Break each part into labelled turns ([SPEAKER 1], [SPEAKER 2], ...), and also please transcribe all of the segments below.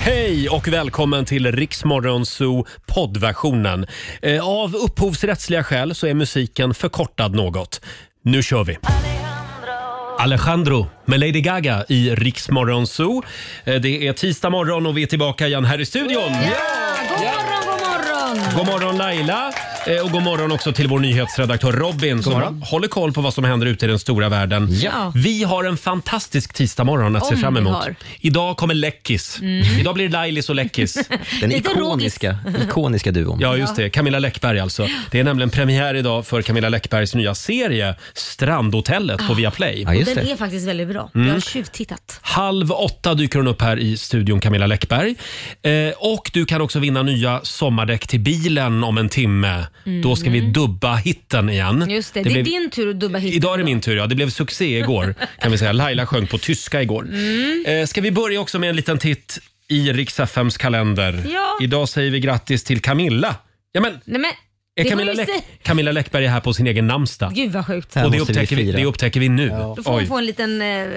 [SPEAKER 1] Hej och välkommen till Riksmorgonzoo poddversionen. Eh, Av upphovsrättsliga skäl så är musiken förkortad något. Nu kör vi! Alejandro med Lady Gaga i Riksmorgonzoo. Eh, Det är tisdag morgon och vi är tillbaka igen här i studion.
[SPEAKER 2] God morgon, god morgon!
[SPEAKER 1] God morgon Laila Eh, och god morgon också till vår nyhetsredaktör Robin som
[SPEAKER 3] morgon.
[SPEAKER 1] håller koll på vad som händer ute i den stora världen.
[SPEAKER 2] Ja.
[SPEAKER 1] Vi har en fantastisk tisdagmorgon att se
[SPEAKER 2] Om
[SPEAKER 1] fram
[SPEAKER 2] vi
[SPEAKER 1] emot.
[SPEAKER 2] har. Mm.
[SPEAKER 1] Idag kommer Läckis. Idag blir det Lailis och Läckis.
[SPEAKER 3] Den
[SPEAKER 2] Lite
[SPEAKER 3] ikoniska, ikoniska duon.
[SPEAKER 1] Ja, just det. Camilla Läckberg alltså. Det är nämligen premiär idag för Camilla Läckbergs nya serie Strandhotellet på Viaplay.
[SPEAKER 3] Ah.
[SPEAKER 1] Mm.
[SPEAKER 3] Ja, just
[SPEAKER 2] Ah, Den
[SPEAKER 3] det.
[SPEAKER 2] är faktiskt väldigt bra. Jag har tjuvtittat.
[SPEAKER 1] Halv åtta dyker hon upp här i studion, Camilla Läckberg. Eh, och du kan också vinna nya sommardäck till bilen om en timme. Då ska vi dubba hitten igen.
[SPEAKER 2] Mm. Just det, det,
[SPEAKER 1] Det blev-
[SPEAKER 2] är din tur att dubba hit.
[SPEAKER 1] Idag är det min tur. Ja. Det blev succé igår. kan vi säga. Laila sjöng på tyska igår.
[SPEAKER 2] Mm.
[SPEAKER 1] Eh, ska vi börja också med en liten titt i Rix FMs kalender.
[SPEAKER 2] Ja.
[SPEAKER 1] Idag säger vi grattis till Camilla. Ja, men,
[SPEAKER 2] Nej men,
[SPEAKER 1] är
[SPEAKER 2] det
[SPEAKER 1] Camilla,
[SPEAKER 2] får vi
[SPEAKER 1] Läck,
[SPEAKER 2] se.
[SPEAKER 1] Camilla Läckberg är här på sin egen namnsdag.
[SPEAKER 2] Gud vad sjukt.
[SPEAKER 3] Här
[SPEAKER 1] Och det
[SPEAKER 3] måste
[SPEAKER 1] upptäcker vi,
[SPEAKER 3] fira.
[SPEAKER 1] det upptäcker vi nu.
[SPEAKER 2] Då får hon
[SPEAKER 1] Oj.
[SPEAKER 2] få en liten eh,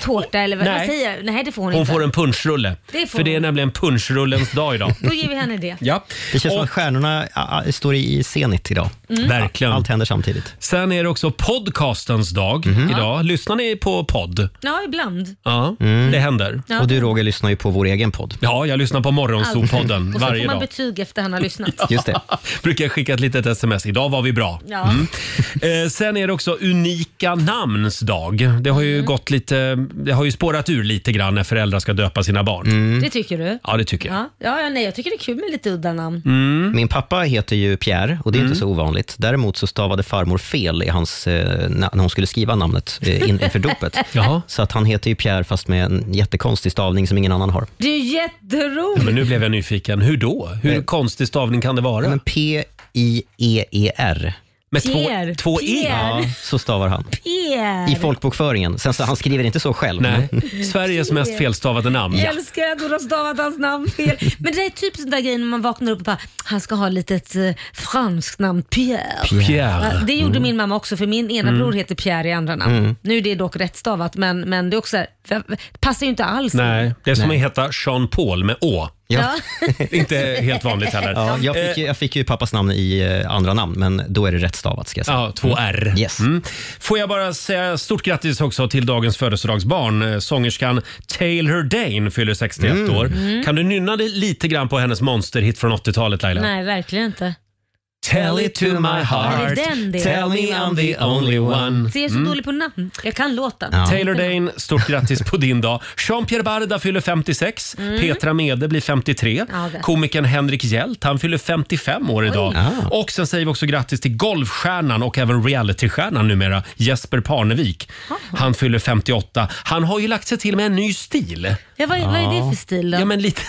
[SPEAKER 2] tårta eller vad
[SPEAKER 1] Nej.
[SPEAKER 2] jag säger. Nej det får hon,
[SPEAKER 1] Hon
[SPEAKER 2] inte.
[SPEAKER 1] får en punschrulle.
[SPEAKER 2] Det får
[SPEAKER 1] För det är
[SPEAKER 2] hon.
[SPEAKER 1] nämligen punschrullens dag idag.
[SPEAKER 2] Då ger vi henne det.
[SPEAKER 1] Ja.
[SPEAKER 3] Det känns som
[SPEAKER 1] Och, Mm.
[SPEAKER 3] att stjärnorna ja, ja, står i senit idag.
[SPEAKER 2] Mm.
[SPEAKER 1] Verkligen.
[SPEAKER 3] Allt händer samtidigt. Mhm.
[SPEAKER 1] Sen är det också podcastens dag idag. Lyssnar ni på podd?
[SPEAKER 2] Ja, ibland.
[SPEAKER 1] Ja, det händer.
[SPEAKER 2] Ja.
[SPEAKER 3] Mm. Och du Roger lyssnar ju på vår egen podd.
[SPEAKER 1] Ja, jag lyssnar på Morgonzoo-podden
[SPEAKER 2] Och så får
[SPEAKER 1] varje
[SPEAKER 2] man
[SPEAKER 1] dag.
[SPEAKER 2] betyg efter han har lyssnat.
[SPEAKER 3] Just det. Mm.
[SPEAKER 1] Brukar jag skicka ett litet sms. Idag var vi bra.
[SPEAKER 2] Ja.
[SPEAKER 1] Eh, sen är det också unika namns dag. Det har
[SPEAKER 2] Mm.
[SPEAKER 1] ju gått lite, det har ju spårat ur lite grann när föräldrar ska döpa sina barn.
[SPEAKER 3] Mm.
[SPEAKER 2] Det tycker du?
[SPEAKER 1] Ja, det tycker jag.
[SPEAKER 2] Ja. Ja, ja, nej, jag tycker det är kul med lite udda namn.
[SPEAKER 1] Mm.
[SPEAKER 3] Min pappa heter ju Pierre och det är inte så ovanligt. Däremot så stavade farmor fel i hans, eh, na- när hon skulle skriva namnet eh, in- inför dopet.
[SPEAKER 1] Jaha.
[SPEAKER 3] Så att han heter ju Pierre fast med en jättekonstig stavning som ingen annan har.
[SPEAKER 2] Det är ju jätteroligt.
[SPEAKER 1] Men nu blev jag nyfiken. Hur då? Hur konstig stavning kan det vara?
[SPEAKER 3] Men P-I-E-E-R.
[SPEAKER 1] Med två,
[SPEAKER 2] Pierre.
[SPEAKER 1] två E? i?
[SPEAKER 2] Pierre.
[SPEAKER 3] Ja, så stavar han. I
[SPEAKER 2] Pierre.
[SPEAKER 3] folkbokföringen. Sen så, han skriver inte så själv.
[SPEAKER 1] Nej, Sveriges mest felstavade namn.
[SPEAKER 2] Jag älskar att hon har stavat hans namn fel. Men det är typ sån där grej när man vaknar upp och bara, han ska ha lite ett eh, franskt namn, Pierre. Ja,
[SPEAKER 1] Pierre. Mm.
[SPEAKER 2] Det gjorde min mamma också för min ena bror heter Pierre i andra namn. Nu är det dock rättstavat men, men det är också så här, för- passar ju inte alls.
[SPEAKER 1] Nej, det är som att heta Jean-Paul med Å.
[SPEAKER 3] Ja.
[SPEAKER 1] Inte helt vanligt heller. Eh.
[SPEAKER 3] Ja, jag, fick ju, jag fick ju pappas namn i eh, andra namn, men då är det rätt stavat ska jag säga.
[SPEAKER 1] Ja, två R. Mm.
[SPEAKER 3] Yes.
[SPEAKER 1] Får jag bara säga stort grattis också till dagens födelsedagsbarn. Eh, Sångerskan Taylor Dane fyller 61 år. Kan du nynna dig lite grann på hennes monsterhit från 80-talet Laila?
[SPEAKER 2] Nej, verkligen inte.
[SPEAKER 1] Tell it to my
[SPEAKER 2] Är
[SPEAKER 1] heart,
[SPEAKER 2] det den det är?
[SPEAKER 1] tell me I'm the only one. Mm.
[SPEAKER 2] Så jag är så dålig på namn. Jag kan låten.
[SPEAKER 3] Ja.
[SPEAKER 1] Taylor Dane, stort grattis på din dag. Jean-Pierre Barda fyller 56, Petra Mede blir 53,
[SPEAKER 2] Mm. Ja, det.
[SPEAKER 1] komikern Henrik Hjält, han fyller 55 år idag.
[SPEAKER 3] Ah.
[SPEAKER 1] Och sen säger vi också grattis till golfstjärnan och även realitystjärnan numera, Jesper Parnevik. Han fyller 58. Han har ju lagt sig till med en ny stil.
[SPEAKER 2] Ja, vad, vad är det för stil då?
[SPEAKER 1] Ja, men lite,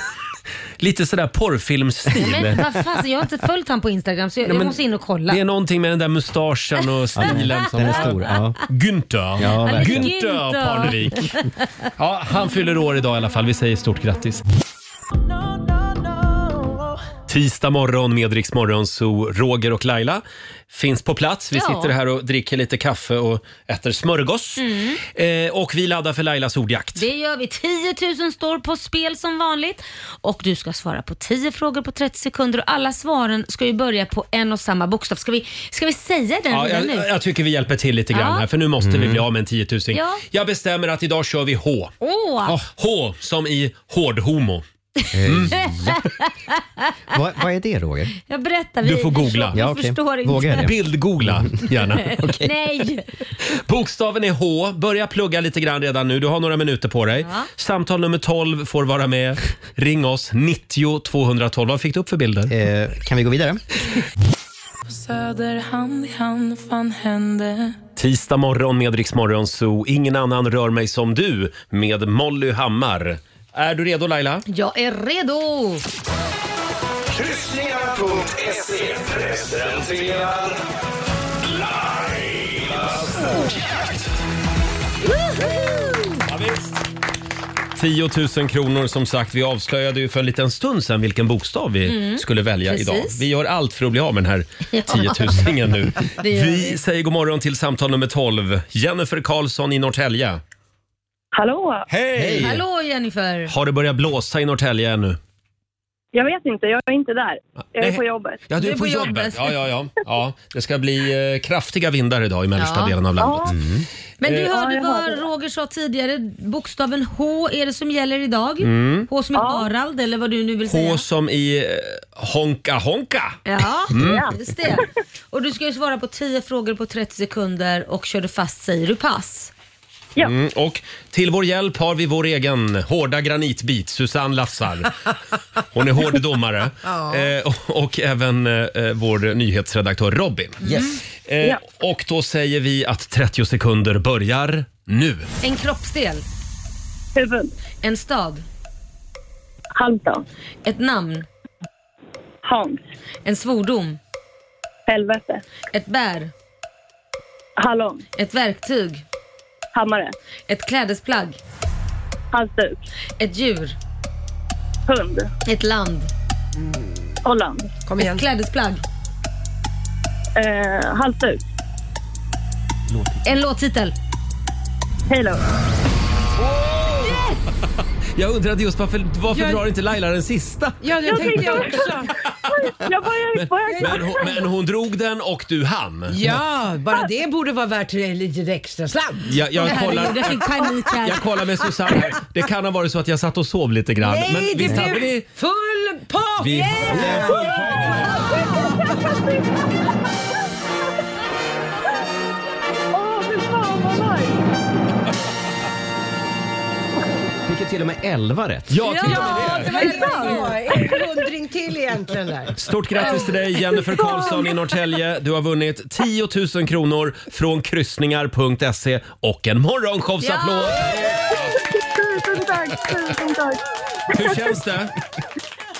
[SPEAKER 1] lite sådär porrfilmsstil.
[SPEAKER 2] Men vad fan, jag har inte följt han på Instagram så jag, jag måste in och kolla.
[SPEAKER 1] Det är någonting med den där mustaschen och stilen som
[SPEAKER 3] Den är stor. Ja.
[SPEAKER 1] Günther.
[SPEAKER 3] Ja,
[SPEAKER 2] verkligen.
[SPEAKER 1] Günther
[SPEAKER 2] Günther.
[SPEAKER 1] Parnevik. Ja, han fyller år idag i alla fall. Vi säger stort grattis. Tisdag morgon med Rix Morgon, så Roger och Laila finns på plats. Vi
[SPEAKER 2] Ja.
[SPEAKER 1] sitter här och dricker lite kaffe och äter smörgås.
[SPEAKER 2] Mm.
[SPEAKER 1] Eh, och vi laddar för Lailas ordjakt.
[SPEAKER 2] Det gör vi. 10 000 står på spel som vanligt. Och Du ska svara på 10 frågor på 30 sekunder och alla svaren ska ju börja på en och samma bokstav. Ska vi, ska vi säga den
[SPEAKER 1] Ja,
[SPEAKER 2] redan
[SPEAKER 1] jag,
[SPEAKER 2] nu?
[SPEAKER 1] jag tycker vi hjälper till lite grann
[SPEAKER 2] Ja.
[SPEAKER 1] här för nu måste
[SPEAKER 3] Mm.
[SPEAKER 1] vi bli av med en 10 000.
[SPEAKER 2] Ja.
[SPEAKER 1] Jag bestämmer att idag kör vi H.
[SPEAKER 2] Åh!
[SPEAKER 1] Ja, H som i Mm. hård homo.
[SPEAKER 3] Vad, vad är det Roger?
[SPEAKER 2] Jag berättar.
[SPEAKER 1] Du
[SPEAKER 2] vi-
[SPEAKER 1] får
[SPEAKER 2] vi
[SPEAKER 1] googla.
[SPEAKER 2] förstår-
[SPEAKER 3] Ja,
[SPEAKER 2] vi
[SPEAKER 3] okej.
[SPEAKER 2] förstår inte.
[SPEAKER 3] Vågar jag det?
[SPEAKER 1] Bildgoogla gärna.
[SPEAKER 2] Nej!
[SPEAKER 1] Bokstaven är H. Börja plugga lite grann redan nu. Du har några minuter på dig.
[SPEAKER 2] Ja.
[SPEAKER 1] Samtal nummer 12 får vara med. Ring oss, 90 212. Vad fick du upp för bilder?
[SPEAKER 3] Eh, kan vi gå vidare?
[SPEAKER 4] Söder hand i hand, fan hände?
[SPEAKER 1] Tisdag morgon med Rix Morgon Zoo. Ingen annan rör mig som du med Molly Hammar. Är du redo Laila?
[SPEAKER 2] Jag är redo!
[SPEAKER 5] Kryssningar.se presenterar Lailas ordjakt.
[SPEAKER 2] Woho!
[SPEAKER 1] 10 000 kronor som sagt. Vi avslöjade ju för en liten stund sedan vilken bokstav vi skulle välja
[SPEAKER 2] Mm. Precis.
[SPEAKER 1] idag. Vi gör allt för att bli av med den här 10 000 nu.
[SPEAKER 2] Det gör
[SPEAKER 1] Vi säger god morgon till samtal nummer 12. Jennifer Karlsson i Norrtälje.
[SPEAKER 6] Hallå!
[SPEAKER 1] Hej!
[SPEAKER 2] Hallå Jennifer!
[SPEAKER 1] Har det börjat blåsa i Norrtälje ännu?
[SPEAKER 6] Jag vet inte, jag är inte där. Jag är
[SPEAKER 1] nej.
[SPEAKER 6] på jobbet.
[SPEAKER 1] Ja, du är på jobbet. Ja, ja, ja. ja. Det ska bli eh, kraftiga vindar idag i mellersta
[SPEAKER 2] Ja.
[SPEAKER 1] delen av landet.
[SPEAKER 2] Men du
[SPEAKER 1] Eh,
[SPEAKER 2] hörde
[SPEAKER 6] jag hörde
[SPEAKER 2] vad
[SPEAKER 6] det.
[SPEAKER 2] Roger sa tidigare. Bokstaven H är det som gäller idag. H som i Harald eller vad du nu vill säga.
[SPEAKER 1] Mm. H som i eh, Honka Honka.
[SPEAKER 2] Ja,
[SPEAKER 1] Mm.
[SPEAKER 2] just det. Och du ska ju svara på 10 frågor på 30 sekunder och kör du fast säger du pass.
[SPEAKER 1] Mm, och till vår hjälp har vi vår egen hårda granitbit, Susanne Lassar. Hon är hård domare. eh, och- och även eh, vår nyhetsredaktör Robin.
[SPEAKER 7] Mm.
[SPEAKER 3] Yes.
[SPEAKER 1] Eh, Och då säger vi att 30 sekunder börjar nu.
[SPEAKER 2] En kroppsdel,
[SPEAKER 6] Huvud.
[SPEAKER 2] en stad,
[SPEAKER 6] Halmstad.
[SPEAKER 2] ett namn,
[SPEAKER 6] Hans.
[SPEAKER 2] en svordom,
[SPEAKER 6] Helvete.
[SPEAKER 2] ett bär,
[SPEAKER 6] Hallon.
[SPEAKER 2] ett verktyg,
[SPEAKER 6] Hammare.
[SPEAKER 2] ett klädesplagg,
[SPEAKER 6] Halsduk.
[SPEAKER 2] ett djur,
[SPEAKER 6] Hund.
[SPEAKER 2] ett land,
[SPEAKER 6] Holland.
[SPEAKER 7] Kom igen.
[SPEAKER 2] ett klädesplagg,
[SPEAKER 6] Eh, halsduk.
[SPEAKER 2] en låttitel.
[SPEAKER 6] Halo.
[SPEAKER 1] Jag undrade just varför, varför
[SPEAKER 7] Jag-
[SPEAKER 1] drar inte Laila den sista?
[SPEAKER 7] Ja, det tänkte jag också.
[SPEAKER 6] Jag börjar på
[SPEAKER 1] Men hon, men hon drog den och du hann.
[SPEAKER 7] Ja, bara det borde vara värt en liten extra slant.
[SPEAKER 1] Jag, jag,
[SPEAKER 2] Herregud,
[SPEAKER 1] kollar,
[SPEAKER 2] jag fick panik här.
[SPEAKER 1] jag kollar med Susanne här. Det kan ha varit så att jag satt och sov lite grann. men
[SPEAKER 7] Nej, det
[SPEAKER 1] visst hade
[SPEAKER 7] blev
[SPEAKER 1] vi...
[SPEAKER 7] full pott!
[SPEAKER 1] vi
[SPEAKER 6] Åh, fy fan vad nice!
[SPEAKER 3] Fick ju till och med 11 rätt.
[SPEAKER 1] Ja, till och med
[SPEAKER 7] Ja, det var ju så. En hundring till egentligen där.
[SPEAKER 1] Stort grattis till dig Jennifer Karlsson i Norrtälje. Du har vunnit 10 000 kronor från kryssningar.se och en morgonshowsapplåd.
[SPEAKER 6] Tusen tack, tusen tack.
[SPEAKER 1] Hur känns det?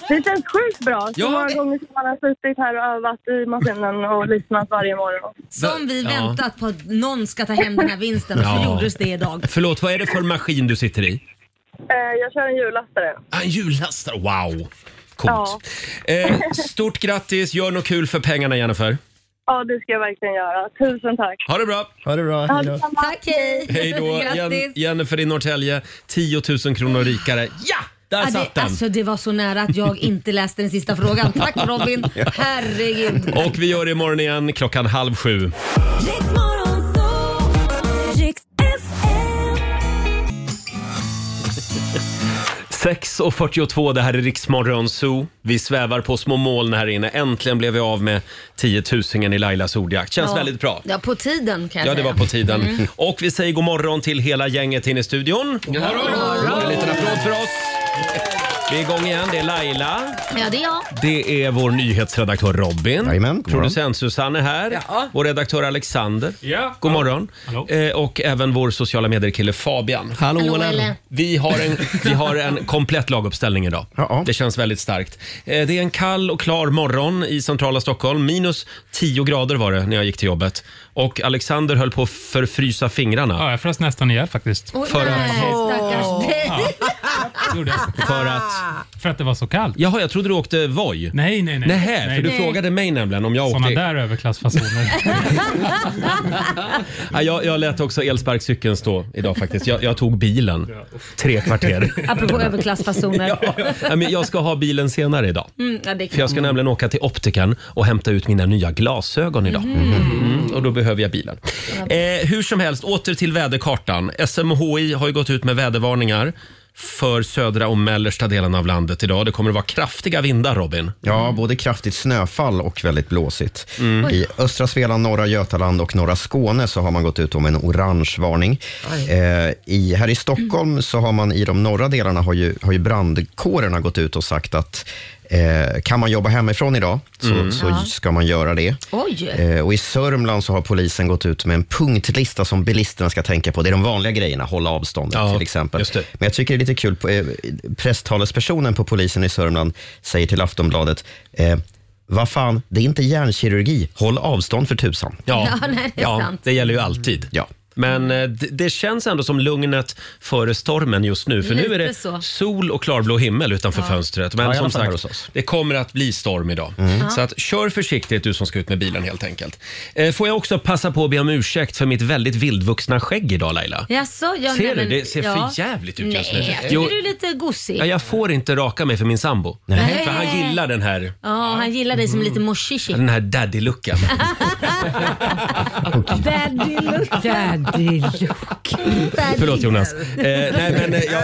[SPEAKER 6] Det känns sjukt bra. Så
[SPEAKER 1] Ja.
[SPEAKER 6] många gånger som man har suttit här och övat i maskinen och lyssnat varje morgon.
[SPEAKER 2] Som vi
[SPEAKER 1] Ja.
[SPEAKER 2] väntat på att någon ska ta hem den här vinsten och så
[SPEAKER 1] Ja.
[SPEAKER 2] gjordes det idag.
[SPEAKER 1] Förlåt, vad är det för maskin du sitter i?
[SPEAKER 6] Eh, jag kör en jullastare.
[SPEAKER 1] Ah, En jullastare, wow! Coolt. Eh, stort grattis, gör något kul för pengarna Jennifer.
[SPEAKER 6] Ja, det ska jag verkligen göra. Tusen tack.
[SPEAKER 1] Ha det bra!
[SPEAKER 3] Ha det bra. Hej då.
[SPEAKER 2] Tack, hej!
[SPEAKER 1] Hej då! Jen-
[SPEAKER 2] Grattis!
[SPEAKER 1] Jennifer i Norrtälje, 10 000 kronor rikare. Ja! Där
[SPEAKER 2] Ja,
[SPEAKER 1] satt
[SPEAKER 2] det,
[SPEAKER 1] den!
[SPEAKER 2] alltså det var så nära att jag inte läste den sista frågan. Tack Robin! Herregud.
[SPEAKER 1] Och vi gör det imorgon igen klockan halv sju.
[SPEAKER 8] Riksmorgon,
[SPEAKER 1] 6.42, det här är Riksmorgon Zoo. Vi svävar på små moln här inne. Äntligen blev vi av med 10 000 i Lailas ordjakt. Känns väldigt bra.
[SPEAKER 2] Ja, på tiden kan jag
[SPEAKER 1] Ja, det
[SPEAKER 2] säga.
[SPEAKER 1] var på tiden. Och vi säger god morgon till hela gänget inne i studion. God morgon! En liten applåd för oss. Vi är igång igen. Det är Laila.
[SPEAKER 2] Ja, det är jag.
[SPEAKER 1] Det är vår nyhetsredaktör Robin.
[SPEAKER 3] Jajamän, god
[SPEAKER 1] Producent Susanne är här.
[SPEAKER 7] Ja.
[SPEAKER 1] Vår redaktör Alexander.
[SPEAKER 9] Ja.
[SPEAKER 1] God morgon.
[SPEAKER 9] Hallå.
[SPEAKER 1] Eh, och även vår sociala medier-kille Fabian. Hallå,
[SPEAKER 2] Hallå, eller? eller?
[SPEAKER 1] Vi har, en, vi har en komplett laguppställning idag.
[SPEAKER 3] Ja.
[SPEAKER 1] Det känns väldigt starkt. Eh, det är en kall och klar morgon i centrala Stockholm. Minus 10 grader var det när jag gick till jobbet. Och Alexander höll på att förfrysa fingrarna.
[SPEAKER 9] Ja, jag frös nästan ihjäl faktiskt.
[SPEAKER 2] Åh,
[SPEAKER 1] För att-
[SPEAKER 2] nej, stackars dig.
[SPEAKER 9] Gjorde jag.
[SPEAKER 1] För att...
[SPEAKER 9] För att det var så kallt.
[SPEAKER 1] Jaha, jag trodde du åkte Voi.
[SPEAKER 9] Nej, nej, nej.
[SPEAKER 1] Nähä, för du
[SPEAKER 9] det-
[SPEAKER 1] frågade mig nämligen om jag
[SPEAKER 9] Såna
[SPEAKER 1] åkte...
[SPEAKER 9] där överklassfasoner.
[SPEAKER 1] Ja, jag, jag lät också elsparkcykeln stå idag faktiskt. Jag, jag tog bilen. Tre kvarter.
[SPEAKER 2] Apropå överklassfasoner. Ja.
[SPEAKER 1] Ja, men jag ska ha bilen senare idag.
[SPEAKER 2] Mm, ja, det är
[SPEAKER 1] För jag ska nämligen åka till optiken och hämta ut mina nya glasögon idag.
[SPEAKER 9] Mhm.
[SPEAKER 1] Mm, och då behöver jag bilen. Eh, hur som helst, åter till väderkartan. SMHI har ju gått ut med vädervarningar för södra och mellersta delen av landet idag. Det kommer att vara kraftiga vindar, Robin.
[SPEAKER 3] Ja, både kraftigt snöfall och väldigt blåsigt. I östra Svealand, norra Götaland och norra Skåne så har man gått ut om en orange varning. Eh, i, här i Stockholm så har man i de norra delarna har ju, har ju brandkårerna gått ut och sagt att eh, kan man jobba hemifrån idag så, så ska man göra det.
[SPEAKER 2] Oj.
[SPEAKER 3] Eh, Och I Sörmland så har polisen gått ut med en punktlista som bilisterna ska tänka på. Det är de vanliga grejerna, hålla avståndet
[SPEAKER 1] Ja,
[SPEAKER 3] till exempel.
[SPEAKER 1] just det.
[SPEAKER 3] Men jag tycker det är lite kul, på- eh, presstalespersonen på polisen i Sörmland säger till Aftonbladet, eh, vad fan, det är inte hjärnkirurgi, håll avstånd för tusan.
[SPEAKER 1] Ja,
[SPEAKER 2] Ja, nej, det är sant.
[SPEAKER 1] det gäller ju alltid.
[SPEAKER 3] Ja.
[SPEAKER 1] Men eh, det, det känns ändå som lugnet före stormen just nu. För nu är
[SPEAKER 2] Lite
[SPEAKER 1] det
[SPEAKER 2] så.
[SPEAKER 1] sol och klarblå himmel utanför
[SPEAKER 2] Ja.
[SPEAKER 1] fönstret.
[SPEAKER 3] Ja, i
[SPEAKER 1] Men
[SPEAKER 3] alla
[SPEAKER 1] som
[SPEAKER 3] fall här hos
[SPEAKER 1] sagt,
[SPEAKER 3] oss. Mm.
[SPEAKER 1] det kommer att bli storm idag.
[SPEAKER 2] Ja.
[SPEAKER 1] Så att, kör försiktigt du som ska ut med bilen helt enkelt. Eh, får jag också passa på att be om ursäkt för mitt väldigt vildvuxna skägg idag Laila?
[SPEAKER 2] Jaså, ja,
[SPEAKER 1] Ser
[SPEAKER 2] nej,
[SPEAKER 1] du?
[SPEAKER 2] men-
[SPEAKER 1] Det ser för jävligt ut just nu.
[SPEAKER 2] Nej, jag
[SPEAKER 1] Jo.
[SPEAKER 2] tycker du är lite gosig.
[SPEAKER 1] Ja, jag får inte raka mig för min sambo.
[SPEAKER 2] Nej.
[SPEAKER 1] För han gillar den här,
[SPEAKER 2] Ja, han gillar dig som lite moshishik.
[SPEAKER 1] den här daddy-looken.
[SPEAKER 2] Daddy look. Daddy look.
[SPEAKER 1] Förlåt Jonas. Eh, nej, men, eh, jag,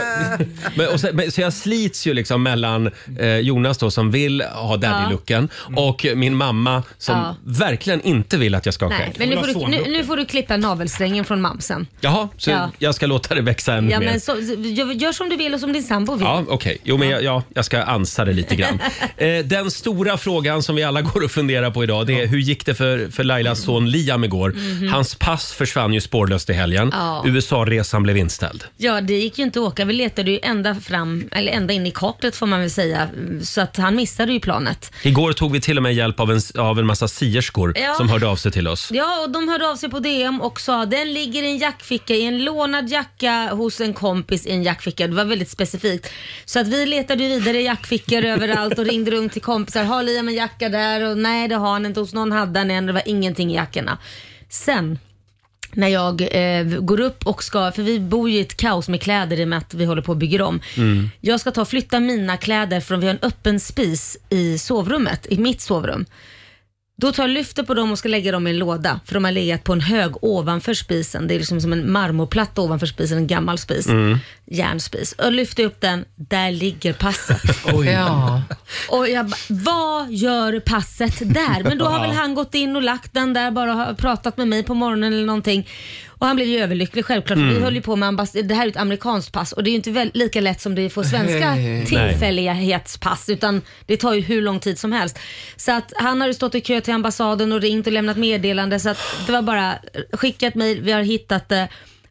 [SPEAKER 1] men, och så, men, så jag slits ju liksom mellan eh, Jonas då som vill ha daddy-looken och min mamma som
[SPEAKER 2] Ja.
[SPEAKER 1] verkligen inte vill att jag ska ha
[SPEAKER 2] Nej,
[SPEAKER 1] skägg.
[SPEAKER 2] men nu får, du, nu, nu får du klippa navelsträngen från mamsen.
[SPEAKER 1] Jaha, så
[SPEAKER 2] Ja.
[SPEAKER 1] jag ska låta det växa ännu
[SPEAKER 2] Ja,
[SPEAKER 1] mer.
[SPEAKER 2] men så, gör, gör som du vill och som din sambo vill.
[SPEAKER 1] Ja, okej. Jo, men jag, ja, jag ska ansa det lite grann. Eh, den stora frågan som vi alla går och funderar på idag det är hur gick det för, för Lailas son Liam igår? Hans pass försvann ju spårlöst i helgen.
[SPEAKER 2] Mhm. Ja.
[SPEAKER 1] USA-resan blev inställd.
[SPEAKER 2] Ja, det gick ju inte att åka. Vi letade ju ända fram, eller ända in i kaklet får man väl säga. Så att han missade ju planet.
[SPEAKER 1] Igår tog vi till och med hjälp av en, av en massa sierskor
[SPEAKER 2] Ja.
[SPEAKER 1] som hörde av sig till oss.
[SPEAKER 2] Ja, och de hörde av sig på DM och sa den ligger i en jackficka, i en lånad jacka hos en kompis i en jackficka. Det var väldigt specifikt. Så att vi letade ju vidare i jackfickor överallt och ringde runt till kompisar. Har Liam en jacka där? Och nej, det har han inte. Hos någon hade han en. Det var ingenting i jackorna. Sen när jag eh, går upp och ska, för vi bor ju i ett kaos med kläder i och med att vi håller på och bygger om.
[SPEAKER 5] Mm.
[SPEAKER 2] Jag ska ta och flytta mina kläder från vi har en öppen spis i sovrummet, i mitt sovrum. Då tar jag lyfter på dem och ska lägga dem i en låda för de har legat på en hög ovanför spisen. Det är liksom som en marmorplatta ovanför spisen, en gammal spis.
[SPEAKER 5] Mm.
[SPEAKER 2] Järnspis. Och lyfter upp den, där ligger passet.
[SPEAKER 8] Ja.
[SPEAKER 2] Och jag bara, vad gör passet där? Men då har väl han gått in och lagt den där bara och har pratat med mig på morgonen eller någonting. Och han blev ju överlycklig självklart. för Vi höll ju på med ambass- det här är ett amerikanskt pass och det är ju inte väl, lika lätt som det är för svenska tillfällighetspass utan det tar ju hur lång tid som helst. Så att han har ju stått i kö till ambassaden och ringt och lämnat meddelande så att det var bara skickat mejl, vi har hittat det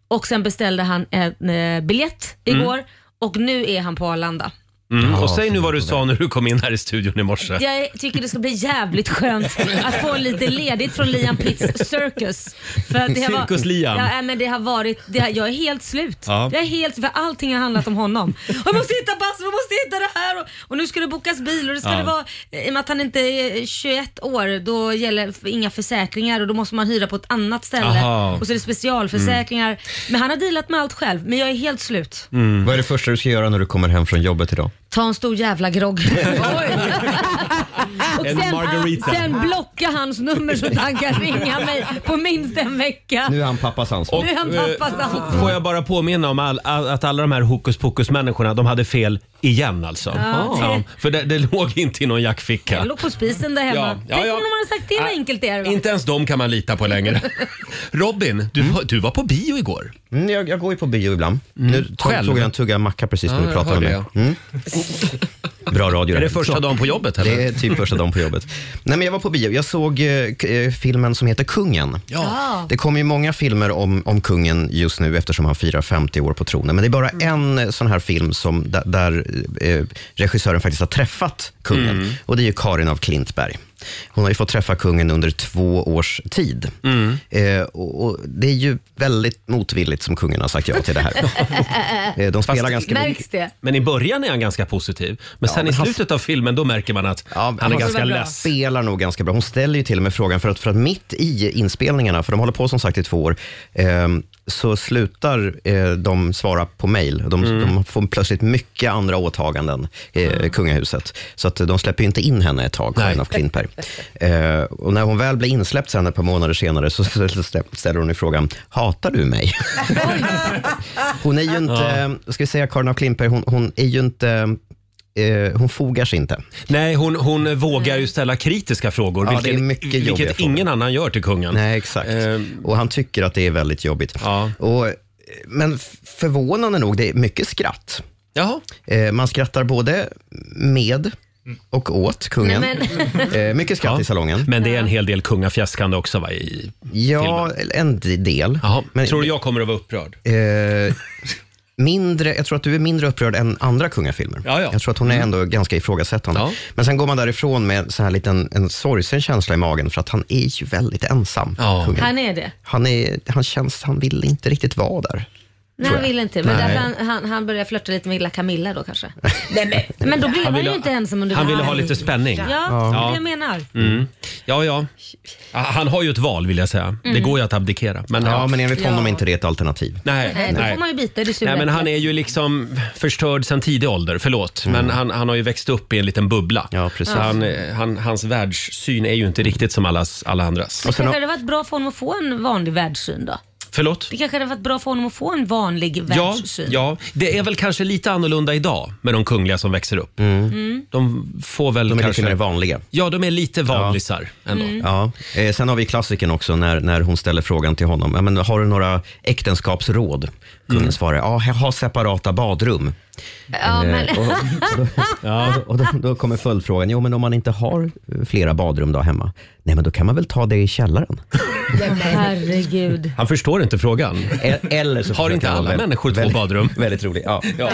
[SPEAKER 2] och sen beställde han en eh, biljett igår och nu är han på Arlanda.
[SPEAKER 1] Mm. Och säg nu vad du sa när du kom in här i studion i morse.
[SPEAKER 2] Jag tycker det ska bli jävligt skönt att få lite ledigt från Liam Pitts Circus. För att det har varit-
[SPEAKER 1] Cirkus Liam.
[SPEAKER 2] Ja, nej, men det har varit, det har, jag är helt slut.
[SPEAKER 1] Ja.
[SPEAKER 2] Jag är helt, för allting har handlat om honom. Jag måste hitta pass, jag måste hitta det här och, och nu ska det bokas bil och det ska
[SPEAKER 1] Ja.
[SPEAKER 2] det vara, i och med att han inte är 21 år, då gäller f- inga försäkringar och då måste man hyra på ett annat ställe.
[SPEAKER 1] Aha. Mm.
[SPEAKER 2] Och så är det specialförsäkringar. Men han har dealat med allt själv, men jag är helt slut.
[SPEAKER 3] Vad är det första du ska göra när du kommer hem från jobbet idag?
[SPEAKER 2] Ta en stor jävla grogg. Och
[SPEAKER 1] En margarita.
[SPEAKER 2] sen blocka hans nummer så att han kan ringa mig på minst en vecka.
[SPEAKER 3] Nu är han pappas ansvar.
[SPEAKER 2] Nu är han
[SPEAKER 1] eh,
[SPEAKER 2] pappas ansvar.
[SPEAKER 1] Får jag bara påminna om all, all, att alla de här hokus pokus-människorna, de hade fel igen alltså.
[SPEAKER 2] Ja, det-
[SPEAKER 1] för det, det låg inte i någon jackficka.
[SPEAKER 2] Jag låg på spisen där hemma.
[SPEAKER 1] Ja, ja,
[SPEAKER 2] Tänk
[SPEAKER 1] ja.
[SPEAKER 2] om de hade sagt till vad
[SPEAKER 1] Ah,
[SPEAKER 2] enkelt det är. va?
[SPEAKER 1] Inte ens de kan man lita på längre. Robin, du, var- du var på bio igår. Mm.
[SPEAKER 3] Mm, jag, jag går ju på bio ibland. Nu tog,
[SPEAKER 1] Själv?
[SPEAKER 3] tog jag en tugga macka precis när du
[SPEAKER 1] jag
[SPEAKER 3] pratade med
[SPEAKER 1] hörde
[SPEAKER 3] mig. Mm. Bra radio
[SPEAKER 1] Är det
[SPEAKER 3] här.
[SPEAKER 1] första
[SPEAKER 3] Så.
[SPEAKER 1] dagen på jobbet? Eller?
[SPEAKER 3] Det är typ första dagen på jobbet. Nej, men jag var på bio. Jag såg eh, k- eh, filmen som heter Kungen.
[SPEAKER 2] Ja.
[SPEAKER 3] Det kommer ju många filmer om, om kungen just nu eftersom han firar 50 år på tronen. Men det är bara en eh, sån här film som, där, där eh, regissören faktiskt har träffat kungen. Och det är ju Karin av Klintberg. Hon har ju fått träffa kungen under två års tid.
[SPEAKER 5] Mm.
[SPEAKER 3] Eh, och, och det är ju väldigt motvilligt som kungen har sagt ja till det här. Eh, De spelar ganska
[SPEAKER 2] Märks det?
[SPEAKER 1] Men i början är han ganska positiv. Men sen i
[SPEAKER 3] men han-
[SPEAKER 1] slutet av filmen då märker man att
[SPEAKER 3] Ja,
[SPEAKER 1] han är
[SPEAKER 3] han-
[SPEAKER 1] ganska
[SPEAKER 2] Det var bra.
[SPEAKER 1] less.
[SPEAKER 3] spelar nog ganska bra. Hon ställer ju till och med frågan, för att, för att mitt i inspelningarna, för de håller på som sagt i två år, ehm, så slutar eh, de svara på mejl. De,
[SPEAKER 1] Mm.
[SPEAKER 3] de får plötsligt mycket andra åtaganden, eh, kungahuset. Så att eh, de släpper ju inte in henne ett tag, Karin
[SPEAKER 1] Nej.
[SPEAKER 3] af Klintberg. Eh, och när hon väl blir insläppt sen ett par månader senare så ställer hon ju frågan, hatar du mig? Hon är ju inte, eh, ska vi säga Karin af Klintberg, hon, hon är ju inte, eh, hon fogar sig inte.
[SPEAKER 1] Nej, hon, hon vågar ju ställa kritiska frågor.
[SPEAKER 3] Mm. Ja, det är
[SPEAKER 1] vilket
[SPEAKER 3] mycket jobbiga
[SPEAKER 1] vilket
[SPEAKER 3] frågor.
[SPEAKER 1] ingen annan gör till kungen.
[SPEAKER 3] Nej, exakt.
[SPEAKER 1] Ehm.
[SPEAKER 3] och han tycker att det är väldigt jobbigt.
[SPEAKER 1] Ja.
[SPEAKER 3] Och, men f- förvånande nog, det är mycket skratt.
[SPEAKER 1] Jaha.
[SPEAKER 3] Eh, man skrattar både med och åt kungen.
[SPEAKER 2] Nej,
[SPEAKER 3] Eh, mycket skratt i salongen.
[SPEAKER 1] Men det är en hel del kungafjäskande också va? I...
[SPEAKER 3] Ja, en del.
[SPEAKER 1] Jaha.
[SPEAKER 3] Men,
[SPEAKER 1] Tror du jag kommer att vara upprörd?
[SPEAKER 3] Eh, mindre, jag tror att du är mindre upprörd än andra kungafilmer.
[SPEAKER 1] Ja, ja.
[SPEAKER 3] Jag tror att hon är ändå ganska ifrågasättande.
[SPEAKER 1] Ja.
[SPEAKER 3] Men sen går man därifrån med så här liten, en sorgsen känsla i magen för att han är ju väldigt ensam.
[SPEAKER 1] Ja.
[SPEAKER 3] kungen.
[SPEAKER 2] Han är det.
[SPEAKER 3] Han, är, han känns, han vill inte riktigt vara där.
[SPEAKER 2] Nej, han vill inte. Men
[SPEAKER 3] Nej.
[SPEAKER 2] därför han, han, han börjar flörta lite med lilla Camilla då kanske. Men då
[SPEAKER 1] Han
[SPEAKER 2] blir han,
[SPEAKER 1] ville-
[SPEAKER 2] ju inte ensam under
[SPEAKER 1] han ville
[SPEAKER 2] dagen.
[SPEAKER 1] ha lite spänning.
[SPEAKER 2] Ja, det är
[SPEAKER 1] Ja.
[SPEAKER 2] det jag menar.
[SPEAKER 1] Mm. Ja, ja. Ah, Han har ju ett val vill jag säga. Det går ju att abdikera. Men,
[SPEAKER 3] Ja, men enligt honom
[SPEAKER 2] Mm. Ja.
[SPEAKER 3] är inte det ett alternativ.
[SPEAKER 1] Nej,
[SPEAKER 2] Nej,
[SPEAKER 1] nej.
[SPEAKER 2] Eh, då får man ju bita i det sura
[SPEAKER 1] Nej, men han
[SPEAKER 2] äpplet.
[SPEAKER 1] är ju liksom förstörd sedan tidig ålder, förlåt. Men han, han har ju växt upp i en liten bubbla.
[SPEAKER 3] Mm. Ja, precis.
[SPEAKER 1] Så Han, eh, han, hans världssyn är ju inte riktigt som allas, alla andras.
[SPEAKER 2] Det
[SPEAKER 3] sen
[SPEAKER 2] kanske
[SPEAKER 3] har-
[SPEAKER 2] hade varit bra för honom att få en vanlig världssyn då?
[SPEAKER 1] Förlåt?
[SPEAKER 2] Det kanske hade varit bra för honom att få en vanlig
[SPEAKER 1] Ja,
[SPEAKER 2] världssyn?
[SPEAKER 1] ja, det är väl kanske lite annorlunda idag med de kungliga som växer upp.
[SPEAKER 2] Mm.
[SPEAKER 1] De får väl
[SPEAKER 3] Mm. De är
[SPEAKER 1] kanske...
[SPEAKER 3] lite mer vanliga.
[SPEAKER 1] ja, de är lite vanlisar ändå.
[SPEAKER 2] Mm.
[SPEAKER 3] Ja. Eh, sen har vi klassiken också när, när hon ställer frågan till honom. Ja, men, har du några äktenskapsråd?
[SPEAKER 1] Mm.
[SPEAKER 3] Kungen svarar, ja, ha separata badrum.
[SPEAKER 2] Ja, men,
[SPEAKER 3] Eh, och, och, då, och då, då kommer följdfrågan, jo men om man inte har eh, flera badrum då hemma, nej men då kan man väl ta det i källaren?
[SPEAKER 2] herregud.
[SPEAKER 1] Han förstår inte frågan.
[SPEAKER 3] E- Eller så
[SPEAKER 1] Har
[SPEAKER 3] försöker
[SPEAKER 1] inte
[SPEAKER 3] han
[SPEAKER 1] alla
[SPEAKER 3] vara väl-
[SPEAKER 1] människor två
[SPEAKER 3] väldigt-
[SPEAKER 1] badrum?
[SPEAKER 3] Väldigt rolig. Ja. Eh,
[SPEAKER 1] Ja.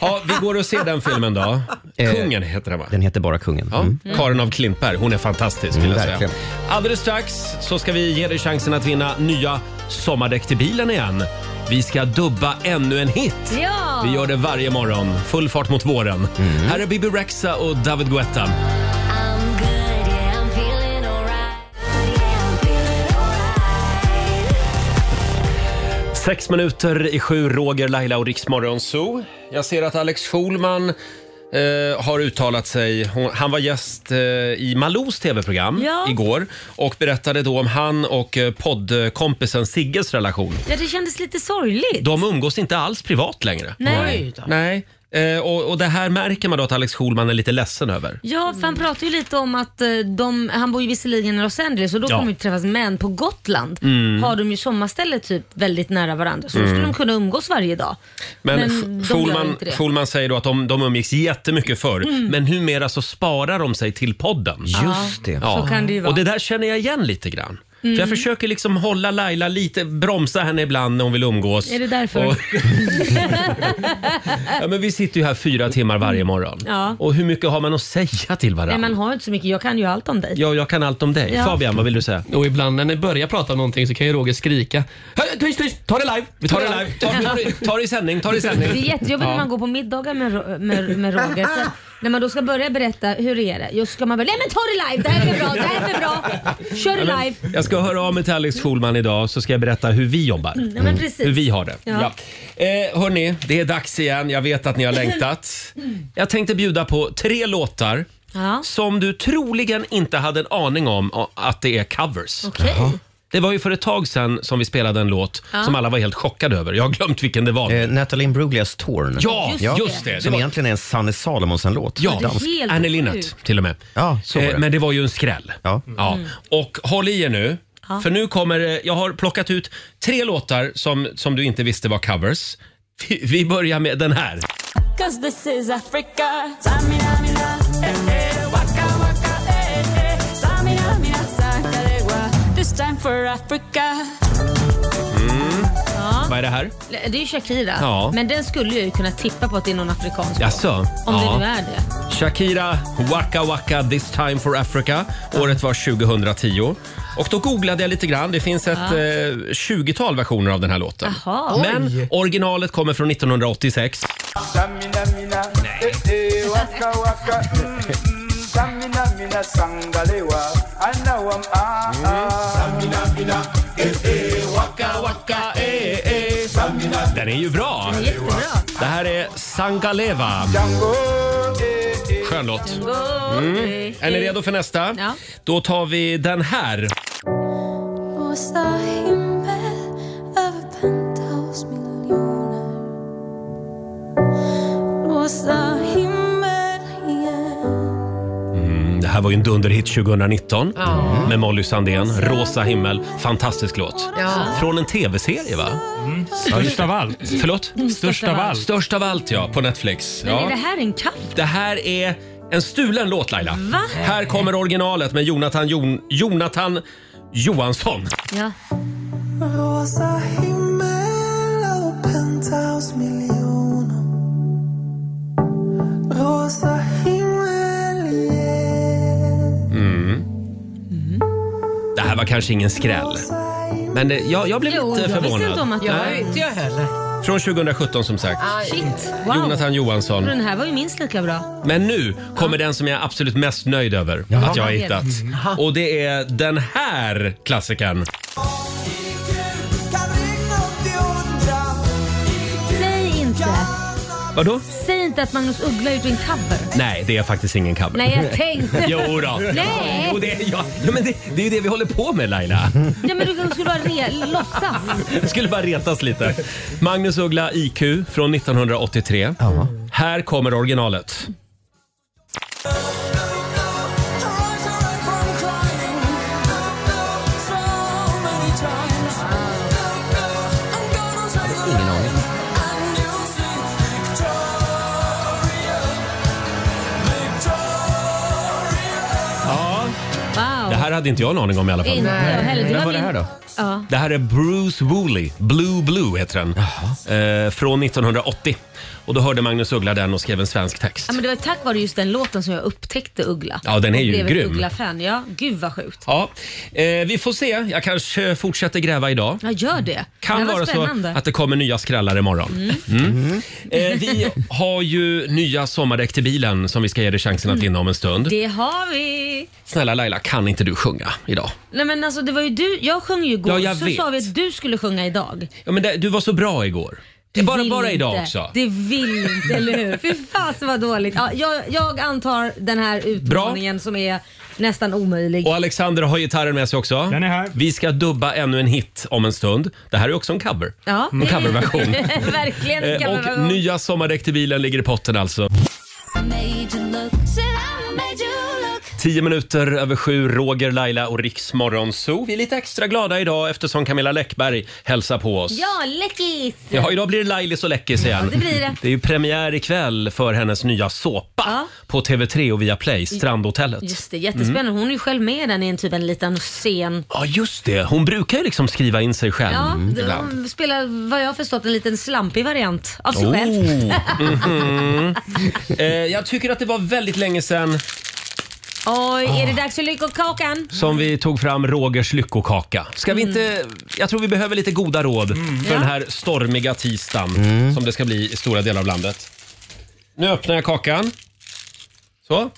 [SPEAKER 1] ja, vi går och ser den filmen då. Kungen heter den va?
[SPEAKER 3] Den heter bara Kungen.
[SPEAKER 1] Ja,
[SPEAKER 3] Mm.
[SPEAKER 1] Karin av Klimper, hon är fantastisk vill
[SPEAKER 3] Mm,
[SPEAKER 1] jag säga.
[SPEAKER 3] verkligen.
[SPEAKER 1] Alldeles strax så ska vi ge dig chansen att vinna nya sommardäck till bilen igen. Vi ska dubba ännu en hit.
[SPEAKER 2] Ja!
[SPEAKER 1] Vi gör det varje morgon. Full fart mot våren.
[SPEAKER 3] Mm.
[SPEAKER 1] Här är Bibi Rexa och David Guetta. Sex minuter i sju, Roger, Laila och Riksmorgon Zoo. Jag ser att Alex Schulman eh, har uttalat sig. Hon, han var gäst eh, i Malous tv-program
[SPEAKER 2] Ja.
[SPEAKER 1] igår och berättade då om han och eh, poddkompisen Sigges relation.
[SPEAKER 2] Ja, det kändes lite sorgligt.
[SPEAKER 1] De umgås inte alls privat längre.
[SPEAKER 2] Nej.
[SPEAKER 1] Nej. Eh, och, och det här märker man då att Alex Schulman är lite ledsen över.
[SPEAKER 2] Ja, för han pratar ju lite om att eh, de, han bor ju visserligen i Los Angeles och då
[SPEAKER 1] Ja. Mm.
[SPEAKER 2] kommer de ju träffas men på Gotland har de ju sommarställe typ väldigt nära varandra så då skulle de kunna umgås varje dag.
[SPEAKER 1] Men,
[SPEAKER 2] Men
[SPEAKER 1] Sch-
[SPEAKER 2] de gör
[SPEAKER 1] Schulman,
[SPEAKER 2] inte det. Mm.
[SPEAKER 1] Schulman säger då att de, de umgicks jättemycket förr, men numera så sparar de sig till podden.
[SPEAKER 3] Just det.
[SPEAKER 1] Ja.
[SPEAKER 2] Så kan det ju vara. Mm.
[SPEAKER 1] Och det där känner jag igen lite grann. För jag försöker liksom hålla Laila lite, bromsa henne ibland när hon vill umgås.
[SPEAKER 2] Är det därför? Äh.
[SPEAKER 1] Och- ja, men vi sitter ju här fyra timmar varje morgon.
[SPEAKER 2] Ja.
[SPEAKER 1] Och hur mycket har man att säga till varandra?
[SPEAKER 2] Nej, man har ju inte så mycket. Jag kan ju allt om dig.
[SPEAKER 1] Ja, jag kan allt om dig.
[SPEAKER 2] Ja.
[SPEAKER 1] Fabian, vad vill du säga?
[SPEAKER 8] Och ibland när ni börjar prata om någonting så kan ju Roger skrika "Hör, Tyst, tyst! Ta det live! Vi
[SPEAKER 1] Ta det live, ta, ta, det- ta det i sändning, ta det i sändning.
[SPEAKER 2] Det är jättejobbigt när man går på middagar med, Ro- med, med Roger. För när man då ska börja berätta hur det är, just ska man bara “Nej men ta det live, det här är för bra, det här är för bra, kör det live”.
[SPEAKER 1] Jag ska höra av mig till Alex Schulman idag så ska jag berätta hur vi jobbar. Mm.
[SPEAKER 2] Nej, Mm, men
[SPEAKER 1] Hur
[SPEAKER 2] precis.
[SPEAKER 1] vi har det. Ja.
[SPEAKER 2] Ja.
[SPEAKER 1] Eh, hörni, det är dags igen. Jag vet att ni har längtat. Jag tänkte bjuda på tre låtar
[SPEAKER 2] Ja.
[SPEAKER 1] som du troligen inte hade en aning om a- att det är covers.
[SPEAKER 2] Okej.
[SPEAKER 1] Det var ju för ett tag sedan som vi spelade en låt som alla var helt chockade över. Jag har glömt vilken det var.
[SPEAKER 3] Eh, Natalie Imbruglia"s Torn.
[SPEAKER 1] ja,
[SPEAKER 2] just
[SPEAKER 1] just,
[SPEAKER 2] det.
[SPEAKER 1] det. det
[SPEAKER 3] Som
[SPEAKER 1] var,
[SPEAKER 3] egentligen är en Sanne Salomonsen-låt.
[SPEAKER 1] ja,
[SPEAKER 2] det är helt
[SPEAKER 1] Annie
[SPEAKER 2] sjukt.
[SPEAKER 1] Linnet till och med.
[SPEAKER 3] Ja, så var
[SPEAKER 1] Eh,
[SPEAKER 3] det.
[SPEAKER 1] Men det var ju en skräll.
[SPEAKER 3] Ja.
[SPEAKER 1] Ja.
[SPEAKER 2] Mm.
[SPEAKER 1] Och håll i er nu. För nu kommer det- Jag har plockat ut tre låtar som, som du inte visste var covers. Vi, vi börjar med den här.
[SPEAKER 4] Cause this is Africa. Samina, mina, eh, eh, waka, waka, eh, eh. Samina, mina, sakarewa. This time for Africa.
[SPEAKER 1] Mm. Vad är det här?
[SPEAKER 2] Det är ju Shakira,
[SPEAKER 1] Ja.
[SPEAKER 2] men den skulle jag ju kunna tippa på att det är någon afrikansk.
[SPEAKER 1] Jaså?
[SPEAKER 2] Om
[SPEAKER 1] ja.
[SPEAKER 2] det nu är det.
[SPEAKER 1] Shakira, Waka Waka This time for Africa. Året var 2010. Och då googlade jag lite grann. Det finns ett eh, 20-tal versioner av den här låten.
[SPEAKER 2] Jaha.
[SPEAKER 1] Men originalet kommer från 1986.
[SPEAKER 5] Samina mina, eh eh, waka waka, mm mm. Samina mina sangalewa, anawam ah ah. Samina mina, eh eh, waka waka, eh eh. Samina
[SPEAKER 1] Den är ju bra!
[SPEAKER 2] Jättebra.
[SPEAKER 1] Det här är Sangaleva.
[SPEAKER 5] Django, eh eh.
[SPEAKER 1] Skön låt. Mm.
[SPEAKER 2] Okej.
[SPEAKER 1] Är ni redo för nästa?
[SPEAKER 2] Ja.
[SPEAKER 1] Då tar vi den här.
[SPEAKER 4] Was a himmel över penthouse-miljoner. Rosa himmel igen.
[SPEAKER 1] Mm, Det här var ju en dunderhit 2019
[SPEAKER 2] Mm.
[SPEAKER 1] med Molly Sandén. Rosa himmel. Fantastisk låt. Från en tv-serie, va?
[SPEAKER 9] Mm. Störst av allt.
[SPEAKER 1] Förlåt?
[SPEAKER 9] Störst av allt.
[SPEAKER 1] Störst av allt, ja. På Netflix.
[SPEAKER 2] Men är
[SPEAKER 1] Ja.
[SPEAKER 2] det här en katt?
[SPEAKER 1] Det här är en stulen låt, Laila.
[SPEAKER 2] Va?
[SPEAKER 1] Här kommer originalet med Jonathan, Jon- Jonathan Johansson.
[SPEAKER 2] Ja.
[SPEAKER 4] Rosa himmel över penthouse-miljoner.
[SPEAKER 1] Mm. kanske ingen skräll. Men eh, jag, jag blev
[SPEAKER 2] Jo,
[SPEAKER 1] lite
[SPEAKER 2] jag
[SPEAKER 1] förvånad.
[SPEAKER 2] visste inte om att det
[SPEAKER 1] Nej.
[SPEAKER 2] var
[SPEAKER 7] Inte jag heller.
[SPEAKER 1] Från 2017 som sagt.
[SPEAKER 2] Shit, wow.
[SPEAKER 1] Mm. Jonathan Johansson.
[SPEAKER 2] Den här var ju minst lika bra.
[SPEAKER 1] Men nu kommer den som jag är absolut mest nöjd över att jag har hittat.
[SPEAKER 2] Mm.
[SPEAKER 1] Och det är den här klassikern.
[SPEAKER 2] Säg inte,
[SPEAKER 1] Vadå?
[SPEAKER 2] säg inte att Magnus Uggla har gjort en cover.
[SPEAKER 1] Nej, det är faktiskt ingen cover.
[SPEAKER 2] Nej, jag tänkte...
[SPEAKER 1] Jo då.
[SPEAKER 2] Nej.
[SPEAKER 1] Jo, det, är- ja, ja, men det, det är ju det vi håller på med Laila.
[SPEAKER 2] Ja, men du skulle bara re- låtsas.
[SPEAKER 1] Jag skulle bara retas lite. Magnus Uggla IQ från 1983. Här kommer originalet.
[SPEAKER 3] Ingen aning.
[SPEAKER 2] Wow.
[SPEAKER 1] Det här hade inte jag en aning om i alla fall.
[SPEAKER 2] Inte jag heller. Det
[SPEAKER 3] Vem
[SPEAKER 2] var
[SPEAKER 3] var det
[SPEAKER 2] min-
[SPEAKER 3] här då?
[SPEAKER 2] Ja.
[SPEAKER 1] Det här är Bruce Woolley, Blue Blue heter den. Eh, från 1980. Och då hörde Magnus Uggla den och skrev en svensk text.
[SPEAKER 2] Ja, men det var tack vare just den låten som jag upptäckte Uggla.
[SPEAKER 1] Ja, den är ju
[SPEAKER 2] Och blev ett
[SPEAKER 1] grym.
[SPEAKER 2] Uggla-fan. Ja, gud vad sjukt.
[SPEAKER 1] Ja, eh, vi får se. Jag kanske fortsätter gräva idag.
[SPEAKER 2] Ja, gör det.
[SPEAKER 1] Kan
[SPEAKER 2] det här
[SPEAKER 1] vara
[SPEAKER 2] var
[SPEAKER 1] så
[SPEAKER 2] spännande.
[SPEAKER 1] att det kommer nya skrällar imorgon. Mm. Eh, vi har ju nya sommardäck till bilen som vi ska ge dig chansen att vinna om en stund.
[SPEAKER 2] Mm. Det har vi.
[SPEAKER 1] Snälla Laila, kan inte du sjunga idag?
[SPEAKER 2] Nej men alltså det var ju du, jag sjöng ju igår
[SPEAKER 1] Ja, jag
[SPEAKER 2] så
[SPEAKER 1] vet.
[SPEAKER 2] sa vi att du skulle sjunga idag.
[SPEAKER 1] Ja, men det, du var så bra igår.
[SPEAKER 2] Du
[SPEAKER 1] bara
[SPEAKER 2] vill
[SPEAKER 1] bara idag
[SPEAKER 2] inte.
[SPEAKER 1] också.
[SPEAKER 2] Du vill inte, eller hur? Fy fasen vad dåligt. Ja, jag, jag antar den här utmaningen som är nästan omöjlig.
[SPEAKER 1] Och Alexander har gitarren med sig också.
[SPEAKER 9] Den är här.
[SPEAKER 1] Vi ska dubba ännu en hit om en stund. Det här är också en cover.
[SPEAKER 2] Ja.
[SPEAKER 1] En coverversion.
[SPEAKER 2] Verkligen en
[SPEAKER 1] Eh, och
[SPEAKER 2] coverversion.
[SPEAKER 1] nya sommardäck till bilen ligger i potten alltså. Tio minuter över sju, Roger, Laila och Riks Morgonzoo. Vi är lite extra glada idag eftersom Camilla Läckberg hälsar på oss.
[SPEAKER 2] Ja, läckis!
[SPEAKER 1] Ja, idag blir det Lailis och Läckis igen.
[SPEAKER 2] det blir det.
[SPEAKER 1] är ju premiär ikväll för hennes nya såpa
[SPEAKER 2] Ja.
[SPEAKER 1] på TV3 och via Play, Strandhotellet. Mm.
[SPEAKER 2] Just det, jättespännande. Hon är ju själv med i den i en typ en liten scen.
[SPEAKER 1] Ja, just det. Hon brukar ju liksom skriva in sig själv.
[SPEAKER 2] Ja, d- hon spelar vad jag har förstått en liten slampig variant av sig
[SPEAKER 1] Oh.
[SPEAKER 2] själv.
[SPEAKER 1] Mhm. eh, jag tycker att det var väldigt länge sedan
[SPEAKER 2] Oj, är
[SPEAKER 1] Ah.
[SPEAKER 2] det dags för Lyckokakan?
[SPEAKER 1] som vi tog fram Rogers lyckokaka. Ska vi
[SPEAKER 2] Mm.
[SPEAKER 1] inte, jag tror vi behöver lite goda råd för den här stormiga tisdagen som det ska bli i stora delar av landet. Nu öppnar jag kakan. Så.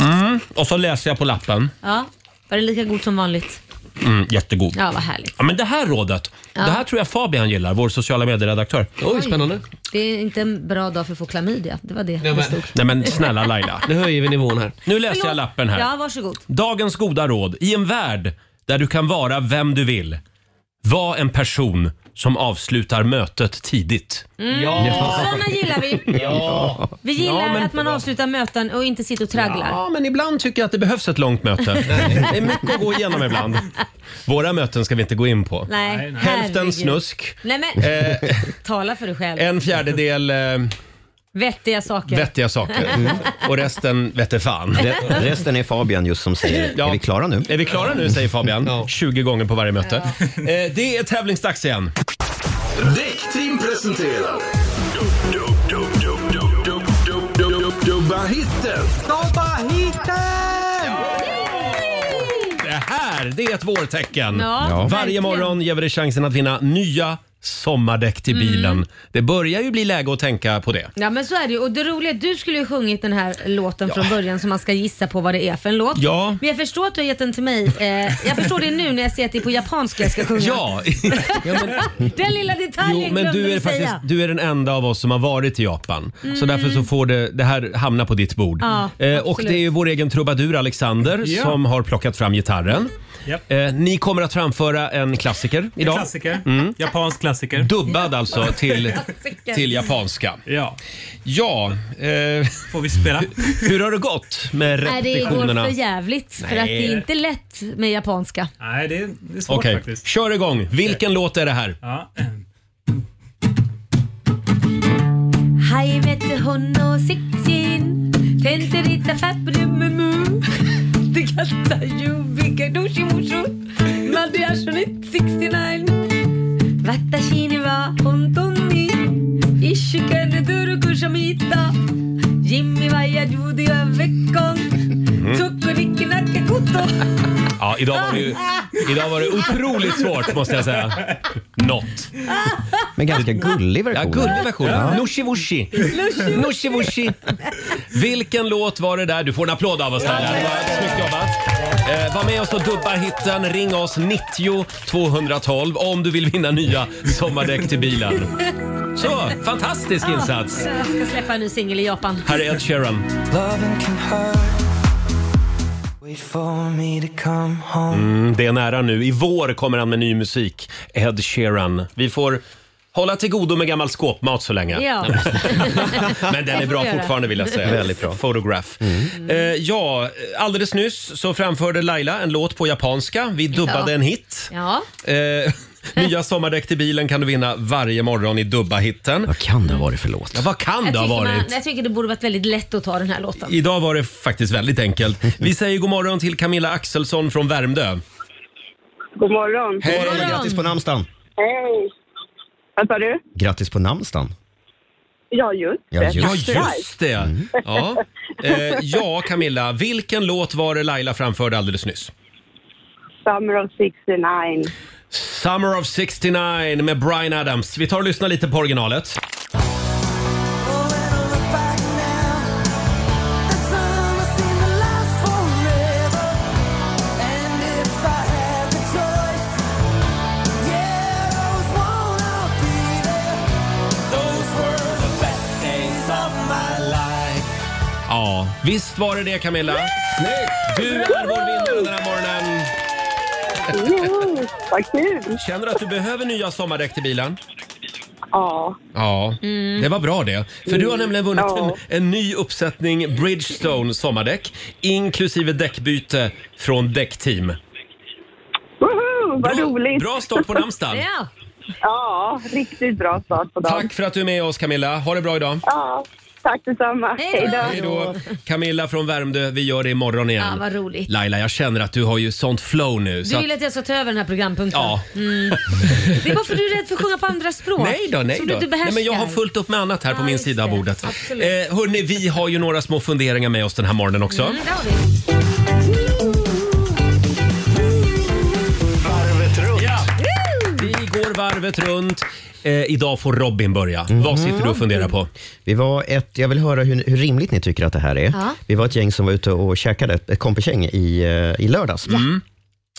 [SPEAKER 1] Mm. Och så läser jag på lappen.
[SPEAKER 2] Ja, var det lika god som vanligt?
[SPEAKER 1] Mm, jättegod.
[SPEAKER 2] Ja, vad härligt.
[SPEAKER 1] Ja, men det här rådet, det här tror jag Fabian gillar, vår sociala medieredaktör.
[SPEAKER 8] Oj, spännande.
[SPEAKER 2] Det är inte en bra dag för att få klamydia. Det var det
[SPEAKER 8] men-
[SPEAKER 2] det stod.
[SPEAKER 1] Nej men snälla Laila.
[SPEAKER 8] Nu höjer vi nivån här.
[SPEAKER 1] Nu läser jag
[SPEAKER 2] Förlåt.
[SPEAKER 1] lappen här.
[SPEAKER 2] Ja, varsågod.
[SPEAKER 1] Dagens goda råd. I en värld där du kan vara vem du vill. Var en person som avslutar mötet tidigt.
[SPEAKER 8] Ja.
[SPEAKER 2] Sådana Mm. gillar vi. Vi gillar
[SPEAKER 1] Ja, men-
[SPEAKER 2] att man avslutar möten och inte sitter och tragglar.
[SPEAKER 1] Ja, men ibland tycker jag att det behövs ett långt möte. Det är mycket att gå igenom ibland. Våra möten ska vi inte gå in på.
[SPEAKER 2] Nej,
[SPEAKER 1] Hälften
[SPEAKER 2] herregud.
[SPEAKER 1] snusk, Eh.
[SPEAKER 2] Nej men, tala för dig själv.
[SPEAKER 1] en fjärdedel eh,
[SPEAKER 2] Vettiga saker. Mm.
[SPEAKER 1] vettiga saker Mm. och resten vete fan.
[SPEAKER 3] Re- Resten är Fabian just som säger
[SPEAKER 1] Ja.
[SPEAKER 3] Är vi klara nu?
[SPEAKER 1] Är vi klara nu säger Fabian,
[SPEAKER 8] Ja.
[SPEAKER 1] 20 gånger på varje möte. Eh, det är tävlingsdags igen.
[SPEAKER 10] Däckteam presenterar... Dub, dub, dub, dub, dub, dub, dub, dub, dub, Dubba hitten!
[SPEAKER 1] Det här, det är ett vårtecken.
[SPEAKER 2] Ja, Ja.
[SPEAKER 1] Varje
[SPEAKER 2] verkligen.
[SPEAKER 1] morgon ger vi dig chansen att vinna nya sommardäck till
[SPEAKER 2] Mm.
[SPEAKER 1] bilen. Det börjar ju bli läge att tänka på det.
[SPEAKER 2] Ja men så är det ju. Och det roliga är att du skulle ju sjungit den här låten från början så man ska gissa på vad det är för en låt.
[SPEAKER 1] Ja.
[SPEAKER 2] Men jag förstår att du har gett den till mig. Eh, jag förstår det nu när jag ser att det är på japanska jag ska sjunga.
[SPEAKER 1] Ja, ja men,
[SPEAKER 2] Den lilla detaljen
[SPEAKER 1] jo, men
[SPEAKER 2] glömde
[SPEAKER 1] du är,
[SPEAKER 2] vi
[SPEAKER 1] faktiskt,
[SPEAKER 2] säga. Mm.
[SPEAKER 1] du är den enda av oss som har varit i Japan. Så därför så får det, det här hamna på ditt bord.
[SPEAKER 2] Ja,
[SPEAKER 1] eh, och
[SPEAKER 2] absolut.
[SPEAKER 1] det är ju vår egen trubadur Alexander
[SPEAKER 9] Ja.
[SPEAKER 1] som har plockat fram gitarren.
[SPEAKER 9] Japp.
[SPEAKER 1] Eh, ni kommer att framföra en klassiker idag. Mm.
[SPEAKER 9] Klassiker. Japansk klassiker.
[SPEAKER 1] Dubbad alltså till, till japanska.
[SPEAKER 9] Ja.
[SPEAKER 1] Ja, eh,
[SPEAKER 9] Får vi spela?
[SPEAKER 1] hur har det gått med
[SPEAKER 2] Nej, det går
[SPEAKER 1] repetitionerna?
[SPEAKER 2] för jävligt för att det är inte lätt med japanska.
[SPEAKER 9] Nej, det är, det är svårt
[SPEAKER 1] Okej,
[SPEAKER 9] faktiskt.
[SPEAKER 1] kör igång. Vilken låt är det här?
[SPEAKER 9] Ja.
[SPEAKER 2] 初めてほんの6人手に入れたファブルムム手がたゆびがどしもしまであしょに69私には本当に一週間で努力者見た
[SPEAKER 1] Mm.
[SPEAKER 2] 君はやるでは別婚特にきなけこと
[SPEAKER 1] Ja, Ja, idag var det ju idag var det otroligt svårt måste jag säga. Något.
[SPEAKER 3] Men ganska gullig version.
[SPEAKER 1] Ja, gullig version.
[SPEAKER 3] Ja.
[SPEAKER 1] Nushivushi. Nushivushi. Vilken låt var det där? Du får en applåd av oss Laila. Det var Snyggt jobbat. Eh, var med oss och dubba hitten. Ring oss 90 212 om du vill vinna nya sommardäck till bilen. Så, fantastisk insats.
[SPEAKER 2] Ja, jag ska släppa en ny singel i Japan.
[SPEAKER 1] Här är Ed Sheeran. Mm, det är nära nu. I vår kommer han med ny musik. Ed Sheeran. Vi får hålla till godo med gammal skåpmat så länge.
[SPEAKER 2] Ja.
[SPEAKER 1] Men den
[SPEAKER 2] Det
[SPEAKER 1] är
[SPEAKER 2] får
[SPEAKER 1] bra
[SPEAKER 2] vi göra.
[SPEAKER 1] fortfarande vill jag säga.
[SPEAKER 3] Väldigt bra. Mm.
[SPEAKER 1] Photograph. Eh, ja, alldeles nyss så framförde Laila en låt på japanska. Vi dubbade
[SPEAKER 2] Ja.
[SPEAKER 1] en hit.
[SPEAKER 2] Ja.
[SPEAKER 1] Eh, nya sommardäck till bilen kan du vinna varje morgon i dubba-hitten. Vad
[SPEAKER 3] kan det ha varit för låt?
[SPEAKER 1] Ja, vad kan det ha
[SPEAKER 2] tycker
[SPEAKER 1] varit?
[SPEAKER 2] Man, jag tycker det borde varit väldigt lätt att ta den här låten.
[SPEAKER 1] Idag var det faktiskt väldigt enkelt. Vi säger god morgon till Camilla Axelsson från Värmdö.
[SPEAKER 6] God morgon.
[SPEAKER 3] Hej, grattis på namnsdagen.
[SPEAKER 6] Hej. Vad sa du?
[SPEAKER 3] Grattis på namnsdagen.
[SPEAKER 6] Ja, just
[SPEAKER 3] Ja, just
[SPEAKER 1] Ja,
[SPEAKER 3] det.
[SPEAKER 1] just det. Ja. Eh, ja, Camilla. Vilken låt var det Laila framförde alldeles nyss?
[SPEAKER 6] Summer of 69.
[SPEAKER 1] Summer of 69 med Bryan Adams. Vi tar och lyssnar lite på originalet. Ja, visst var det det Camilla. Du är vår vinnare den här morgonen.
[SPEAKER 6] Jo, vad kul!
[SPEAKER 1] Känner du att du behöver nya sommardäck till bilen?
[SPEAKER 6] Ja. Mm.
[SPEAKER 1] Ja, det var bra det. För du har nämligen vunnit
[SPEAKER 6] Ja.
[SPEAKER 1] en, en ny uppsättning Bridgestone sommardäck inklusive däckbyte från Däckteam.
[SPEAKER 6] Woho, vad roligt!
[SPEAKER 1] Bra start på namnsdagen.
[SPEAKER 2] Ja.
[SPEAKER 6] Ja, riktigt bra start på dagen.
[SPEAKER 1] Tack för att du är med oss Camilla. Ha det bra idag.
[SPEAKER 6] Ja, tack detsamma.
[SPEAKER 2] Hej då.
[SPEAKER 1] Hej då. Camilla från Värmdö, vi gör det imorgon igen.
[SPEAKER 2] Ja, vad roligt.
[SPEAKER 1] Laila, jag känner att du har ju sånt flow nu. Så
[SPEAKER 2] Du
[SPEAKER 1] att,
[SPEAKER 2] vill att jag ska ta över den här programpunkten? Mm.
[SPEAKER 1] ja.
[SPEAKER 2] Det är bara för att du är rädd för att sjunga på andra språk.
[SPEAKER 1] Nej då, nej
[SPEAKER 2] som
[SPEAKER 1] då.
[SPEAKER 2] du inte
[SPEAKER 1] Nej,
[SPEAKER 2] behärskar.
[SPEAKER 1] men jag har fullt upp med annat här på
[SPEAKER 2] Ja,
[SPEAKER 1] min
[SPEAKER 2] just
[SPEAKER 1] sida av
[SPEAKER 2] det.
[SPEAKER 1] bordet.
[SPEAKER 2] Absolut.
[SPEAKER 1] Eh, hörni, vi har ju några små funderingar med oss den här morgonen också.
[SPEAKER 2] Mm, det har vi.
[SPEAKER 1] Ja. Vi går varvet runt. Eh, idag får Robin börja. Vad sitter du och funderar på?
[SPEAKER 3] Mhm. Vi var ett, jag vill höra hur, hur rimligt ni tycker att det här är.
[SPEAKER 2] Ja.
[SPEAKER 3] Vi var ett gäng som var ute och käkade, ett kompisgäng i, eh, i lördags.
[SPEAKER 1] Mm.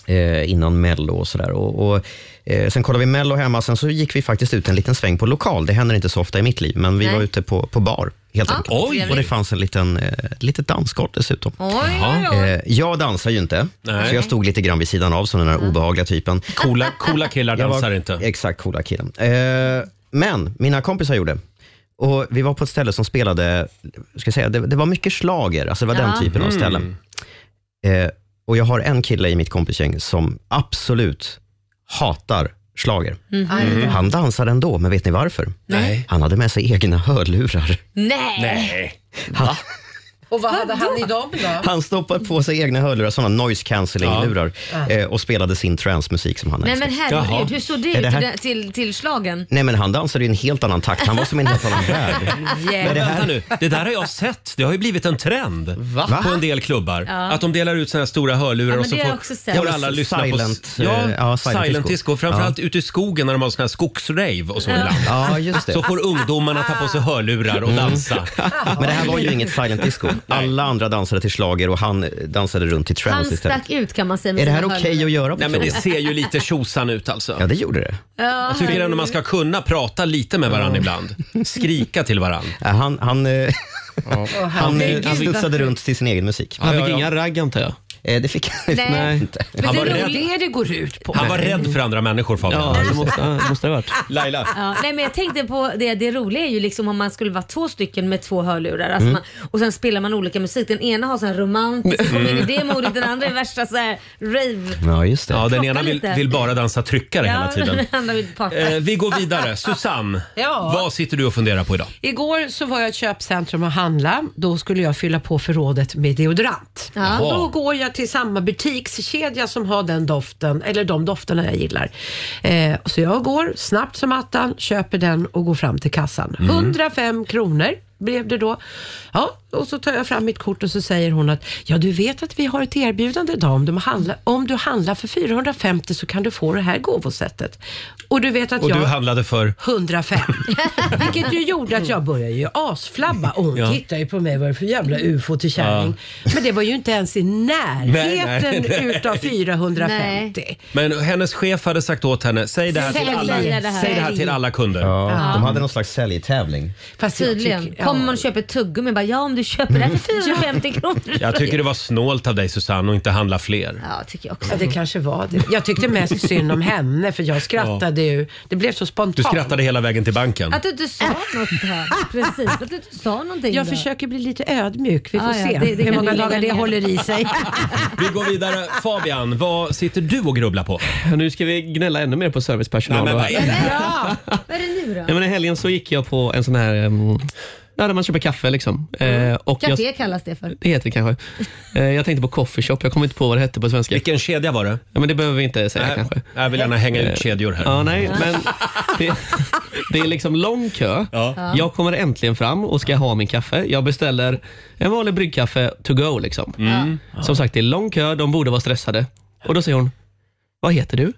[SPEAKER 3] Eh, innan Mello och sådär. Och, och, eh, sen kollade vi Mello hemma, sen så gick vi faktiskt ut en liten sväng på lokal. Det händer inte så ofta i mitt liv, men vi
[SPEAKER 2] Nej.
[SPEAKER 3] var ute på, på bar helt
[SPEAKER 2] Ja,
[SPEAKER 3] enkelt.
[SPEAKER 1] Oj.
[SPEAKER 3] Och det fanns en liten, eh, ett litet dansgolv dessutom.
[SPEAKER 2] Oj, oj, oj.
[SPEAKER 3] Eh, jag dansar ju inte,
[SPEAKER 1] Nej.
[SPEAKER 3] så jag stod lite grann vid sidan av som den här obehagliga typen.
[SPEAKER 1] Coola, coola killar
[SPEAKER 3] Jag var-
[SPEAKER 1] dansar inte.
[SPEAKER 3] Exakt, coola killen. Eh, men mina kompisar gjorde. Och Vi var på ett ställe som spelade, ska jag säga, det, det var mycket slager. alltså det var
[SPEAKER 2] Ja.
[SPEAKER 3] den typen av
[SPEAKER 1] Mm.
[SPEAKER 3] ställen. Eh, och Jag har en kille i mitt kompisgäng som absolut hatar slager. Han dansar ändå, men vet ni varför?
[SPEAKER 1] Mm. Nej.
[SPEAKER 3] Han hade med sig egna hörlurar.
[SPEAKER 2] Nej.
[SPEAKER 1] Nej.
[SPEAKER 3] Han,
[SPEAKER 7] Och vad hade han i dem då?
[SPEAKER 3] han stoppade på sig egna hörlurar, sådana noise cancelling-lurar, eh, och spelade sin transmusik som han
[SPEAKER 2] Nej
[SPEAKER 3] älskar.
[SPEAKER 2] men herregud,
[SPEAKER 1] Jaha.
[SPEAKER 2] hur såg det
[SPEAKER 3] Är det här-
[SPEAKER 2] ut till, till, till slagen?
[SPEAKER 3] Nej, men han dansade i en helt annan takt. Han var som i en helt annan värld.
[SPEAKER 1] Men
[SPEAKER 2] Yeah.
[SPEAKER 1] vänta nu, det där har jag sett. Det har ju blivit en trend på en del klubbar. Att de delar ut såna här stora hörlurar
[SPEAKER 2] Ja, men
[SPEAKER 1] och så
[SPEAKER 2] det har jag också
[SPEAKER 1] får,
[SPEAKER 2] sett.
[SPEAKER 1] får
[SPEAKER 3] Ja,
[SPEAKER 1] alla
[SPEAKER 3] men
[SPEAKER 1] lyssna
[SPEAKER 3] silent,
[SPEAKER 1] på... Ja,
[SPEAKER 3] eh, ja,
[SPEAKER 1] silent,
[SPEAKER 3] silent
[SPEAKER 1] disco.
[SPEAKER 3] disco.
[SPEAKER 1] Framförallt ute i skogen när de har såna här skogsrave och så ibland.
[SPEAKER 3] Ja, just
[SPEAKER 1] Så
[SPEAKER 3] det.
[SPEAKER 1] får ungdomarna ta på sig hörlurar och dansa.
[SPEAKER 3] Mm. Men det här var ju inget silent disco. Alla andra dansade till slager och han eh, dansade runt till
[SPEAKER 2] Han
[SPEAKER 3] trance istället.
[SPEAKER 2] stack ut kan man säga med
[SPEAKER 3] Är det här
[SPEAKER 2] sina
[SPEAKER 3] okej
[SPEAKER 2] hörlurar.
[SPEAKER 3] att göra? på
[SPEAKER 1] Nej men det
[SPEAKER 3] krogen?
[SPEAKER 1] ser ju lite tjosan ut alltså.
[SPEAKER 3] Ja, det gjorde det.
[SPEAKER 1] Jag tycker ändå man ska kunna prata lite med varandra ibland. Skrika till varandra.
[SPEAKER 3] Ja, Han, han, eh, han, eh,
[SPEAKER 7] herregud.
[SPEAKER 3] studsade runt till sin egen musik.
[SPEAKER 8] Han
[SPEAKER 1] Ja,
[SPEAKER 8] fick
[SPEAKER 1] ja, ja.
[SPEAKER 8] inga ragg antar jag.
[SPEAKER 3] Eh, Det fick han
[SPEAKER 2] Nej.
[SPEAKER 3] inte.
[SPEAKER 1] Han
[SPEAKER 2] Men
[SPEAKER 1] var
[SPEAKER 2] det,
[SPEAKER 1] rädd.
[SPEAKER 2] är roligt-
[SPEAKER 7] Det är det går ut på.
[SPEAKER 1] Han var rädd för andra människor Fabian.
[SPEAKER 8] Ja, det måste, ja, det måste ha varit.
[SPEAKER 1] Laila.
[SPEAKER 2] Ja, nej men jag tänkte på det, det roliga är ju liksom om man skulle vara två stycken med två hörlurar
[SPEAKER 8] Mm.
[SPEAKER 2] alltså man, och sen spelar man olika musik. Den ena har sån här romantisk
[SPEAKER 8] Mm.
[SPEAKER 2] comedy-demo och den andra är värsta så här rave.
[SPEAKER 3] Ja, just det.
[SPEAKER 1] Ja, den
[SPEAKER 2] Klockan
[SPEAKER 1] ena vill,
[SPEAKER 2] lite.
[SPEAKER 1] vill bara dansa tryckare hela tiden.
[SPEAKER 2] den andra vill parta.
[SPEAKER 1] Eh, vi går vidare. Susanne,
[SPEAKER 7] Ja.
[SPEAKER 1] vad sitter du och funderar på idag?
[SPEAKER 7] Igår så var jag i ett köpcentrum och handla. Då skulle jag fylla på förrådet med deodorant.
[SPEAKER 2] Ja.
[SPEAKER 7] Och då går jag till samma butikskedja som har den doften, eller de dofterna jag gillar. Eh, så jag går snabbt som
[SPEAKER 1] Mm.
[SPEAKER 7] attan, köper den och går fram till kassan. 105 kronor blev det då. Ja, Och så tar jag fram mitt kort och så säger hon att ja, du vet att vi har ett erbjudande idag. Om du handlar, om du handlar för 450 så kan du få det här gåvosättet. Och du vet att
[SPEAKER 1] Och
[SPEAKER 7] jag...
[SPEAKER 1] du handlade för?
[SPEAKER 7] 105. Vilket ju gjorde att jag började ju asflabba. Och hon
[SPEAKER 1] Ja.
[SPEAKER 7] tittade ju på mig, vad är det för jävla ufo till kärring? Men det var ju inte ens i närheten
[SPEAKER 1] Nej, nej, nej.
[SPEAKER 7] utav 450.
[SPEAKER 1] Men hennes chef hade sagt åt henne, säg det här till
[SPEAKER 2] Sälj
[SPEAKER 1] alla,
[SPEAKER 2] det här."
[SPEAKER 1] säg det här till alla kunder.
[SPEAKER 2] Ja. de hade
[SPEAKER 3] någon slags säljtävling.
[SPEAKER 7] Fast jag
[SPEAKER 2] Tydligen.
[SPEAKER 7] tycker- ja.
[SPEAKER 2] Kommer man och köper ett tuggummi bara ja om du köper det här för
[SPEAKER 8] Mm.
[SPEAKER 2] 450 kronor.
[SPEAKER 1] Jag tycker det var snålt av dig Susanne att inte handla fler.
[SPEAKER 2] Ja, tycker jag också.
[SPEAKER 7] Ja, det kanske var det. Jag tyckte mest synd om henne för jag skrattade ju. Det blev så spontant.
[SPEAKER 1] Du skrattade hela vägen till banken.
[SPEAKER 2] Att du inte sa något där. Precis, att du inte sa någonting
[SPEAKER 7] Äh. Jag
[SPEAKER 2] där.
[SPEAKER 7] försöker bli lite ödmjuk. Vi får
[SPEAKER 2] Ah, ja,
[SPEAKER 7] se
[SPEAKER 2] det- det
[SPEAKER 7] hur
[SPEAKER 2] kan
[SPEAKER 7] många
[SPEAKER 2] du lägga
[SPEAKER 7] dagar det
[SPEAKER 2] ner.
[SPEAKER 7] håller i sig.
[SPEAKER 1] Vi går vidare. Fabian, vad sitter du och grubblar på?
[SPEAKER 8] Nu ska vi gnälla ännu mer på servicepersonal.
[SPEAKER 1] Nej, men vad är det?
[SPEAKER 2] Ja. Vad är det nu då?
[SPEAKER 8] Nej, men I helgen så gick jag på en sån här, um, ja, där man köper kaffe liksom. Eh, och jag,
[SPEAKER 2] Café kallas det för.
[SPEAKER 8] det heter det kanske. Eh, jag tänkte på coffeeshop, jag kommer inte på vad det hette på svenska.
[SPEAKER 1] Vilken kedja var det?
[SPEAKER 8] Ja, men det behöver vi inte säga
[SPEAKER 1] Nej,
[SPEAKER 8] kanske. Eh,
[SPEAKER 1] Jag vill gärna hänga ut kedjor här.
[SPEAKER 8] Ja, nej, men det, det är liksom lång kö.
[SPEAKER 1] Ja.
[SPEAKER 8] Jag kommer äntligen fram och ska ha min kaffe. Jag beställer en vanlig bryggkaffe to go. Liksom.
[SPEAKER 1] Mm.
[SPEAKER 8] Som sagt, det är lång kö. De borde vara stressade. Och Då säger hon, vad heter du?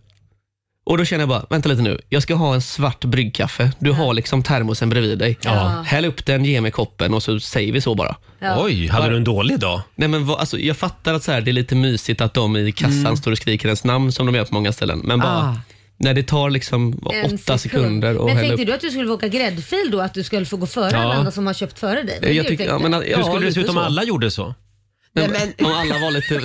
[SPEAKER 8] Och Då känner jag bara, vänta lite nu. Jag ska ha en svart bryggkaffe. Du har liksom termosen bredvid dig.
[SPEAKER 1] Ja.
[SPEAKER 8] Häll upp den, ge mig koppen och så säger vi så bara.
[SPEAKER 2] Ja.
[SPEAKER 1] Oj, hade du en dålig dag?
[SPEAKER 8] Nej, men vad, alltså, jag fattar att så här, det är lite mysigt att de i kassan
[SPEAKER 1] Mm.
[SPEAKER 8] står och skriker ens namn som de gör på många ställen. Men bara,
[SPEAKER 7] Ah.
[SPEAKER 8] när det tar liksom
[SPEAKER 2] En
[SPEAKER 8] åtta
[SPEAKER 2] sekund.
[SPEAKER 8] sekunder och
[SPEAKER 2] Men
[SPEAKER 8] hälla upp.
[SPEAKER 2] tänkte du att du skulle få åka gräddfil då? Att du skulle få gå före
[SPEAKER 8] Ja.
[SPEAKER 2] alla andra som har köpt före dig? Det är det
[SPEAKER 8] Jag
[SPEAKER 2] du
[SPEAKER 8] tycker- ja,
[SPEAKER 2] tänkte.
[SPEAKER 8] men, ja,
[SPEAKER 1] Hur skulle det
[SPEAKER 8] lite
[SPEAKER 1] se ut om
[SPEAKER 8] så.
[SPEAKER 1] alla gjorde så?
[SPEAKER 7] Nej,
[SPEAKER 8] Nej,
[SPEAKER 7] men-
[SPEAKER 8] om alla var lite,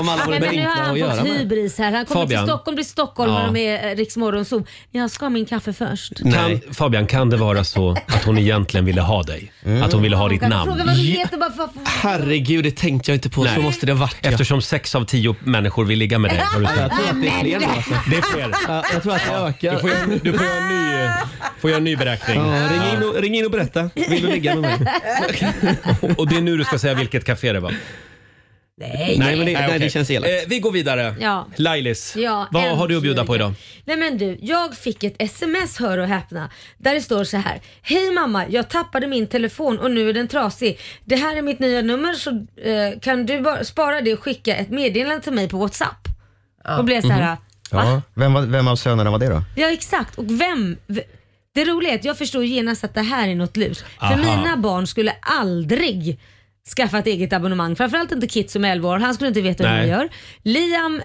[SPEAKER 8] om alla var
[SPEAKER 2] Nej,
[SPEAKER 8] lite
[SPEAKER 2] men nu har
[SPEAKER 8] enkla att
[SPEAKER 2] han
[SPEAKER 8] göra
[SPEAKER 2] fått
[SPEAKER 8] med.
[SPEAKER 2] hybris här. Han kommer
[SPEAKER 1] Fabian.
[SPEAKER 2] till Stockholm, blir stockholmare
[SPEAKER 1] Ja.
[SPEAKER 2] och med Riksmorgon Zoom. Jag ska ha min kaffe först.
[SPEAKER 8] Nej.
[SPEAKER 1] Kan, Fabian, kan det vara så att hon egentligen ville ha dig? Att hon ville ha ditt
[SPEAKER 2] Kan du Mm. Fråga
[SPEAKER 1] namn?
[SPEAKER 2] vad du heter bara för att få...
[SPEAKER 8] Herregud, det tänkte jag inte på. Så
[SPEAKER 1] Nej.
[SPEAKER 8] måste det ha varit. ja.
[SPEAKER 1] Eftersom sex av tio människor vill ligga med dig. Har du
[SPEAKER 8] Jag
[SPEAKER 1] sagt.
[SPEAKER 8] tror att det är fler nu. Alltså.
[SPEAKER 1] Det sker.
[SPEAKER 8] Ja, Jag tror att det
[SPEAKER 1] Du får,
[SPEAKER 8] ökar.
[SPEAKER 1] göra- du får, göra, en ny, får göra en ny beräkning.
[SPEAKER 8] Ja, ring, in och, ring in och berätta. Vill du ligga med mig?
[SPEAKER 1] Och det är nu du ska säga vilket café det var.
[SPEAKER 8] Nej, men det, nej,
[SPEAKER 1] okej.
[SPEAKER 8] det känns elakt.
[SPEAKER 1] Eh, vi går vidare.
[SPEAKER 2] Ja.
[SPEAKER 1] Lailis,
[SPEAKER 2] Ja,
[SPEAKER 1] vad har du
[SPEAKER 2] äntligen.
[SPEAKER 1] att bjuda på idag?
[SPEAKER 2] Nej men du, jag fick ett sms hör och häpna. Där det står så här. Hej mamma, jag tappade min telefon och nu är den trasig. Det här är mitt nya nummer så eh, kan du bara spara det och skicka ett meddelande till mig på WhatsApp? Och blev så här.
[SPEAKER 1] Mhm. Mm-hmm.
[SPEAKER 2] Va?
[SPEAKER 3] Ja. Vem, var- vem av sönerna var det då?
[SPEAKER 2] Ja exakt, och vem... v- Det roliga är att jag förstår genast att det här är något lurt.
[SPEAKER 1] Aha.
[SPEAKER 2] För mina barn skulle aldrig skaffa ett eget abonnemang. Framförallt inte Kit som är 11 år, han skulle inte veta hur
[SPEAKER 1] Nej.
[SPEAKER 2] man gör. Liam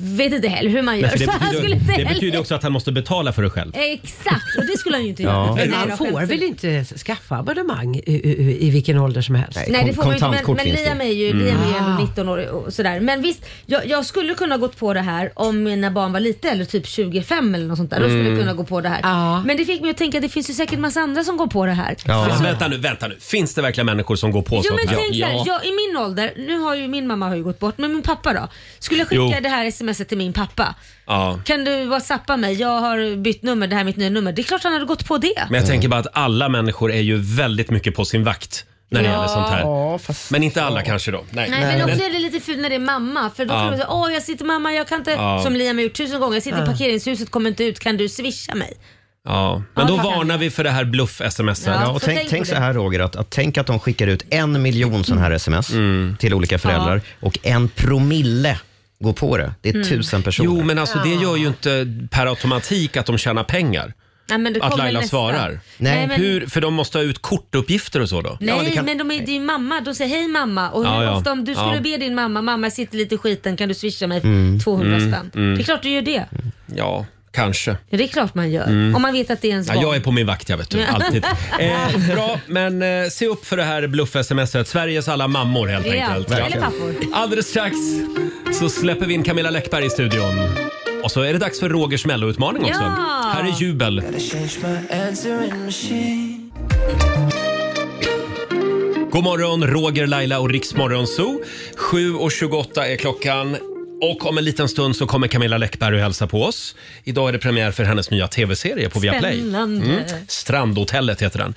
[SPEAKER 2] vet inte heller hur man gör.
[SPEAKER 1] Nej, för det,
[SPEAKER 2] så han skulle inte
[SPEAKER 1] betyder, det
[SPEAKER 2] heller-
[SPEAKER 1] betyder också att han måste betala för det själv.
[SPEAKER 2] Exakt, och det skulle han ju inte
[SPEAKER 3] Ja.
[SPEAKER 2] göra.
[SPEAKER 7] Men
[SPEAKER 2] Nej,
[SPEAKER 7] man
[SPEAKER 2] då,
[SPEAKER 7] får
[SPEAKER 2] självklart.
[SPEAKER 7] väl inte skaffa abonnemang i, i, i vilken ålder som helst?
[SPEAKER 3] Nej.
[SPEAKER 2] Nej det får man ju inte men,
[SPEAKER 3] Kontantkort
[SPEAKER 2] men
[SPEAKER 3] finns
[SPEAKER 2] Liam
[SPEAKER 3] det. Mm.
[SPEAKER 2] är ju, Liam är
[SPEAKER 1] Mm.
[SPEAKER 2] ju ändå
[SPEAKER 7] Ah.
[SPEAKER 2] 19 år och sådär. Men visst, jag, jag skulle kunna gått på det här om mina barn var lite eller typ 25 eller något sånt där. Då skulle jag
[SPEAKER 1] Mm.
[SPEAKER 2] kunna gå på det här.
[SPEAKER 7] Ja.
[SPEAKER 2] Men det fick mig att tänka att det finns ju säkert massa andra som går på det här. Alltså,
[SPEAKER 1] Men vänta nu, vänta nu. Finns det verkligen människor som går på
[SPEAKER 2] Jo
[SPEAKER 1] sånt
[SPEAKER 2] men
[SPEAKER 1] här?
[SPEAKER 2] tänk såhär, jag, i min ålder, nu har ju min mamma har ju gått bort, men min pappa då? Skulle jag skicka
[SPEAKER 1] Jo.
[SPEAKER 2] det här smset till min pappa?
[SPEAKER 1] Ja.
[SPEAKER 2] Kan du whatsappa mig? Jag har bytt nummer, det här är mitt nya nummer. Det är klart han hade gått på det.
[SPEAKER 1] Men jag tänker bara att alla människor är ju väldigt mycket på sin vakt när det gäller sånt här.
[SPEAKER 3] fast...
[SPEAKER 1] Men inte alla kanske då. Nej.
[SPEAKER 2] Nej, men också är det lite fult när det är mamma. För då kan man säga, åh jag sitter mamma, jag kan inte,
[SPEAKER 1] Ja.
[SPEAKER 2] som Liam har gjort tusen gånger, jag sitter i parkeringshuset, kommer inte ut, kan du swisha mig?
[SPEAKER 1] Ja. Men då
[SPEAKER 2] Ja, fattar.
[SPEAKER 1] varnar vi för det här bluff-smset.
[SPEAKER 2] Ja.
[SPEAKER 3] Ja, och
[SPEAKER 2] så
[SPEAKER 3] tänk,
[SPEAKER 2] tänk
[SPEAKER 3] tänk,
[SPEAKER 2] på
[SPEAKER 3] så
[SPEAKER 2] det.
[SPEAKER 3] här Roger, att, att tänk att de skickar ut en miljon sådana här sms
[SPEAKER 1] Mm.
[SPEAKER 3] till olika föräldrar och en promille går på det. Det är
[SPEAKER 2] Mm.
[SPEAKER 3] tusen personer.
[SPEAKER 1] Jo, men alltså det gör ju inte per automatik att de tjänar pengar.
[SPEAKER 2] Nej, men det
[SPEAKER 1] Att
[SPEAKER 2] kommer
[SPEAKER 1] Laila
[SPEAKER 2] nästa.
[SPEAKER 1] svarar.
[SPEAKER 2] Nej,
[SPEAKER 3] Nej.
[SPEAKER 2] men,
[SPEAKER 1] Hur, för de måste ha ut kortuppgifter och så då?
[SPEAKER 2] nej,
[SPEAKER 3] Ja, det kan-
[SPEAKER 2] men de är, det är ju mamma. De säger hej mamma. Och hur
[SPEAKER 1] Ja, ja.
[SPEAKER 2] ofta om du skulle
[SPEAKER 1] Ja.
[SPEAKER 2] be din mamma, mamma jag sitter lite i skiten, kan du swisha mig 200
[SPEAKER 1] Mm.
[SPEAKER 2] spänn? Det är klart du gör det.
[SPEAKER 1] Ja, kanske.
[SPEAKER 2] Ja, Det är klart man gör. Om man vet att det är ens
[SPEAKER 1] Mm. Ja,
[SPEAKER 2] barn.
[SPEAKER 1] jag är på min vakt, jag vet du. Alltid. Eh, bra, men eh, se upp för det här bluff-smset. Sveriges alla mammor helt
[SPEAKER 2] Ja,
[SPEAKER 1] enkelt.
[SPEAKER 2] eller pappor.
[SPEAKER 1] Alldeles strax så släpper vi in Camilla Läckberg i studion. Och så är det dags för Rogers Mello-utmaning också.
[SPEAKER 2] Ja!
[SPEAKER 1] Här är Jubel. God morgon, Roger, Laila och Riksmorgon Zoo. 7.28 är klockan. Och om en liten stund så kommer Camilla Läckberg och hälsa på oss. Idag är det premiär för hennes nya tv-serie på Viaplay. Mm.
[SPEAKER 2] Spännande.
[SPEAKER 1] Strandhotellet heter den.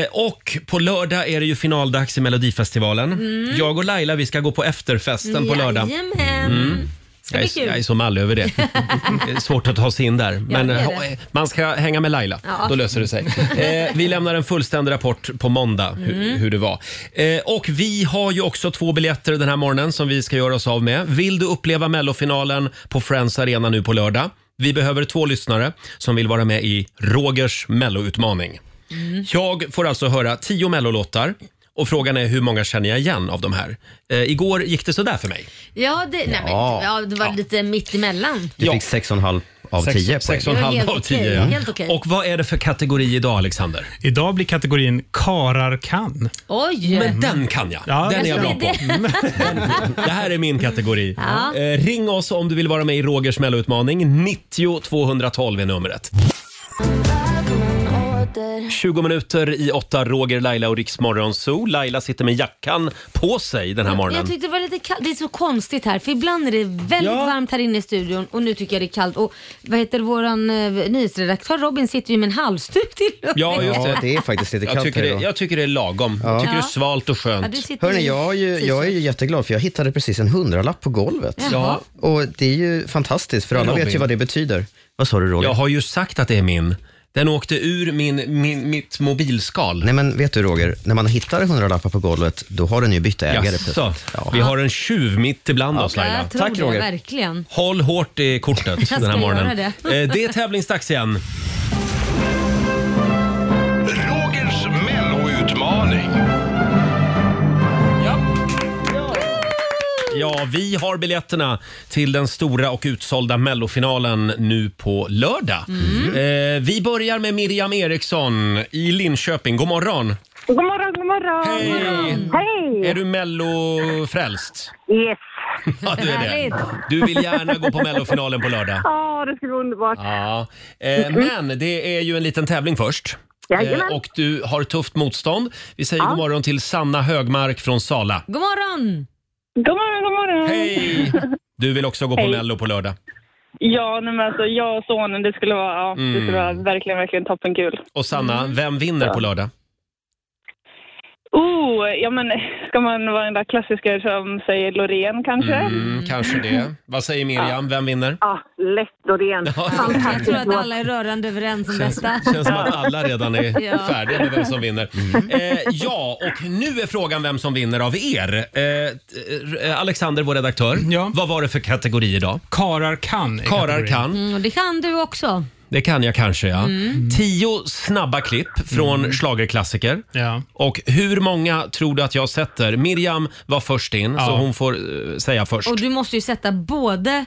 [SPEAKER 1] Eh, och på lördag är det ju finaldags i Melodifestivalen. Jag och Laila vi ska gå på efterfesten på lördag. Mm.
[SPEAKER 2] Jajamän. ska
[SPEAKER 1] Jag
[SPEAKER 2] bli
[SPEAKER 1] är,
[SPEAKER 2] kul.
[SPEAKER 1] jag är så mall över det. Det är svårt att ta sig in där. Men
[SPEAKER 2] det är
[SPEAKER 1] eh,
[SPEAKER 2] det.
[SPEAKER 1] man ska hänga med Laila,
[SPEAKER 2] Ja.
[SPEAKER 1] då löser det sig. Eh, vi lämnar en fullständig rapport på måndag hu- hur,
[SPEAKER 2] Mm.
[SPEAKER 1] det var. Eh, och vi har ju också två biljetter den här morgonen som vi ska göra oss av med. Vill du uppleva mellofinalen på Friends Arena nu på lördag? Vi behöver två lyssnare som vill vara med i Rogers melloutmaning.
[SPEAKER 2] Mm.
[SPEAKER 1] Jag får alltså höra tio mellolåtar och frågan är hur många känner jag igen av de här? Eh, igår gick det sådär för mig.
[SPEAKER 2] Ja, det, nej, men,
[SPEAKER 1] Ja.
[SPEAKER 2] ja, det var lite mitt emellan.
[SPEAKER 1] Du fick 6,5
[SPEAKER 3] av 10 poäng.
[SPEAKER 1] 6,5 av 10 ja.
[SPEAKER 2] Helt okej.
[SPEAKER 1] Och vad är det för kategori idag Alexander?
[SPEAKER 9] Idag blir kategorin karar kan.
[SPEAKER 2] Oj!
[SPEAKER 1] Men den kan jag.
[SPEAKER 9] Ja,
[SPEAKER 1] den är jag bra
[SPEAKER 9] det-
[SPEAKER 1] på. Det här är min kategori.
[SPEAKER 2] Ja.
[SPEAKER 1] Eh, ring oss om du vill vara med i Rogers melloutmaning. 90 212 är numret. 20 minuter i åtta, Roger, Laila och Riksmorgon Zoo. Laila sitter med jackan på sig den här morgonen.
[SPEAKER 2] Jag tyckte det var lite kallt. Det är så konstigt här för ibland är det väldigt varmt här inne i studion och nu tycker jag det är kallt. Och vad heter våran eh, nyhetsredaktör Robin sitter ju med en halsduk till och med.
[SPEAKER 1] Ja, just det.
[SPEAKER 3] Ja, det är faktiskt lite
[SPEAKER 1] jag
[SPEAKER 3] kallt
[SPEAKER 1] tycker
[SPEAKER 3] här
[SPEAKER 1] det,
[SPEAKER 3] idag.
[SPEAKER 1] Jag tycker det är lagom. Jag tycker det är
[SPEAKER 2] Ja.
[SPEAKER 1] svalt och
[SPEAKER 2] Ja, du
[SPEAKER 1] skönt.
[SPEAKER 2] sitter
[SPEAKER 3] Hörni,
[SPEAKER 2] i
[SPEAKER 3] jag, är ju- jag är ju jätteglad för jag hittade precis en hundralapp på golvet.
[SPEAKER 1] Jaha.
[SPEAKER 3] Och det är ju fantastiskt för alla vet ju
[SPEAKER 1] Robin.
[SPEAKER 3] vad det betyder. Vad sa du Roger?
[SPEAKER 1] Jag har ju sagt att det är min. Den åkte ur min, min, mitt mobilskal.
[SPEAKER 3] Nej men vet du Roger, när man hittar hundralappar på golvet då har den ju bytt ägare.
[SPEAKER 1] Jaså, vi har en tjuv mitt ibland oss Laila.
[SPEAKER 2] Jag tror det, verkligen.
[SPEAKER 1] Håll hårt i kortet
[SPEAKER 2] ska
[SPEAKER 1] den här morgonen.
[SPEAKER 2] göra det.
[SPEAKER 1] Eh, det är tävlingsdags igen.
[SPEAKER 10] Rogers melloutmaning.
[SPEAKER 1] Ja, vi har biljetterna till den stora och utsålda mellofinalen nu på lördag.
[SPEAKER 2] Mm.
[SPEAKER 1] Eh, vi börjar med Miriam Eriksson i Linköping. God morgon!
[SPEAKER 6] God morgon, god morgon!
[SPEAKER 1] Hej!
[SPEAKER 6] Hej!
[SPEAKER 1] Är du mellofrälst?
[SPEAKER 6] Yes!
[SPEAKER 1] Ja, du är
[SPEAKER 6] Härligt.
[SPEAKER 1] det. Du vill gärna gå på mellofinalen på lördag.
[SPEAKER 6] Ja, det skulle vara underbart.
[SPEAKER 1] Ja, eh, men det är ju en liten tävling först. Eh,
[SPEAKER 6] Jajamän.
[SPEAKER 1] och du har tufft motstånd. Vi säger
[SPEAKER 6] Ja.
[SPEAKER 1] god morgon till Sanna Högmark från Sala.
[SPEAKER 2] God morgon!
[SPEAKER 6] God morgon, god morgon!
[SPEAKER 1] Hej! Du vill också gå på
[SPEAKER 6] Hej.
[SPEAKER 1] Mello på lördag.
[SPEAKER 6] Ja, nej, men alltså jag och sonen, det skulle vara, ja, det skulle vara
[SPEAKER 1] Mm.
[SPEAKER 6] verkligen, verkligen toppenkul.
[SPEAKER 1] Och Sanna,
[SPEAKER 6] Mm.
[SPEAKER 1] vem vinner på lördag?
[SPEAKER 6] Oh, ja men ska man vara den där klassiker som säger Loreen kanske?
[SPEAKER 1] Mm, kanske det. Vad säger Miriam? Vem vinner?
[SPEAKER 6] Ja, lätt Loreen.
[SPEAKER 2] Jag tror att alla är rörande överens om detta.
[SPEAKER 1] Känns som att alla redan är
[SPEAKER 2] Ja.
[SPEAKER 1] färdiga med vem som vinner.
[SPEAKER 9] Mm.
[SPEAKER 1] Eh, ja, och nu är frågan vem som vinner av er. Eh, t- eh, Alexander, vår redaktör. Vad var det för kategori idag?
[SPEAKER 9] Karar kan.
[SPEAKER 1] Karar kan.
[SPEAKER 2] Mm, och det kan du också.
[SPEAKER 1] Det kan jag kanske, ja.
[SPEAKER 2] Mm.
[SPEAKER 1] Tio snabba klipp från mm. schlagerklassiker.
[SPEAKER 9] Ja.
[SPEAKER 1] Och hur många tror du att jag sätter? Miriam var först in, så
[SPEAKER 9] Ja.
[SPEAKER 1] hon får eh, säga först.
[SPEAKER 2] Och du måste ju sätta både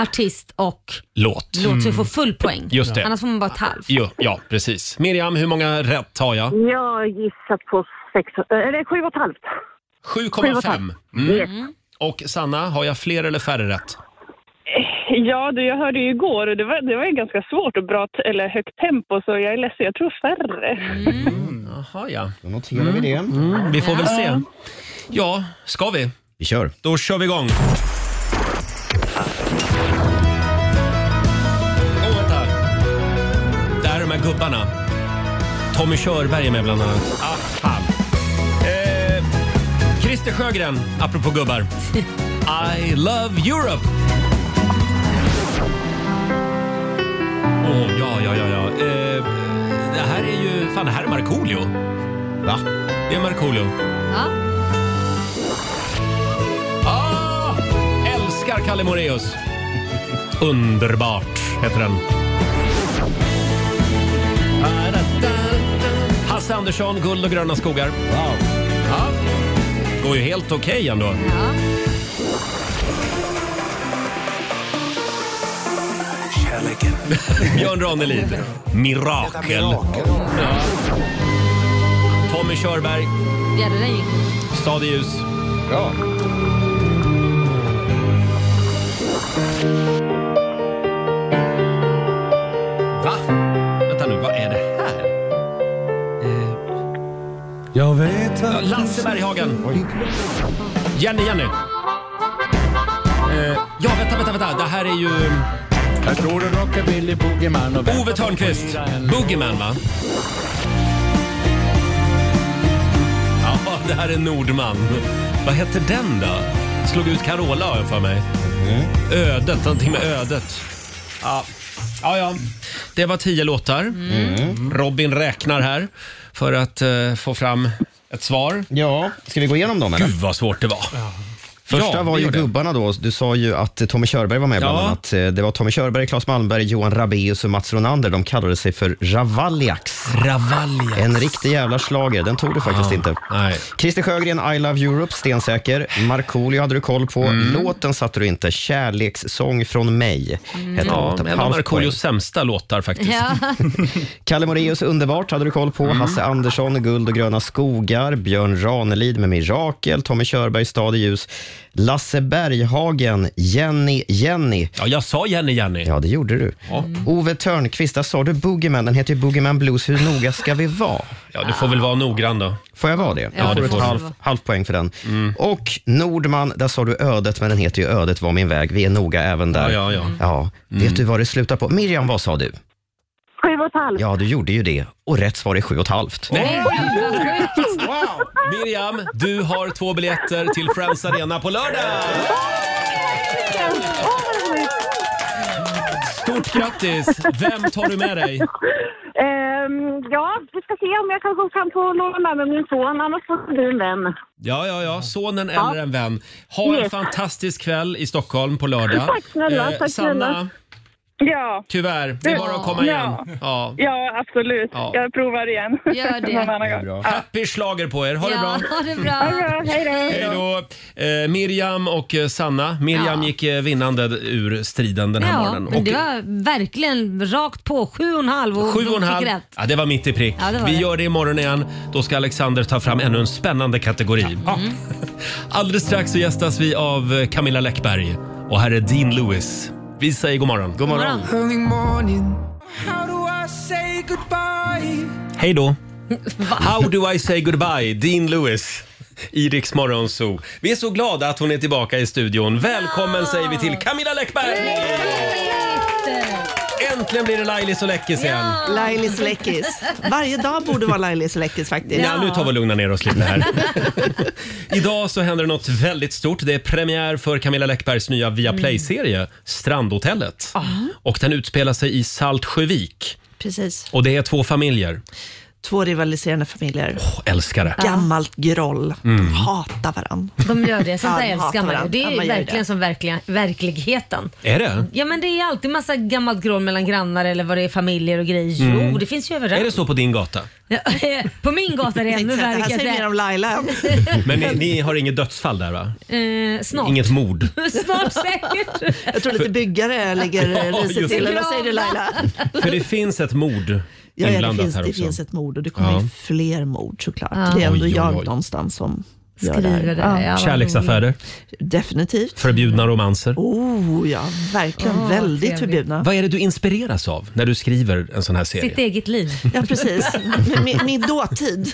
[SPEAKER 2] artist och
[SPEAKER 1] Låt.
[SPEAKER 2] låt
[SPEAKER 9] Mm.
[SPEAKER 2] så du får full poäng.
[SPEAKER 1] Just det.
[SPEAKER 2] Annars får man bara ett halvt.
[SPEAKER 1] Jo, ja, precis. Miriam, hur många rätt har jag?
[SPEAKER 6] Jag gissar på sex, eller sju och ett halvt.
[SPEAKER 1] 7,5. Mm. Och Sanna, har jag fler eller färre rätt?
[SPEAKER 6] Ja, du, jag hörde ju igår och det var, det var ju ganska svårt och bra, t- eller högt tempo, så jag är ledsen, jag tror färre.
[SPEAKER 2] Mm.
[SPEAKER 1] Jaha, ja. Mm.
[SPEAKER 3] Då noterar vi det.
[SPEAKER 1] Vi får väl se. Ja, ska vi?
[SPEAKER 3] Vi kör.
[SPEAKER 1] Då kör vi igång. Åh, vänta. Där är de här gubbarna. Tommy Körberg är med bland annat. Ah, fan. Eh, Christer Sjögren, apropå gubbar. I love Europe. Åh, ja, ja, ja, ja. Eh, det här är ju... Fan, det här är Markoolio.
[SPEAKER 3] Va?
[SPEAKER 1] Det är Markoolio.
[SPEAKER 2] Ja.
[SPEAKER 1] Ah! Älskar Kalle Moreus. Underbart heter den. Hasse Andersson, Guld och gröna skogar. Ja. Går ju helt okej ändå.
[SPEAKER 2] Ja.
[SPEAKER 1] Björn Ranelid. Mirakel. Ja. Tommy Körberg.
[SPEAKER 2] Ja, det där gick.
[SPEAKER 1] Stad i ljus.
[SPEAKER 3] Bra.
[SPEAKER 1] Va? Vänta nu, vad är det här? Eh.
[SPEAKER 10] Jag vet
[SPEAKER 1] Ja, Lasse Berghagen. Jenny, Jenny. Eh, ja, vänta, vänta, vänta. Det här är ju
[SPEAKER 10] Jag tror du rockabilly boogieman och
[SPEAKER 1] Ove Thörnqvist. Boogieman, va? Ja, det här är Nordman. Vad hette den då? Slog ut Carola har jag för mig.
[SPEAKER 3] Mm.
[SPEAKER 1] Ödet, någonting med ödet. Ja. ja, ja. Det var tio låtar.
[SPEAKER 3] Mm.
[SPEAKER 1] Robin räknar här för att eh, få fram ett svar.
[SPEAKER 3] Ja, ska vi gå igenom dem eller?
[SPEAKER 1] Gud vad svårt det var.
[SPEAKER 3] Första
[SPEAKER 1] Ja,
[SPEAKER 3] var
[SPEAKER 1] vi
[SPEAKER 3] ju
[SPEAKER 1] gör det.
[SPEAKER 3] gubbarna då. Du sa ju att eh, Tommy Körberg var med bland
[SPEAKER 1] Ja.
[SPEAKER 3] annat. Eh, Det var Tommy Körberg, Claes Malmberg, Johan Rabaeus och Mats Ronander. De kallade sig för Ravaliax.
[SPEAKER 1] Ravaliax.
[SPEAKER 3] En riktig jävla slager. Den tog du faktiskt
[SPEAKER 1] Ja,
[SPEAKER 3] inte.
[SPEAKER 1] Nej.
[SPEAKER 3] Christer Sjögren, I Love Europe, stensäker. Markoolio hade du koll på.
[SPEAKER 1] Mm.
[SPEAKER 3] Låten satte du inte. Kärlekssång från mig hette
[SPEAKER 1] Mm. Ja,
[SPEAKER 3] låten.
[SPEAKER 1] en av
[SPEAKER 3] Halv poäng.
[SPEAKER 1] Markoolios sämsta låtar faktiskt.
[SPEAKER 2] Ja.
[SPEAKER 3] Kalle Moraeus Underbart hade du koll på.
[SPEAKER 1] Mhm.
[SPEAKER 3] Hasse Andersson, Guld och gröna skogar. Björn Ranelid med Mirakel. Tommy Körberg, Stad i ljus. Lasse Berghagen, Jenny, Jenny.
[SPEAKER 1] Ja, jag sa Jenny Jenny.
[SPEAKER 3] Ja, det gjorde du. Ove Törnqvist, där sa du Boogieman. Den heter ju Boogieman Blues. Hur noga ska vi vara?
[SPEAKER 1] Ja, du får väl vara noggrann då.
[SPEAKER 3] Får jag vara det?
[SPEAKER 2] Ja,
[SPEAKER 3] jag
[SPEAKER 1] det
[SPEAKER 3] får
[SPEAKER 1] får
[SPEAKER 3] ett
[SPEAKER 1] du. Mm.
[SPEAKER 3] halv, halvt poäng för den. Och Nordman, där sa du Ödet, men den heter ju Ödet var min väg. Vi är noga även där.
[SPEAKER 1] Ja, ja, ja. Mm.
[SPEAKER 3] Ja. Vet du vad det slutar på? Miriam, vad sa du?
[SPEAKER 6] Sju och ett halvt.
[SPEAKER 3] Ja, du gjorde ju det. Och rätt svar är sju och ett halvt.
[SPEAKER 1] Nej. Miriam, du har två biljetter till Friends Arena på lördag! Stort grattis! Vem tar du med dig?
[SPEAKER 6] Ehm, ja, vi ska se om jag kan gå fram och låna med min son. Annars får du en vän.
[SPEAKER 1] Ja, ja, ja. Sonen eller en vän. Ha en
[SPEAKER 6] Yes.
[SPEAKER 1] fantastisk kväll i Stockholm på lördag. Eh,
[SPEAKER 6] Tack snälla,
[SPEAKER 2] Eh,
[SPEAKER 6] tack
[SPEAKER 1] Sanna,
[SPEAKER 6] snälla. Ja,
[SPEAKER 1] tyvärr. Det är bara att komma
[SPEAKER 6] Ja.
[SPEAKER 1] igen. Ja.
[SPEAKER 6] ja absolut.
[SPEAKER 1] Ja.
[SPEAKER 6] Jag provar igen.
[SPEAKER 2] Gör det.
[SPEAKER 6] Någon annan gång.
[SPEAKER 1] Happy slager på er. Ha det bra.
[SPEAKER 2] Ja, ha det bra.
[SPEAKER 6] Ja, hej då.
[SPEAKER 1] Hej då. Eh, Miriam och eh, Sanna. Miriam
[SPEAKER 2] Ja.
[SPEAKER 1] gick eh, vinnande ur striden den här
[SPEAKER 2] Ja,
[SPEAKER 1] morgonen.
[SPEAKER 2] men
[SPEAKER 1] Och-
[SPEAKER 2] det var verkligen rakt på. Sju och en halv och
[SPEAKER 1] Sju och en
[SPEAKER 2] de fick
[SPEAKER 1] halv.
[SPEAKER 2] rätt.
[SPEAKER 1] Ja, det var mitt i prick.
[SPEAKER 2] Ja, det var
[SPEAKER 1] Vi
[SPEAKER 2] det.
[SPEAKER 1] gör det imorgon igen. Då ska Alexander ta fram ännu en spännande kategori.
[SPEAKER 2] Mm.
[SPEAKER 1] Alldeles strax så gästas vi av eh, Camilla Läckberg. Och här är Dean Lewis. Vi säger god morgon.
[SPEAKER 3] God morgon.
[SPEAKER 2] morgon.
[SPEAKER 5] Early morning. How do I say goodbye?
[SPEAKER 1] Hej då. How do I say goodbye, Dean Lewis. I Rix Morgon Zoo. Vi är så glada att hon är tillbaka i studion. Välkommen säger vi till Camilla Läckberg! Äntligen blir det Lailis och Läckis igen.
[SPEAKER 11] Lailis Läckis. Varje dag borde vara Lailis Läckis faktiskt.
[SPEAKER 1] Ja. nu tar vi och lugnar ner oss lite här. Idag så händer det något väldigt stort. Det är premiär för Camilla Läckbergs nya Viaplay-serie Strandhotellet.
[SPEAKER 11] Ah.
[SPEAKER 1] Och den utspelar sig i Saltsjövik.
[SPEAKER 11] Precis.
[SPEAKER 1] Och det är två familjer.
[SPEAKER 11] Två rivaliserande familjer.
[SPEAKER 1] Åh, älskar det. Mm.
[SPEAKER 11] Gammalt groll. Hatar varann.
[SPEAKER 2] De gör det. Sånt
[SPEAKER 11] Ja,
[SPEAKER 2] där
[SPEAKER 11] de hatar
[SPEAKER 2] älskar man ju.
[SPEAKER 11] varandra.
[SPEAKER 2] Det
[SPEAKER 11] Ja,
[SPEAKER 2] är
[SPEAKER 11] man
[SPEAKER 2] ju
[SPEAKER 11] gör
[SPEAKER 2] verkligen
[SPEAKER 11] det.
[SPEAKER 2] som verkliga, verkligheten.
[SPEAKER 1] Är det?
[SPEAKER 2] Ja men det är alltid massa gammalt grål mellan grannar eller vad det är familjer och grejer. Jo det finns ju
[SPEAKER 1] Mm. Är det
[SPEAKER 2] överallt.
[SPEAKER 1] så på din gata?
[SPEAKER 2] Ja, På min gata är det ännu
[SPEAKER 11] Tänkte att Det här
[SPEAKER 2] värre.
[SPEAKER 11] säger mer
[SPEAKER 2] kan
[SPEAKER 11] om Laila.
[SPEAKER 1] Men ni, ni har inget dödsfall där va?
[SPEAKER 2] jag säga. Eh, Snart.
[SPEAKER 1] Inget mord?
[SPEAKER 2] Snart säkert.
[SPEAKER 11] Jag tror lite byggare lägger
[SPEAKER 1] Ja,
[SPEAKER 11] riset
[SPEAKER 1] just det.
[SPEAKER 11] till. Eller vad säger du Laila?
[SPEAKER 1] För det finns ett mord
[SPEAKER 11] Ja, ja, det
[SPEAKER 1] inblandat
[SPEAKER 11] finns,
[SPEAKER 1] här
[SPEAKER 11] det
[SPEAKER 1] också.
[SPEAKER 11] finns ett mord och det kommer
[SPEAKER 1] Ja.
[SPEAKER 11] ju fler mord såklart. Det är ändå
[SPEAKER 1] Oj, oj,
[SPEAKER 11] jag
[SPEAKER 1] oj.
[SPEAKER 11] någonstans som gör det här.
[SPEAKER 2] Skriver det. Ja, vad
[SPEAKER 1] Kärleksaffärer,
[SPEAKER 11] Definitivt.
[SPEAKER 1] förbjudna romanser.
[SPEAKER 11] Oh ja, verkligen
[SPEAKER 2] Åh, vad
[SPEAKER 11] väldigt
[SPEAKER 2] trevligt.
[SPEAKER 11] förbjudna.
[SPEAKER 1] Vad är det du inspireras av när du skriver en sån här
[SPEAKER 2] roligt.
[SPEAKER 1] serie?
[SPEAKER 2] Sitt eget liv.
[SPEAKER 11] Ja, precis. Min- Min, min dåtid.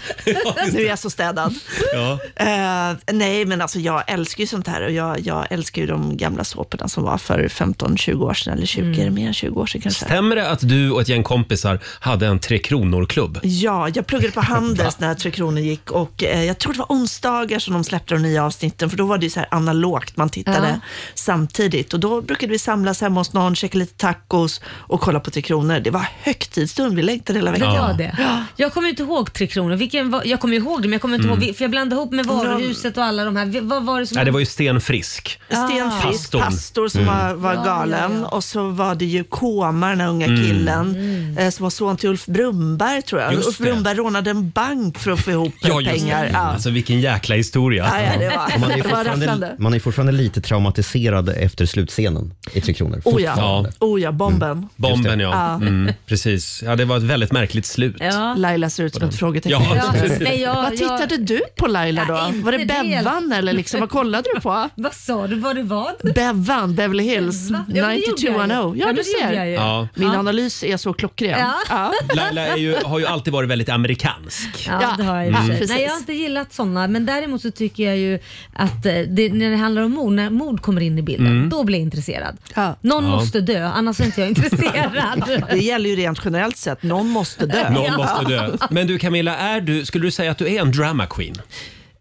[SPEAKER 11] Nu är jag så städad.
[SPEAKER 1] Ja.
[SPEAKER 11] Eh, nej, men alltså jag älskar ju sånt här och jag, jag älskar ju de gamla såporna som var för 15-20 år sedan, eller 20,
[SPEAKER 2] Mm.
[SPEAKER 11] är det mer än 20 år sedan kanske?
[SPEAKER 1] Stämmer det att du och ett gäng kompisar hade en Tre Kronor-klubb?
[SPEAKER 11] Ja, jag pluggade på Handels när Tre Kronor gick och eh, jag tror det var onsdagar som de släppte de nya avsnitten, för då var det ju så här analogt, man tittade
[SPEAKER 2] Ja.
[SPEAKER 11] samtidigt. Och då brukade vi samlas hemma hos någon, käka lite tacos och kolla på Tre Kronor. Det var högtidsstund, vi längtade hela veckan.
[SPEAKER 2] Ja. Det. Jag kommer inte ihåg Tre Kronor. Vilken var, jag kommer ihåg det men jag kommer inte
[SPEAKER 1] Mm.
[SPEAKER 2] ihåg vil- för jag blandade ihop med varuhuset
[SPEAKER 11] Mm.
[SPEAKER 2] och alla de här. Vi- Vad var det som
[SPEAKER 1] Nej, det var ju Sten Frisk.
[SPEAKER 11] Sten Frisk, typ
[SPEAKER 1] Pastorn. Mm.
[SPEAKER 11] pastor som var, var galen. Och så var det ju Kåmar, den här unga
[SPEAKER 1] Mm.
[SPEAKER 11] killen,
[SPEAKER 2] Mm.
[SPEAKER 11] eh, som var son till Ulf Brunnberg tror jag.
[SPEAKER 1] Just
[SPEAKER 11] Ulf
[SPEAKER 1] det.
[SPEAKER 11] Brunnberg rånade en bank för att få ihop pengar. Ja.
[SPEAKER 1] Alltså vilken jäkla historia.
[SPEAKER 11] Ja, ja, det
[SPEAKER 3] Och Man
[SPEAKER 11] var,
[SPEAKER 3] är, ju
[SPEAKER 11] det var
[SPEAKER 3] fortfarande,
[SPEAKER 11] rafflande.
[SPEAKER 3] man är ju fortfarande lite traumatiserad efter slutscenen i Tre Kronor.
[SPEAKER 11] Oh ja.
[SPEAKER 1] Ja.
[SPEAKER 11] oh ja, bomben.
[SPEAKER 1] Bomben ja. Mm, precis. Ja, det var ett väldigt märkligt slut.
[SPEAKER 2] Ja.
[SPEAKER 11] Laila ser ut som ett frågetecken.
[SPEAKER 1] Ja.
[SPEAKER 2] Ja, nej, jag,
[SPEAKER 11] Vad
[SPEAKER 2] jag-
[SPEAKER 11] tittade du på Laila då?
[SPEAKER 2] Ja, inte
[SPEAKER 11] var det
[SPEAKER 2] det.
[SPEAKER 11] Bevan eller liksom, vad kollade du på?
[SPEAKER 2] Vad sa du? Var det vad?
[SPEAKER 11] Bevan, Beverly Hills,
[SPEAKER 2] Va? Ja, men det gjorde jag ju.
[SPEAKER 11] 90210. Ja,
[SPEAKER 2] men
[SPEAKER 11] du
[SPEAKER 2] det gjorde jag
[SPEAKER 11] ser.
[SPEAKER 2] ju.
[SPEAKER 1] Ja.
[SPEAKER 11] Min analys är så klockren.
[SPEAKER 2] Ja.
[SPEAKER 11] Ja.
[SPEAKER 1] Laila är ju, har ju alltid varit väldigt amerikansk. Mm.
[SPEAKER 2] Ja,
[SPEAKER 11] Ja,
[SPEAKER 2] det har jag i och för sig.
[SPEAKER 11] precis.
[SPEAKER 2] Nej, jag har inte gillat sådana. Men däremot så tycker jag ju att eh, det, när det handlar om mord, när mord kommer in i bilden, då blir jag intresserad.
[SPEAKER 11] Ja.
[SPEAKER 2] Någon
[SPEAKER 1] Ja.
[SPEAKER 2] måste dö, annars är inte jag intresserad.
[SPEAKER 11] Det gäller ju rent generellt sett, någon måste dö.
[SPEAKER 1] Någon måste dö. Men du Camilla, är du, skulle du säga att du är en drama queen?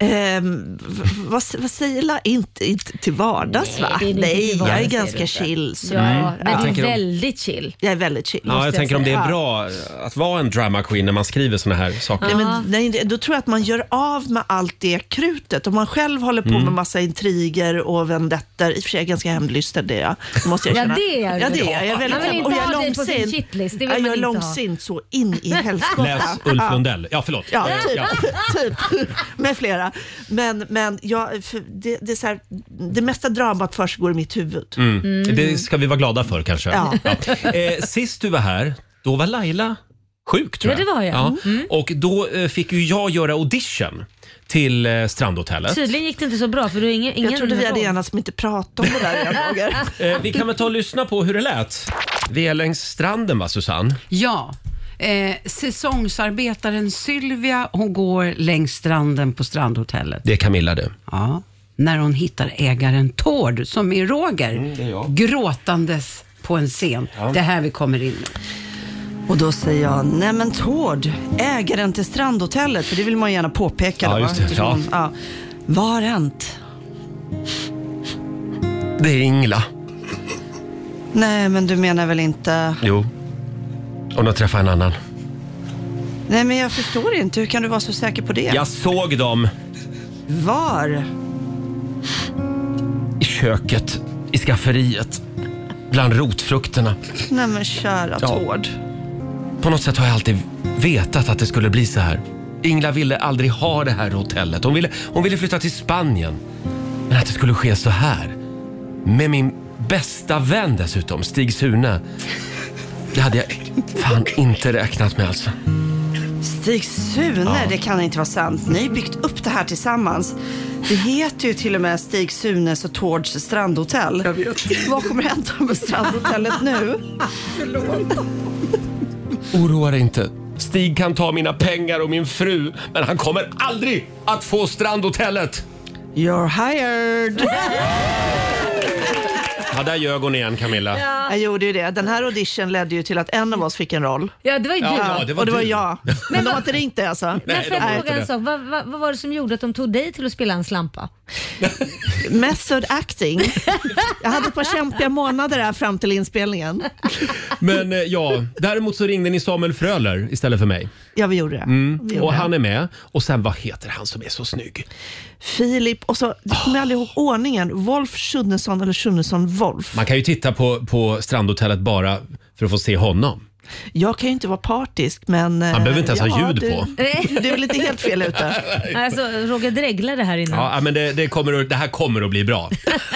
[SPEAKER 11] Ehm, v- vad, vad säger la inte, inte till vardags
[SPEAKER 2] Nej,
[SPEAKER 11] va?
[SPEAKER 2] det är inte till
[SPEAKER 11] Nej,
[SPEAKER 2] vardags,
[SPEAKER 11] jag är
[SPEAKER 2] det är det
[SPEAKER 11] ganska
[SPEAKER 2] inte.
[SPEAKER 11] chill. så-
[SPEAKER 2] Ja,
[SPEAKER 1] Mm.
[SPEAKER 2] men du är Jag tänker om-
[SPEAKER 11] väldigt chill. Jag är väldigt chill.
[SPEAKER 1] Ja, jag tänker om det är bra att vara en drama queen när man skriver såna här saker.
[SPEAKER 11] Nej, men, nej, det- då tror jag att man gör av med allt det krutet. Om man själv håller på
[SPEAKER 1] Mm.
[SPEAKER 11] med massa intriger och vendettor. I och för sig är jag ganska hämndlysten, det är jag. Det måste jag
[SPEAKER 2] Ja,
[SPEAKER 11] erkänna.
[SPEAKER 2] det är du.
[SPEAKER 11] ja, det är jag. jag. är
[SPEAKER 2] Man
[SPEAKER 11] väldigt
[SPEAKER 2] vill
[SPEAKER 11] hämnd-
[SPEAKER 2] inte
[SPEAKER 11] och jag är
[SPEAKER 2] ha det på sin
[SPEAKER 11] långsint.
[SPEAKER 2] shitlist, det vill
[SPEAKER 11] ja,
[SPEAKER 2] man
[SPEAKER 11] jag är
[SPEAKER 2] inte ha.
[SPEAKER 11] långsint så in i helskotta.
[SPEAKER 1] Läs Ulf
[SPEAKER 11] Ja.
[SPEAKER 1] Lundell. Ja, förlåt.
[SPEAKER 11] Ja,
[SPEAKER 1] Eh,
[SPEAKER 11] typ. typ. Med flera. Men, men jag, för det, det, är så här, det mesta dramat försiggår i mitt huvud.
[SPEAKER 1] Mm.
[SPEAKER 11] Mm.
[SPEAKER 1] Det ska vi vara glada för kanske.
[SPEAKER 11] Ja.
[SPEAKER 1] Eh, sist du var här, då var Laila sjuk tror
[SPEAKER 2] Ja,
[SPEAKER 1] jag.
[SPEAKER 2] det var jag. Mm.
[SPEAKER 1] Och då eh, fick ju jag göra audition till eh, Strandhotellet.
[SPEAKER 2] Tydligen gick det inte så bra för du har ingen, ingen
[SPEAKER 11] trodde vi hade
[SPEAKER 2] enats
[SPEAKER 11] om inte prata om det där igen, Roger.
[SPEAKER 1] Eh, vi kan väl ta och lyssna på hur det lät. Vi är längs stranden va, Susanne?
[SPEAKER 12] Ja. Eh, säsongsarbetaren Sylvia, hon går längs stranden på Strandhotellet.
[SPEAKER 1] Det är Camilla du.
[SPEAKER 12] Ja. När hon hittar ägaren Tord, som är Roger, gråtandes på en scen. Det är här vi kommer in.
[SPEAKER 11] Och då säger jag, nej men Tord, ägaren till Strandhotellet, för det vill man ju gärna påpeka
[SPEAKER 1] Ja,
[SPEAKER 11] då. va?
[SPEAKER 1] just det.
[SPEAKER 11] Eftersom-
[SPEAKER 1] Ja.
[SPEAKER 11] ja. Vad har hänt?
[SPEAKER 1] Det är Ingla.
[SPEAKER 11] Nej men du menar väl inte...
[SPEAKER 1] Jo. Hon har träffat en annan.
[SPEAKER 11] Nej men jag förstår inte, hur kan du vara så säker på det?
[SPEAKER 1] Jag såg dem
[SPEAKER 11] Var?
[SPEAKER 1] i köket, i skafferiet, bland rotfrukterna.
[SPEAKER 11] Nej men kära
[SPEAKER 1] Ja.
[SPEAKER 11] Tord.
[SPEAKER 1] På något sätt har jag alltid vetat att det skulle bli så här. Ingla ville aldrig ha det här hotellet. Hon ville, hon ville flytta till Spanien. Men att det skulle ske så här. Med min bästa vän dessutom, Stig Sune. Det hade jag fan inte räknat med alltså.
[SPEAKER 11] Stig Sune,
[SPEAKER 1] Ja.
[SPEAKER 11] det kan inte vara sant. Ni har byggt upp det här tillsammans. Det heter ju till och med Stig Sunes och Tords strandhotell. Jag vet. Vad kommer hända med strandhotellet nu? Förlåt.
[SPEAKER 1] Oroa dig inte. Stig kan ta mina pengar och min fru, men han kommer aldrig att få strandhotellet.
[SPEAKER 11] You're hired!
[SPEAKER 1] Ja, där ljög hon igen Camilla.
[SPEAKER 11] Jag gjorde ju det. Den här audition ledde ju till att en av oss fick en roll.
[SPEAKER 2] Ja, det var ju
[SPEAKER 1] Ja,
[SPEAKER 2] du.
[SPEAKER 1] ja, det var
[SPEAKER 11] och det var
[SPEAKER 1] du.
[SPEAKER 11] jag. Men, de har inte ringt dig alltså?
[SPEAKER 2] Men får jag fråga en sak? Vad, vad, vad var det som gjorde att de tog dig till att spela en slampa?
[SPEAKER 11] Method acting. Jag hade ett par kämpiga månader här fram till inspelningen.
[SPEAKER 1] Men eh, ja, däremot så ringde ni Samuel Fröler istället för mig.
[SPEAKER 11] Ja, vi gjorde det. Vi
[SPEAKER 1] Mm.
[SPEAKER 11] gjorde
[SPEAKER 1] Och
[SPEAKER 11] det.
[SPEAKER 1] han är med. Och sen, vad heter han som är så snygg?
[SPEAKER 11] Filip och så, jag kommer aldrig ihåg ordningen. Wolf Schunnesson eller Schunnesson Wolf.
[SPEAKER 1] Man kan ju titta på, på strandhotellet bara för att få se honom.
[SPEAKER 11] Jag kan ju inte vara partisk men... Han
[SPEAKER 1] behöver inte ens ha ljud
[SPEAKER 11] du,
[SPEAKER 1] på.
[SPEAKER 11] Du är väl inte helt fel ute?
[SPEAKER 2] Alltså, Roger dreglade här innan.
[SPEAKER 1] Ja, men det, det, kommer att, det här kommer att bli bra.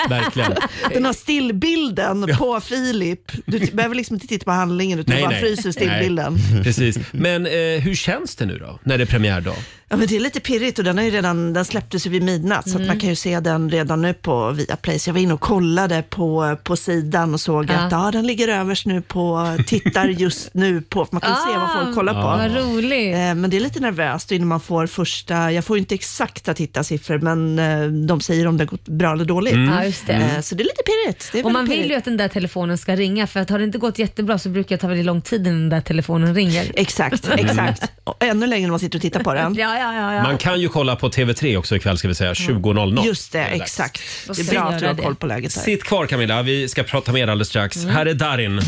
[SPEAKER 1] Verkligen.
[SPEAKER 11] Den har stillbilden på Filip. Du behöver liksom inte titta på handlingen utan bara fryser stillbilden.
[SPEAKER 1] Nej, Precis. Men eh, hur känns det nu då, när det är premiärdag?
[SPEAKER 11] Ja, men det är lite pirrigt och den, har ju redan, den släpptes ju vid midnatt så att
[SPEAKER 2] Mm.
[SPEAKER 11] man kan ju se den redan nu på Viaplay. Så jag var inne och kollade på, på sidan och såg
[SPEAKER 2] Ja.
[SPEAKER 11] att ja, den ligger överst nu på, tittar just nu på, för man kan ju se vad
[SPEAKER 2] Ah,
[SPEAKER 11] folk kollar på.
[SPEAKER 2] vad roligt.
[SPEAKER 11] Eh, Men det är lite nervöst innan man får första, jag får ju inte exakta tittarsiffror men eh, de säger om det har gått bra eller dåligt.
[SPEAKER 2] Mm. Ja, just det.
[SPEAKER 11] Eh, Så det är lite pirrigt. Det är
[SPEAKER 2] Och man
[SPEAKER 11] väldigt
[SPEAKER 2] vill ju
[SPEAKER 11] pirrigt.
[SPEAKER 2] att den där telefonen ska ringa för att har det inte gått jättebra så brukar det ta väldigt lång tid innan den där telefonen ringer.
[SPEAKER 11] Exakt, exakt. Och ännu längre när man sitter och tittar på den.
[SPEAKER 2] ja, ja, ja, ja.
[SPEAKER 1] Man kan ju kolla på TV3 också ikväll ska vi säga, 20.00.
[SPEAKER 11] Just det, exakt. Det är bra att du har koll på läget Mm. där.
[SPEAKER 1] Sitt kvar Camilla, vi ska prata mer alldeles strax. Här är Darin.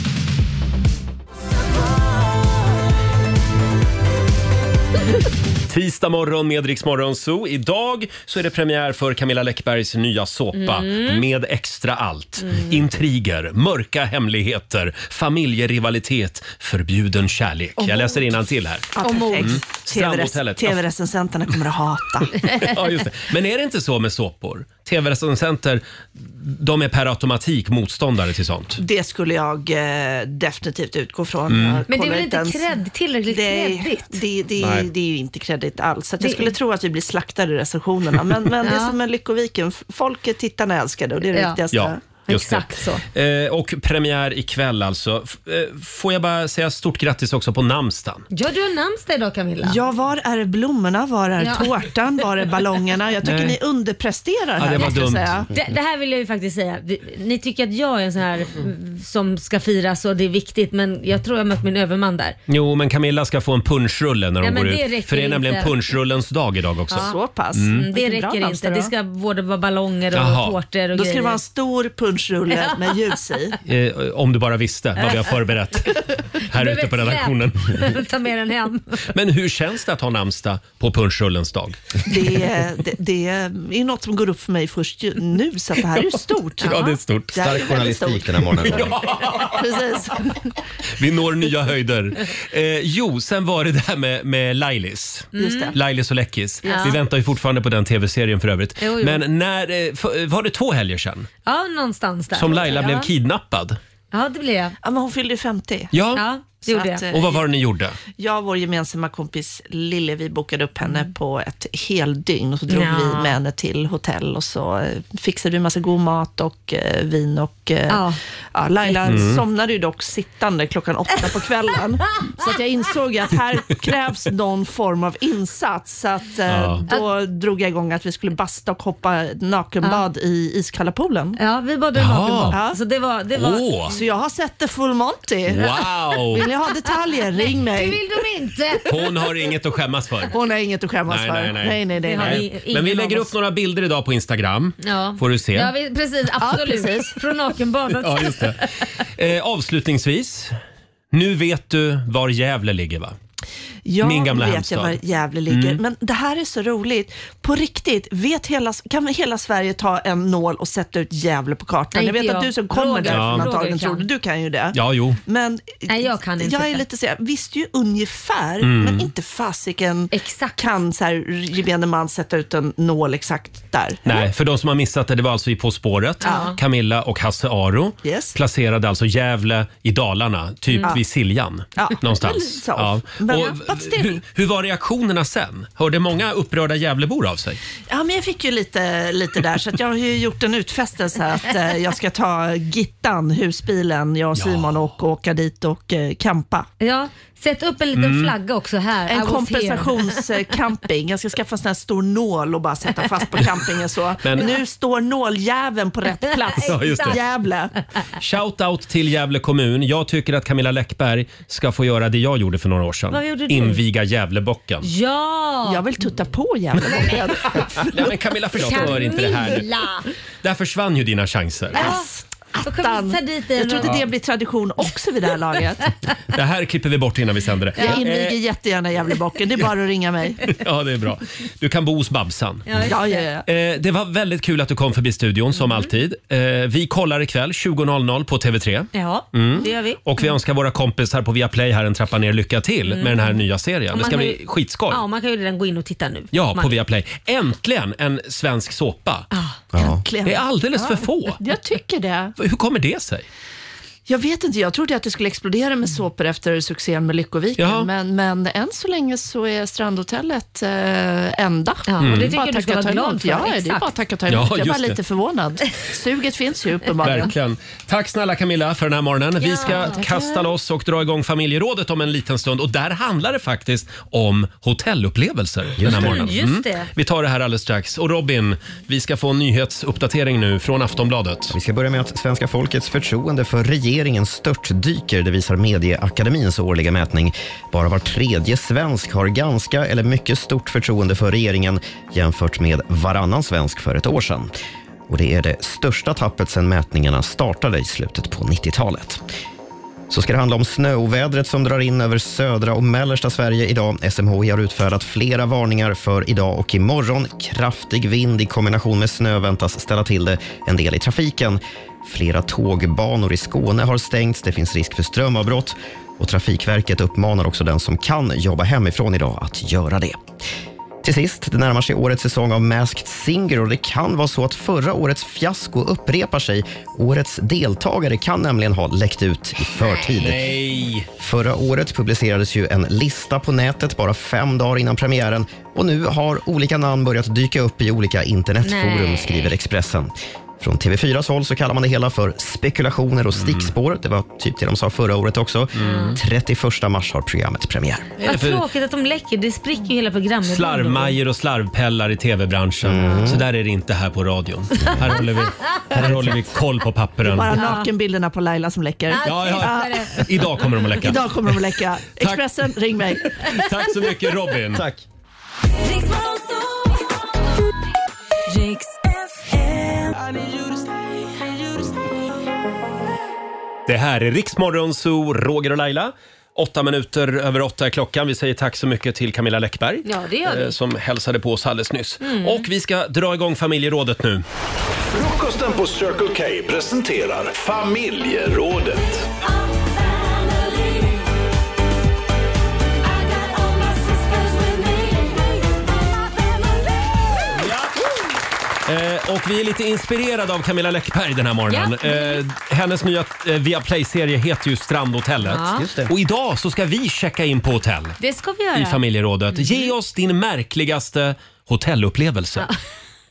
[SPEAKER 1] Tisdag morgon med Rix Morgon Zoo. Idag så är det premiär för Camilla Läckbergs nya såpa
[SPEAKER 10] Mm.
[SPEAKER 1] med extra allt.
[SPEAKER 11] Mm.
[SPEAKER 1] Intriger, mörka hemligheter, familjerivalitet, förbjuden kärlek. Jag läser till här.
[SPEAKER 11] Ja, perfekt.
[SPEAKER 1] Mm.
[SPEAKER 11] TV-rec-
[SPEAKER 1] Strandhotellet. Ja,
[SPEAKER 11] TV-recensenterna kommer att hata.
[SPEAKER 1] Ja, just det. Men är det inte så med såpor? Tv-recensenter, de är per automatik motståndare till sånt.
[SPEAKER 11] Det skulle jag eh, definitivt utgå från.
[SPEAKER 1] Mm.
[SPEAKER 11] Jag
[SPEAKER 1] Men det är
[SPEAKER 11] kollar
[SPEAKER 2] väl inte
[SPEAKER 11] ens-
[SPEAKER 2] cred- tillräckligt
[SPEAKER 11] det,
[SPEAKER 2] creddigt?
[SPEAKER 11] Det, det,
[SPEAKER 1] Nej.
[SPEAKER 11] det, är ju inte kreddigt alls. Så att
[SPEAKER 2] Det-
[SPEAKER 11] jag skulle tro att vi blir slaktade i recensionerna. Men, men det
[SPEAKER 2] Ja.
[SPEAKER 11] är som med Lyckoviken, folket, tittarna älskar det och det är det
[SPEAKER 2] Ja.
[SPEAKER 11] viktigaste.
[SPEAKER 1] Ja. Just det.
[SPEAKER 2] Exakt så.
[SPEAKER 1] Eh, och premiär ikväll alltså. F- eh, får jag bara säga stort grattis också på namnsdagen.
[SPEAKER 2] Ja, du har namnsdag idag Camilla.
[SPEAKER 11] Ja, var är blommorna? Var är
[SPEAKER 2] Ja.
[SPEAKER 11] tårtan? Var är ballongerna? Jag tycker
[SPEAKER 1] Nej.
[SPEAKER 11] ni underpresterar här. måste jag
[SPEAKER 1] Mm.
[SPEAKER 11] säga.
[SPEAKER 2] Det, det här vill jag ju faktiskt säga. Vi- Ni tycker att jag är en sån här mm, som ska firas och det är viktigt men jag tror jag mött min överman där.
[SPEAKER 1] Jo, men Camilla ska få en punschrulle när
[SPEAKER 2] Ja,
[SPEAKER 1] hon
[SPEAKER 2] men
[SPEAKER 1] går
[SPEAKER 2] det
[SPEAKER 1] ut.
[SPEAKER 2] räcker
[SPEAKER 1] För det är nämligen
[SPEAKER 2] inte.
[SPEAKER 1] punschrullens dag idag också.
[SPEAKER 2] Ja.
[SPEAKER 1] Mm.
[SPEAKER 11] Vilken
[SPEAKER 2] Mm, det
[SPEAKER 11] bra
[SPEAKER 2] räcker inte.
[SPEAKER 11] namnsdag
[SPEAKER 2] Det
[SPEAKER 11] då.
[SPEAKER 2] ska både vara ballonger och
[SPEAKER 1] Jaha.
[SPEAKER 2] tårtor och
[SPEAKER 11] Då ska
[SPEAKER 2] grejer.
[SPEAKER 11] det vara en stor punschrulle med ljus i.
[SPEAKER 1] Eh, om du bara visste vad vi har förberett här
[SPEAKER 2] Mm. Du
[SPEAKER 1] ute på
[SPEAKER 2] vet,
[SPEAKER 1] redaktionen.
[SPEAKER 2] släp. Ta med den hem.
[SPEAKER 1] Men hur känns det att ha namnsdag på punschrullens dag?
[SPEAKER 11] Det, är- det, det är något som går upp för mig först ju- nu, så att det här är ju stort.
[SPEAKER 1] Ja, det är stort.
[SPEAKER 11] Det här är väldigt stort.
[SPEAKER 1] Ja.
[SPEAKER 11] Precis.
[SPEAKER 1] Vi når nya höjder. Eh, jo, sen var det det här med, med Lailis.
[SPEAKER 11] Just det.
[SPEAKER 1] Lailis och Läckis.
[SPEAKER 2] Ja.
[SPEAKER 1] Vi väntar ju fortfarande på den tv-serien för övrigt.
[SPEAKER 2] Jo, jo.
[SPEAKER 1] Men när, eh, för, var det två helger sedan
[SPEAKER 2] Ja, någonstans där.
[SPEAKER 1] som Laila
[SPEAKER 2] ja.
[SPEAKER 1] blev kidnappad?
[SPEAKER 2] Ja, det blev jag.
[SPEAKER 11] Ja, men hon fyllde ju 50.
[SPEAKER 1] Ja.
[SPEAKER 2] ja det
[SPEAKER 11] Så
[SPEAKER 2] gjorde
[SPEAKER 11] att,
[SPEAKER 2] jag.
[SPEAKER 1] Och vad var det ni gjorde?
[SPEAKER 11] Jag och vår gemensamma kompis Lille, vi bokade upp henne på ett heldygn och så drog
[SPEAKER 2] Ja.
[SPEAKER 11] vi med henne till hotell och så eh, fixade vi massa god mat och eh, vin och eh,
[SPEAKER 2] Ja.
[SPEAKER 11] ja. Laila
[SPEAKER 2] Mm.
[SPEAKER 11] somnade ju dock sittande klockan åtta på kvällen. så att jag insåg ju att här krävs någon form av insats. Så att, eh,
[SPEAKER 2] Ja.
[SPEAKER 11] då drog jag igång att vi skulle basta och hoppa nakenbad i iskalla poolen.
[SPEAKER 2] Ja, vi badade
[SPEAKER 11] Ja.
[SPEAKER 2] nakenbad. Så det var... Det var...
[SPEAKER 1] Åh.
[SPEAKER 11] Så jag har sett det full monty.
[SPEAKER 1] Wow.
[SPEAKER 11] Vill ni ha detaljer, ring mig.
[SPEAKER 2] Det vill de inte.
[SPEAKER 1] Hon har inget att skämmas för.
[SPEAKER 11] Hon har inget att skämmas
[SPEAKER 1] Nej,
[SPEAKER 11] för.
[SPEAKER 1] nej,
[SPEAKER 11] nej,
[SPEAKER 1] nej.
[SPEAKER 11] nej, nej, nej.
[SPEAKER 1] Men vi lägger upp några bilder idag på Instagram.
[SPEAKER 2] Ja.
[SPEAKER 1] Får du se.
[SPEAKER 2] Ja, vi, precis. Absolut.
[SPEAKER 11] precis.
[SPEAKER 2] Från nakenbadet.
[SPEAKER 1] Ja, just det. Eh, avslutningsvis. Nu vet du var Gävle ligger va?
[SPEAKER 11] Ja,
[SPEAKER 1] Min gamla
[SPEAKER 11] vet
[SPEAKER 1] hemstad.
[SPEAKER 11] jag var Gävle ligger.
[SPEAKER 1] Mm.
[SPEAKER 11] Men det här är så roligt. På riktigt, vet hela, kan hela Sverige ta en nål och sätta ut Gävle på kartan?
[SPEAKER 2] Nej,
[SPEAKER 11] jag vet
[SPEAKER 2] inte
[SPEAKER 11] att
[SPEAKER 2] jag.
[SPEAKER 11] du som kommer
[SPEAKER 2] Roger
[SPEAKER 11] därifrån
[SPEAKER 1] kan.
[SPEAKER 11] antagligen
[SPEAKER 2] Roger
[SPEAKER 11] tror
[SPEAKER 2] kan.
[SPEAKER 11] det. Du kan ju det.
[SPEAKER 1] Ja, jo.
[SPEAKER 11] Men
[SPEAKER 2] Nej, jag kan inte
[SPEAKER 11] jag är
[SPEAKER 2] det.
[SPEAKER 11] lite så jag visste ju ungefär,
[SPEAKER 1] Mm.
[SPEAKER 11] men inte fasiken kan så här gemene man sätta ut en nål exakt där.
[SPEAKER 1] Nej, för de som har missat det, det var alltså i På spåret.
[SPEAKER 11] Ja.
[SPEAKER 1] Camilla och Hasse Aro
[SPEAKER 11] Yes.
[SPEAKER 1] placerade alltså Gävle i Dalarna, typ
[SPEAKER 11] Mm.
[SPEAKER 1] vid Siljan.
[SPEAKER 11] Ja.
[SPEAKER 1] Någonstans.
[SPEAKER 11] Så. Men-
[SPEAKER 1] Och
[SPEAKER 11] But still.
[SPEAKER 1] hur, hur var reaktionerna sen? Hörde många upprörda Gävlebor av sig?
[SPEAKER 11] Ja, men jag fick ju lite, lite där, så att jag har ju gjort en utfästelse att eh, jag ska ta Gittan, husbilen, jag och Simon och åka dit och eh, campa.
[SPEAKER 2] Ja, sätt upp en liten
[SPEAKER 11] Mm.
[SPEAKER 2] flagga också här. I
[SPEAKER 11] En
[SPEAKER 2] was here.
[SPEAKER 11] kompensationscamping. Jag ska skaffa en sån här stor nål och bara sätta fast på campingen så.
[SPEAKER 1] Men-
[SPEAKER 11] Nu står nåljäveln på rätt plats.
[SPEAKER 1] Ja, just det.
[SPEAKER 11] Gävle.
[SPEAKER 1] Shout out till Gävle kommun. Jag tycker att Camilla Läckberg ska få göra det jag gjorde för några år sedan.
[SPEAKER 11] Vad gjorde du?
[SPEAKER 1] Inviga Gävlebocken.
[SPEAKER 2] Ja!
[SPEAKER 11] Jag vill tutta på Gävle.
[SPEAKER 1] Nej, men Camilla förstör inte det här nu.
[SPEAKER 2] Camilla!
[SPEAKER 1] Där försvann ju dina chanser.
[SPEAKER 2] Ja, då kommer vi ta dit dig
[SPEAKER 11] Jag tror
[SPEAKER 2] någon-
[SPEAKER 11] inte det blir tradition också vid det här laget.
[SPEAKER 1] Det här klipper vi bort innan vi sänder det.
[SPEAKER 11] Jag
[SPEAKER 1] Eh,
[SPEAKER 11] inviger jättegärna Gävlebocken. Det är bara att ringa mig.
[SPEAKER 1] Ja, det är bra. Du kan bo hos Babsan.
[SPEAKER 11] Ja, just Ja, ja, ja.
[SPEAKER 1] Eh, det var väldigt kul att du kom förbi studion som
[SPEAKER 2] Mm.
[SPEAKER 1] alltid. Eh, vi kollar ikväll 20.00 på TV3.
[SPEAKER 2] Ja,
[SPEAKER 1] Mm.
[SPEAKER 2] det gör vi.
[SPEAKER 1] Och vi önskar våra kompisar på Viaplay här en trappa ner lycka till
[SPEAKER 2] Mm.
[SPEAKER 1] med den här nya serien.
[SPEAKER 2] Och
[SPEAKER 1] Det
[SPEAKER 2] man
[SPEAKER 1] ska
[SPEAKER 2] kan
[SPEAKER 1] bli
[SPEAKER 2] ju-
[SPEAKER 1] skitskoj.
[SPEAKER 2] Ja, man kan ju redan gå in och titta nu.
[SPEAKER 1] Ja,
[SPEAKER 2] man,
[SPEAKER 1] på Viaplay. Äntligen en svensk såpa.
[SPEAKER 11] Äntligen.
[SPEAKER 1] Det är alldeles för få.
[SPEAKER 11] Jag tycker det.
[SPEAKER 1] Hur kommer det sig?
[SPEAKER 11] Jag vet inte, jag trodde att det skulle explodera med såpor efter succén med
[SPEAKER 1] Ja.
[SPEAKER 11] Lyckoviken, men, men än så länge så är Strandhotellet eh, enda.
[SPEAKER 2] Ja, och det
[SPEAKER 11] Bara
[SPEAKER 2] tycker jag du
[SPEAKER 11] tacka
[SPEAKER 2] ska vara
[SPEAKER 11] ta
[SPEAKER 2] glad
[SPEAKER 11] emot.
[SPEAKER 2] för,
[SPEAKER 11] Ja, det är
[SPEAKER 2] exakt.
[SPEAKER 11] bara att tacka och ta
[SPEAKER 1] Mm. Ja,
[SPEAKER 11] emot. jag är bara
[SPEAKER 1] just det.
[SPEAKER 11] lite förvånad. Suget finns ju uppenbarligen.
[SPEAKER 1] Verkligen. Tack snälla Camilla för den här morgonen. Vi
[SPEAKER 11] Ja,
[SPEAKER 1] ska
[SPEAKER 11] tackar.
[SPEAKER 1] kasta loss och dra igång familjerådet om en liten stund. Och där handlar det faktiskt om hotellupplevelser den här
[SPEAKER 2] det.
[SPEAKER 1] morgonen.
[SPEAKER 2] Mm, just det.
[SPEAKER 1] Vi tar det här alldeles strax. Och Robin, vi ska få en nyhetsuppdatering nu från Aftonbladet.
[SPEAKER 3] Vi ska börja med att svenska folkets förtroende för regeringen störtdyker. Det visar Medieakademins årliga mätning. Bara var tredje svensk har ganska eller mycket stort förtroende för regeringen jämfört med varannan svensk för ett år sedan. Och det är det största tappet sedan mätningarna startade i slutet på 90-talet. Så ska det handla om snöovädret som drar in över södra och mellersta Sverige idag. SMHI har utfärdat flera varningar för idag och imorgon. Kraftig vind i kombination med snö väntas ställa till det en del i trafiken. Flera tågbanor i Skåne har stängts. Det finns risk för strömavbrott. Och Trafikverket uppmanar också den som kan jobba hemifrån idag att göra det. Till sist, det närmar sig årets säsong av Masked Singer och det kan vara så att förra årets fiasko upprepar sig. Årets deltagare kan nämligen ha läckt ut i förtid.
[SPEAKER 1] Nej.
[SPEAKER 3] Förra året publicerades ju en lista på nätet bara fem dagar innan premiären och nu har olika namn börjat dyka upp i olika internetforum,
[SPEAKER 2] Nej.
[SPEAKER 3] skriver Expressen. Från TV4s håll så kallar man det hela för spekulationer och stickspår. Det var typ det de sa förra året också. 31 mars har programmet premiär.
[SPEAKER 2] Vad tråkigt att de läcker, det spricker ju hela programmet.
[SPEAKER 1] Slarvmajor och slarvpellar i tv-branschen. Så där är det inte här på radion. Här håller vi, här håller vi koll på papperen.
[SPEAKER 13] Bara nakenbilderna på Laila som läcker.
[SPEAKER 1] Ja, ja. Idag kommer de att läcka.
[SPEAKER 13] Idag kommer de att läcka. Expressen, ring mig.
[SPEAKER 1] Tack så mycket Robin. Tack. Det här är Riksmorgon Zoo, Roger och Laila. Åtta minuter över åtta är klockan. Vi säger tack så mycket till Camilla Läckberg
[SPEAKER 2] Ja, det gör vi.
[SPEAKER 1] eh, som hälsade på oss alldeles nyss.
[SPEAKER 2] Mm.
[SPEAKER 1] Och vi ska dra igång familjerådet nu.
[SPEAKER 10] Frukosten på Circle K presenterar familjerådet.
[SPEAKER 1] Eh, och vi är lite inspirerade av Camilla Läckberg den här morgonen.
[SPEAKER 10] Ja.
[SPEAKER 1] Eh, hennes nya eh, Viaplay-serie heter ju Strandhotellet.
[SPEAKER 2] Ja. Just det.
[SPEAKER 1] Och idag så ska vi checka in på hotell
[SPEAKER 2] Det ska vi göra.
[SPEAKER 1] i familjerådet.
[SPEAKER 2] Mm.
[SPEAKER 1] Ge oss din märkligaste hotellupplevelse.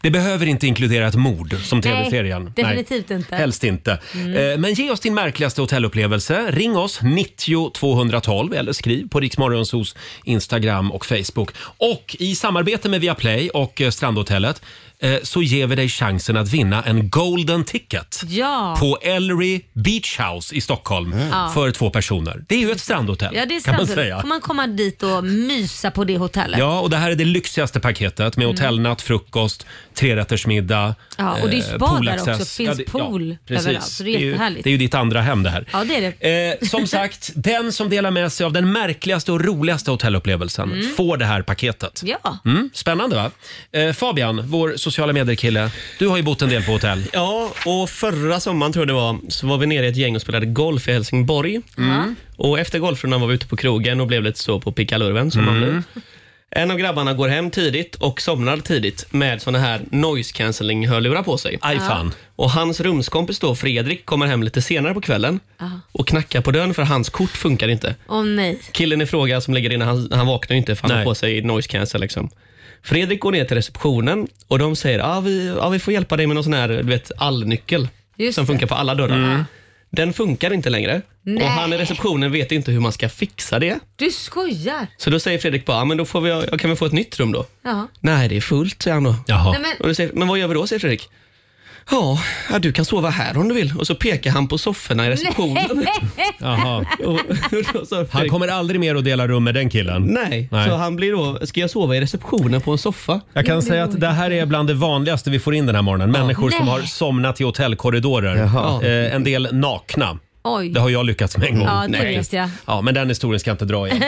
[SPEAKER 1] Det behöver inte inkludera ett mord som tv-serien.
[SPEAKER 2] Nej, definitivt inte.
[SPEAKER 1] Helst inte.
[SPEAKER 2] Mm.
[SPEAKER 1] Eh, Men ge oss din märkligaste hotellupplevelse. Ring oss 90 212 eller skriv på Riksmorgonsos Instagram och Facebook. Och i samarbete med Viaplay och eh, Strandhotellet eh, så ger vi dig chansen att vinna en golden ticket.
[SPEAKER 2] Ja.
[SPEAKER 1] På Ellery Beach House i Stockholm
[SPEAKER 2] Ja.
[SPEAKER 1] för två personer. Det är ju ett strandhotell
[SPEAKER 2] Ja, det är
[SPEAKER 1] kan man
[SPEAKER 2] sant.
[SPEAKER 1] säga.
[SPEAKER 2] Får man komma dit och mysa på det hotellet.
[SPEAKER 1] Ja, och det här är det lyxigaste paketet med
[SPEAKER 2] Mm.
[SPEAKER 1] hotellnatt, frukost, trerättersmiddag,
[SPEAKER 2] Ja, och det är
[SPEAKER 1] eh,
[SPEAKER 2] spa där
[SPEAKER 1] poolaccess.
[SPEAKER 2] också. Finns pool
[SPEAKER 1] precis.
[SPEAKER 2] överallt, så det är
[SPEAKER 1] ju-
[SPEAKER 2] jättehärligt.
[SPEAKER 1] Det är ju ditt andra hem det här.
[SPEAKER 2] Ja, det är det.
[SPEAKER 1] Eh, som sagt, den som delar med sig av den märkligaste och roligaste hotellupplevelsen
[SPEAKER 2] Mm.
[SPEAKER 1] får det här paketet.
[SPEAKER 2] Ja.
[SPEAKER 1] Mm, spännande va? Eh, Fabian, vår sociala medier-kille, du har ju bott en del på hotell.
[SPEAKER 8] Ja, och förra sommaren tror jag det var, så var vi nere i ett gäng och spelade golf i Helsingborg.
[SPEAKER 1] Mm.
[SPEAKER 8] Och efter golfrundan var vi ute på krogen och blev lite så på pickalurven som man
[SPEAKER 1] Mm.
[SPEAKER 8] blir. En av grabbarna går hem tidigt och somnar tidigt med såna här noise cancelling hörlurar på sig.
[SPEAKER 1] Aj fan.
[SPEAKER 8] Och hans rumskompis då, Fredrik, kommer hem lite senare på kvällen och knackar på dörren för hans kort funkar inte.
[SPEAKER 2] Åh nej.
[SPEAKER 8] Killen i fråga som ligger inne, han, han vaknar ju inte för han har på sig noise cancel. Liksom. Fredrik går ner till receptionen och de säger att ah, vi, ah, vi får hjälpa dig med någon sån här du vet, allnyckel
[SPEAKER 2] Just
[SPEAKER 8] som
[SPEAKER 2] det.
[SPEAKER 8] funkar på alla dörrar. Den funkar inte längre
[SPEAKER 2] Nej.
[SPEAKER 8] och han i receptionen vet inte hur man ska fixa det.
[SPEAKER 2] Du skojar.
[SPEAKER 8] Så då säger Fredrik bara, ah, men då får vi, ja, kan vi få ett nytt rum då?
[SPEAKER 2] Ja.
[SPEAKER 8] Nej, det är fullt, säger han då.
[SPEAKER 2] Nej, men-
[SPEAKER 8] Och då säger, men vad gör vi då, säger Fredrik. Ja, ja, du kan sova här om du vill. Och så pekar han på sofforna i receptionen.
[SPEAKER 1] Jaha. Han
[SPEAKER 8] Fredrik-
[SPEAKER 1] kommer aldrig mer att dela rum med den killen.
[SPEAKER 8] Nej, så han blir då, ska jag sova i receptionen på en soffa?
[SPEAKER 1] Jag kan säga att det här är bland det vanligaste vi får in den här morgonen. Människor som
[SPEAKER 2] Nej.
[SPEAKER 1] har somnat i hotellkorridorer.
[SPEAKER 2] Jaha.
[SPEAKER 1] Eh, en del nakna.
[SPEAKER 2] Oj.
[SPEAKER 1] Det har jag lyckats med en gång.
[SPEAKER 2] Ja, det vet jag.
[SPEAKER 1] Ja, men den historien ska jag inte dra igen.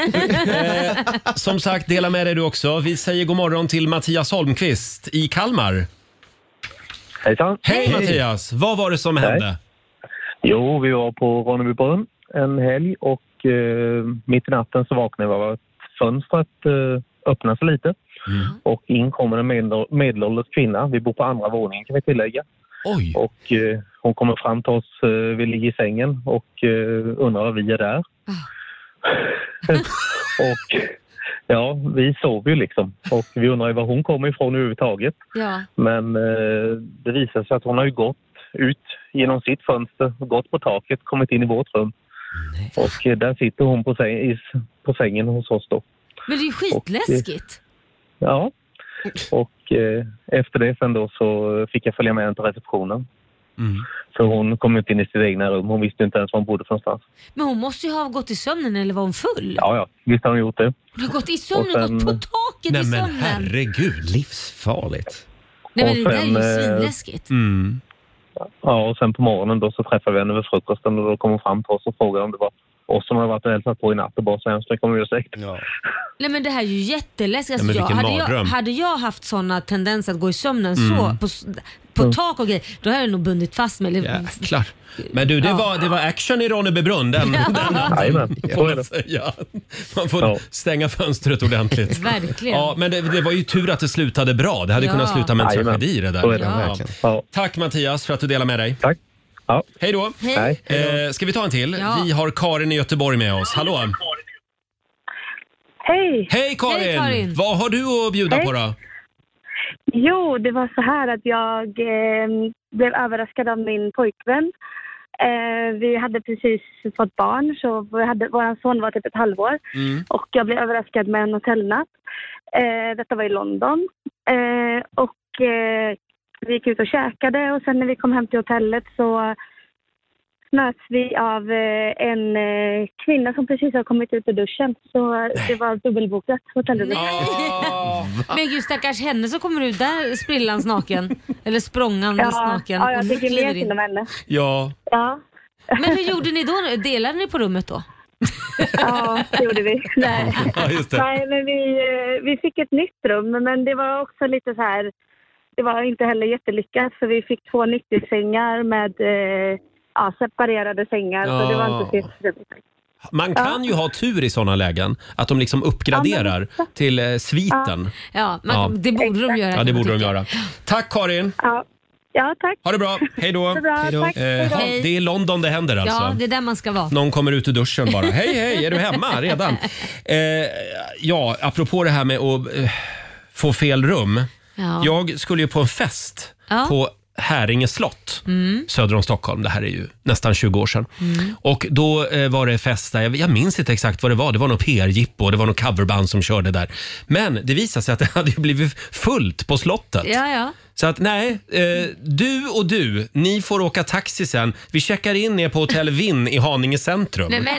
[SPEAKER 1] Som sagt, dela med dig du också. Vi säger god morgon till Mattias Holmqvist i Kalmar.
[SPEAKER 14] Hejsan.
[SPEAKER 1] Hej, Mattias! Vad var det som hände?
[SPEAKER 14] Jo, vi var på Ronnebybrunn en helg och eh, mitt i natten så vaknade jag av att fönstret eh, öppnas lite. Och in kommer en medel- medelålders kvinna. Vi bor på andra våningen kan vi tillägga.
[SPEAKER 1] Oj.
[SPEAKER 14] Och eh, hon kommer fram till oss, eh, vi ligger i sängen och eh, undrar vad vi är där. och ja, vi sov ju liksom. Och vi undrar ju var hon kommer ifrån överhuvudtaget.
[SPEAKER 2] Ja.
[SPEAKER 14] Men eh, det visar sig att hon har ju gått ut genom sitt fönster, gått på taket, kommit in i vårt rum. Och eh, där sitter hon på, säng, i, s- på sängen hos oss då.
[SPEAKER 2] Men det är ju skitläskigt.
[SPEAKER 14] Ja. Och eh, efter det sen då så fick jag följa med henne till receptionen. För hon kom inte in i sitt egna rum. Hon visste inte ens var hon bodde för någonstans.
[SPEAKER 2] Men hon måste ju ha gått i sömnen eller var hon full?
[SPEAKER 14] Ja, ja. Visst har hon gjort det.
[SPEAKER 2] Hon har gått i sömnen och
[SPEAKER 14] Och sen-
[SPEAKER 2] gått på taket i sömnen.
[SPEAKER 1] herregud.
[SPEAKER 14] Livsfarligt.
[SPEAKER 2] Nej men det där är ju
[SPEAKER 14] Och sen, eh, mm.
[SPEAKER 2] svinläskigt.
[SPEAKER 14] Ja, och sen på morgonen då så träffade vi henne vid frukosten och då kom hon fram till oss och frågade om det var oss som hade varit och hälsat på i natt och bara så hemskt mycket om ursäkt. Ja.
[SPEAKER 2] Nej men det här är ju jätteläskigt.
[SPEAKER 14] men
[SPEAKER 2] Alltså, jag,
[SPEAKER 14] vilken
[SPEAKER 2] hade, jag,
[SPEAKER 14] mardröm.
[SPEAKER 2] hade jag haft sådana tendenser att gå i sömnen
[SPEAKER 1] Mm.
[SPEAKER 2] så, på, s- på
[SPEAKER 1] Mm.
[SPEAKER 2] tak och grejer, då hade jag nog bundit fast mig. Eller,
[SPEAKER 1] Jäklar. Men du, det, var, det var action i Ronnebybrunn den, den natten. Får man, säga. man får stänga fönstret ordentligt.
[SPEAKER 2] Verkligen.
[SPEAKER 1] Ja, men det, det var ju tur att det slutade bra. Det hade
[SPEAKER 2] Ja.
[SPEAKER 1] kunnat sluta med en
[SPEAKER 14] Jajamän.
[SPEAKER 1] tragedi det där.
[SPEAKER 14] Så är det verkligen.
[SPEAKER 1] Tack Mattias för att du delar med dig.
[SPEAKER 14] Tack. Ja.
[SPEAKER 1] Hej då.
[SPEAKER 2] Hej.
[SPEAKER 1] Eh, ska vi ta en till?
[SPEAKER 2] Ja.
[SPEAKER 1] Vi har Karin i Göteborg med oss. Hallå!
[SPEAKER 15] Hej!
[SPEAKER 1] Hej Karin!
[SPEAKER 15] Hej, Karin.
[SPEAKER 1] Vad har du att bjuda
[SPEAKER 15] Hej.
[SPEAKER 1] på då?
[SPEAKER 15] Jo, det var så här att jag eh, blev överraskad av min pojkvän. Eh, vi hade precis fått barn, så vi hade, vår son var typ ett halvår.
[SPEAKER 1] Mm.
[SPEAKER 15] Och jag blev överraskad med en hotellnatt. Eh, detta var i London. Eh, och eh, vi gick ut och käkade och sen när vi kom hem till hotellet så möts vi av eh, en eh, kvinna som precis har kommit ut ur duschen. Så eh, det var dubbelbokat hotellrum.
[SPEAKER 2] Men gud stackars henne så kommer du där sprillans naken. Eller språngandes
[SPEAKER 15] Ja,
[SPEAKER 2] naken.
[SPEAKER 15] ja, jag
[SPEAKER 2] Och nu
[SPEAKER 15] tycker mer
[SPEAKER 2] kliver in.
[SPEAKER 15] synd om henne.
[SPEAKER 1] Ja.
[SPEAKER 15] Ja.
[SPEAKER 2] Men hur gjorde ni då? Delade ni på rummet då?
[SPEAKER 15] Ja, det gjorde vi. Nej,
[SPEAKER 1] Ja, just det.
[SPEAKER 15] Nej men vi, eh, vi fick ett nytt rum, men det var också lite så här... Det var inte heller jättelyckat, för vi fick två 90-sängar med eh, ja, separerade sängar, så det var
[SPEAKER 1] Ah.
[SPEAKER 15] inte så jättetrevligt.
[SPEAKER 1] Man kan ju ha tur i sådana lägen. Att de liksom uppgraderar till eh, sviten.
[SPEAKER 2] Ja, man,
[SPEAKER 1] Ja.
[SPEAKER 2] det borde de göra.
[SPEAKER 1] Ja, det borde de göra. Tack Karin!
[SPEAKER 15] Ja. Ja, tack.
[SPEAKER 1] Ha det bra, hej då!
[SPEAKER 2] Så bra, Hej då. tack.
[SPEAKER 1] Eh,
[SPEAKER 2] Hej då.
[SPEAKER 1] det är i London det händer alltså.
[SPEAKER 2] Ja, det är där man ska vara.
[SPEAKER 1] Någon kommer ut ur duschen bara. Hej, hej, är du hemma redan? Eh, ja, apropå det här med att eh, få fel rum.
[SPEAKER 2] Ja.
[SPEAKER 1] Jag skulle ju på en fest
[SPEAKER 2] Ja.
[SPEAKER 1] på Häringe slott
[SPEAKER 2] Mm.
[SPEAKER 1] söder om Stockholm. Det här är ju nästan 20 år sedan. Mm. Och då eh, var det fest där, jag, jag minns inte exakt vad det var. Det var något PR-jippo, det var något coverband som körde där. Men det visade sig att det hade ju blivit fullt på slottet.
[SPEAKER 2] Ja, ja.
[SPEAKER 1] Så att nej, eh, du och du, ni får åka taxi sen. Vi checkar in er på hotell Vinn i Haninge centrum.
[SPEAKER 2] Nej, men,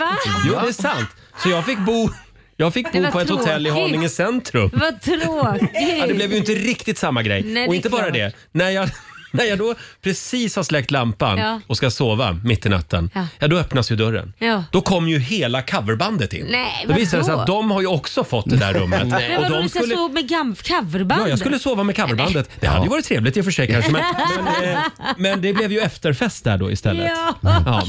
[SPEAKER 2] va?
[SPEAKER 1] Jo, det är sant. Så jag fick bo, jag fick
[SPEAKER 2] Det
[SPEAKER 1] bo
[SPEAKER 2] var
[SPEAKER 1] på ett hotell i
[SPEAKER 2] tråkigt.
[SPEAKER 1] Haninge centrum.
[SPEAKER 2] Vad tråkigt.
[SPEAKER 1] Ja, det blev ju inte riktigt samma grej.
[SPEAKER 2] Nej, det
[SPEAKER 1] och
[SPEAKER 2] är
[SPEAKER 1] inte bara
[SPEAKER 2] klart.
[SPEAKER 1] det. När jag, när jag då precis har släckt lampan
[SPEAKER 2] Ja.
[SPEAKER 1] och ska sova mitt i natten,
[SPEAKER 2] Ja.
[SPEAKER 1] ja. då öppnas ju dörren.
[SPEAKER 2] Ja.
[SPEAKER 1] Då kom ju hela coverbandet in.
[SPEAKER 2] Nej,
[SPEAKER 1] då visade det sig
[SPEAKER 2] vadå?
[SPEAKER 1] att de har ju också fått det där rummet.
[SPEAKER 2] Men
[SPEAKER 1] Och
[SPEAKER 2] vadå,
[SPEAKER 1] de
[SPEAKER 2] du ska
[SPEAKER 1] skulle,
[SPEAKER 2] sova med gam- coverband?
[SPEAKER 1] ja, jag skulle sova med coverbandet. Det hade ju varit trevligt i och för sig kanske, men, men, eh, men det blev ju efterfest där då istället.
[SPEAKER 2] Ja.
[SPEAKER 1] Ja.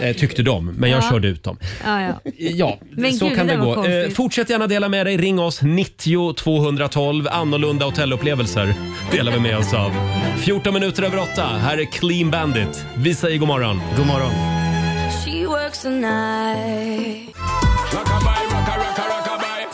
[SPEAKER 1] Eh, Tyckte de, men jag
[SPEAKER 2] Ja.
[SPEAKER 1] körde ut dem.
[SPEAKER 2] Ja, ja.
[SPEAKER 1] Ja,
[SPEAKER 2] Men
[SPEAKER 1] så
[SPEAKER 2] gud,
[SPEAKER 1] kan
[SPEAKER 2] det
[SPEAKER 1] det,
[SPEAKER 2] där var
[SPEAKER 1] gå. Eh,
[SPEAKER 2] konstigt.
[SPEAKER 1] fortsätt gärna dela med dig. Ring oss 90 212. Annorlunda hotellupplevelser delar vi med oss av. 14 minuter över 8. Här är Clean Bandit. Vi säger god morgon. God morgon.
[SPEAKER 4] She works a night.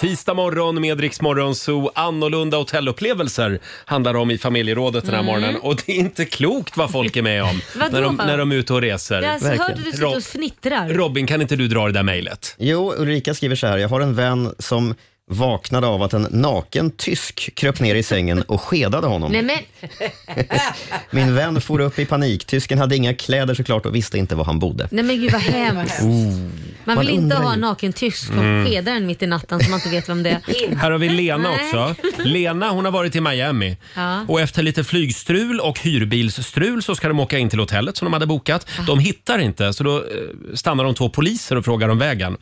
[SPEAKER 1] Tisdag morgon med Rix Morgon Zoo. Annorlunda hotellupplevelser handlar om i familjerådet den här
[SPEAKER 2] Mm.
[SPEAKER 1] morgonen. Och det är inte klokt vad folk är med om
[SPEAKER 2] Vadå,
[SPEAKER 1] när, de,
[SPEAKER 2] va?
[SPEAKER 1] när de är ute och reser.
[SPEAKER 2] Jag alltså, hörde du sitter och fnittrar.
[SPEAKER 1] Robin, kan inte du dra det där mejlet?
[SPEAKER 3] Jo, Ulrika skriver så här. Jag har en vän som vaknade av att en naken tysk kröp ner i sängen och skedade honom.
[SPEAKER 2] Nej, men.
[SPEAKER 3] Min vän for upp i panik. Tysken hade inga kläder såklart och visste inte var han bodde.
[SPEAKER 2] Nej men gud vad hemskt. Man
[SPEAKER 3] Man
[SPEAKER 2] vill inte
[SPEAKER 3] undrar
[SPEAKER 2] ha
[SPEAKER 3] ju.
[SPEAKER 2] en naken tysk som
[SPEAKER 1] Mm.
[SPEAKER 2] skedar en mitt i natten så man inte vet vem det är.
[SPEAKER 1] Här har vi Lena
[SPEAKER 2] Nej.
[SPEAKER 1] också. Lena hon har varit i Miami.
[SPEAKER 2] Ja.
[SPEAKER 1] Och efter lite flygstrul och hyrbilsstrul så ska de åka in till hotellet som de hade bokat. De hittar inte, så då eh, stannar de två poliser och frågar om vägen.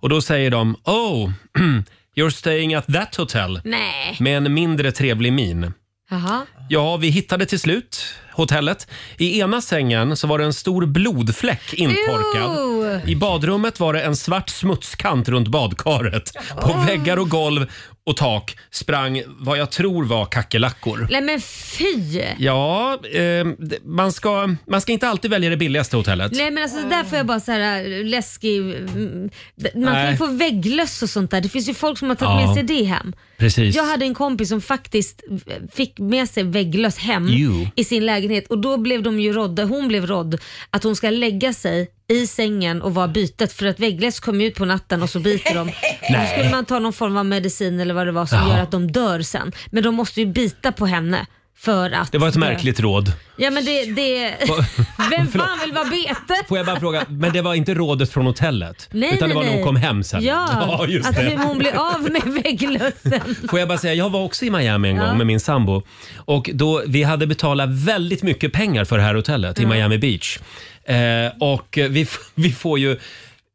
[SPEAKER 1] Och då säger de “Oh, you're staying at that hotel”
[SPEAKER 2] Nej.
[SPEAKER 1] med en mindre trevlig min.
[SPEAKER 2] Jaha.
[SPEAKER 1] Ja, vi hittade till slut hotellet. I ena sängen så var det en stor blodfläck intorkad.
[SPEAKER 2] Ew.
[SPEAKER 1] I badrummet var det en svart smutskant runt badkaret. På väggar och golv och tak sprang vad jag tror var kackerlackor.
[SPEAKER 2] Nej men fy.
[SPEAKER 1] Ja, eh, d- man, ska, man ska inte alltid välja det billigaste hotellet.
[SPEAKER 2] Nej men alltså där får jag bara så här äh, läskig... mm, d- Man kan ju
[SPEAKER 1] Nej.
[SPEAKER 2] få vägglöss och sånt där. Det finns ju folk som har tagit
[SPEAKER 1] Ja.
[SPEAKER 2] med sig det hem.
[SPEAKER 1] Precis.
[SPEAKER 2] Jag hade en kompis som faktiskt eh, fick med sig vägglöss hem
[SPEAKER 1] Jo.
[SPEAKER 2] i sin lägenhet och då blev de ju rådda, hon blev rådd att hon ska lägga sig i sängen och vara bytet för att vägglöss kommer ut på natten och så biter de. Och Då
[SPEAKER 4] Nej.
[SPEAKER 2] skulle man ta någon form av medicin eller vad det var som
[SPEAKER 1] Jaha.
[SPEAKER 2] gör att de dör sen. Men de måste ju bita på henne för att...
[SPEAKER 1] Det var ett märkligt råd.
[SPEAKER 2] Ja men det... det vem fan vill vara bete?
[SPEAKER 1] Får jag bara fråga, men det var inte rådet från hotellet?
[SPEAKER 2] Nej,
[SPEAKER 1] utan det
[SPEAKER 2] nej,
[SPEAKER 1] var när
[SPEAKER 2] nej.
[SPEAKER 1] hon kom hem sen?
[SPEAKER 2] Ja,
[SPEAKER 1] just
[SPEAKER 2] att
[SPEAKER 1] det.
[SPEAKER 2] hur hon blir av med vägglössen.
[SPEAKER 1] Får jag bara säga, jag var också i Miami en
[SPEAKER 2] Ja.
[SPEAKER 1] gång med min sambo. Och då, vi hade betalat väldigt mycket pengar för det här hotellet i
[SPEAKER 2] Ja.
[SPEAKER 1] Miami Beach. Eh, och eh, vi, f- vi får ju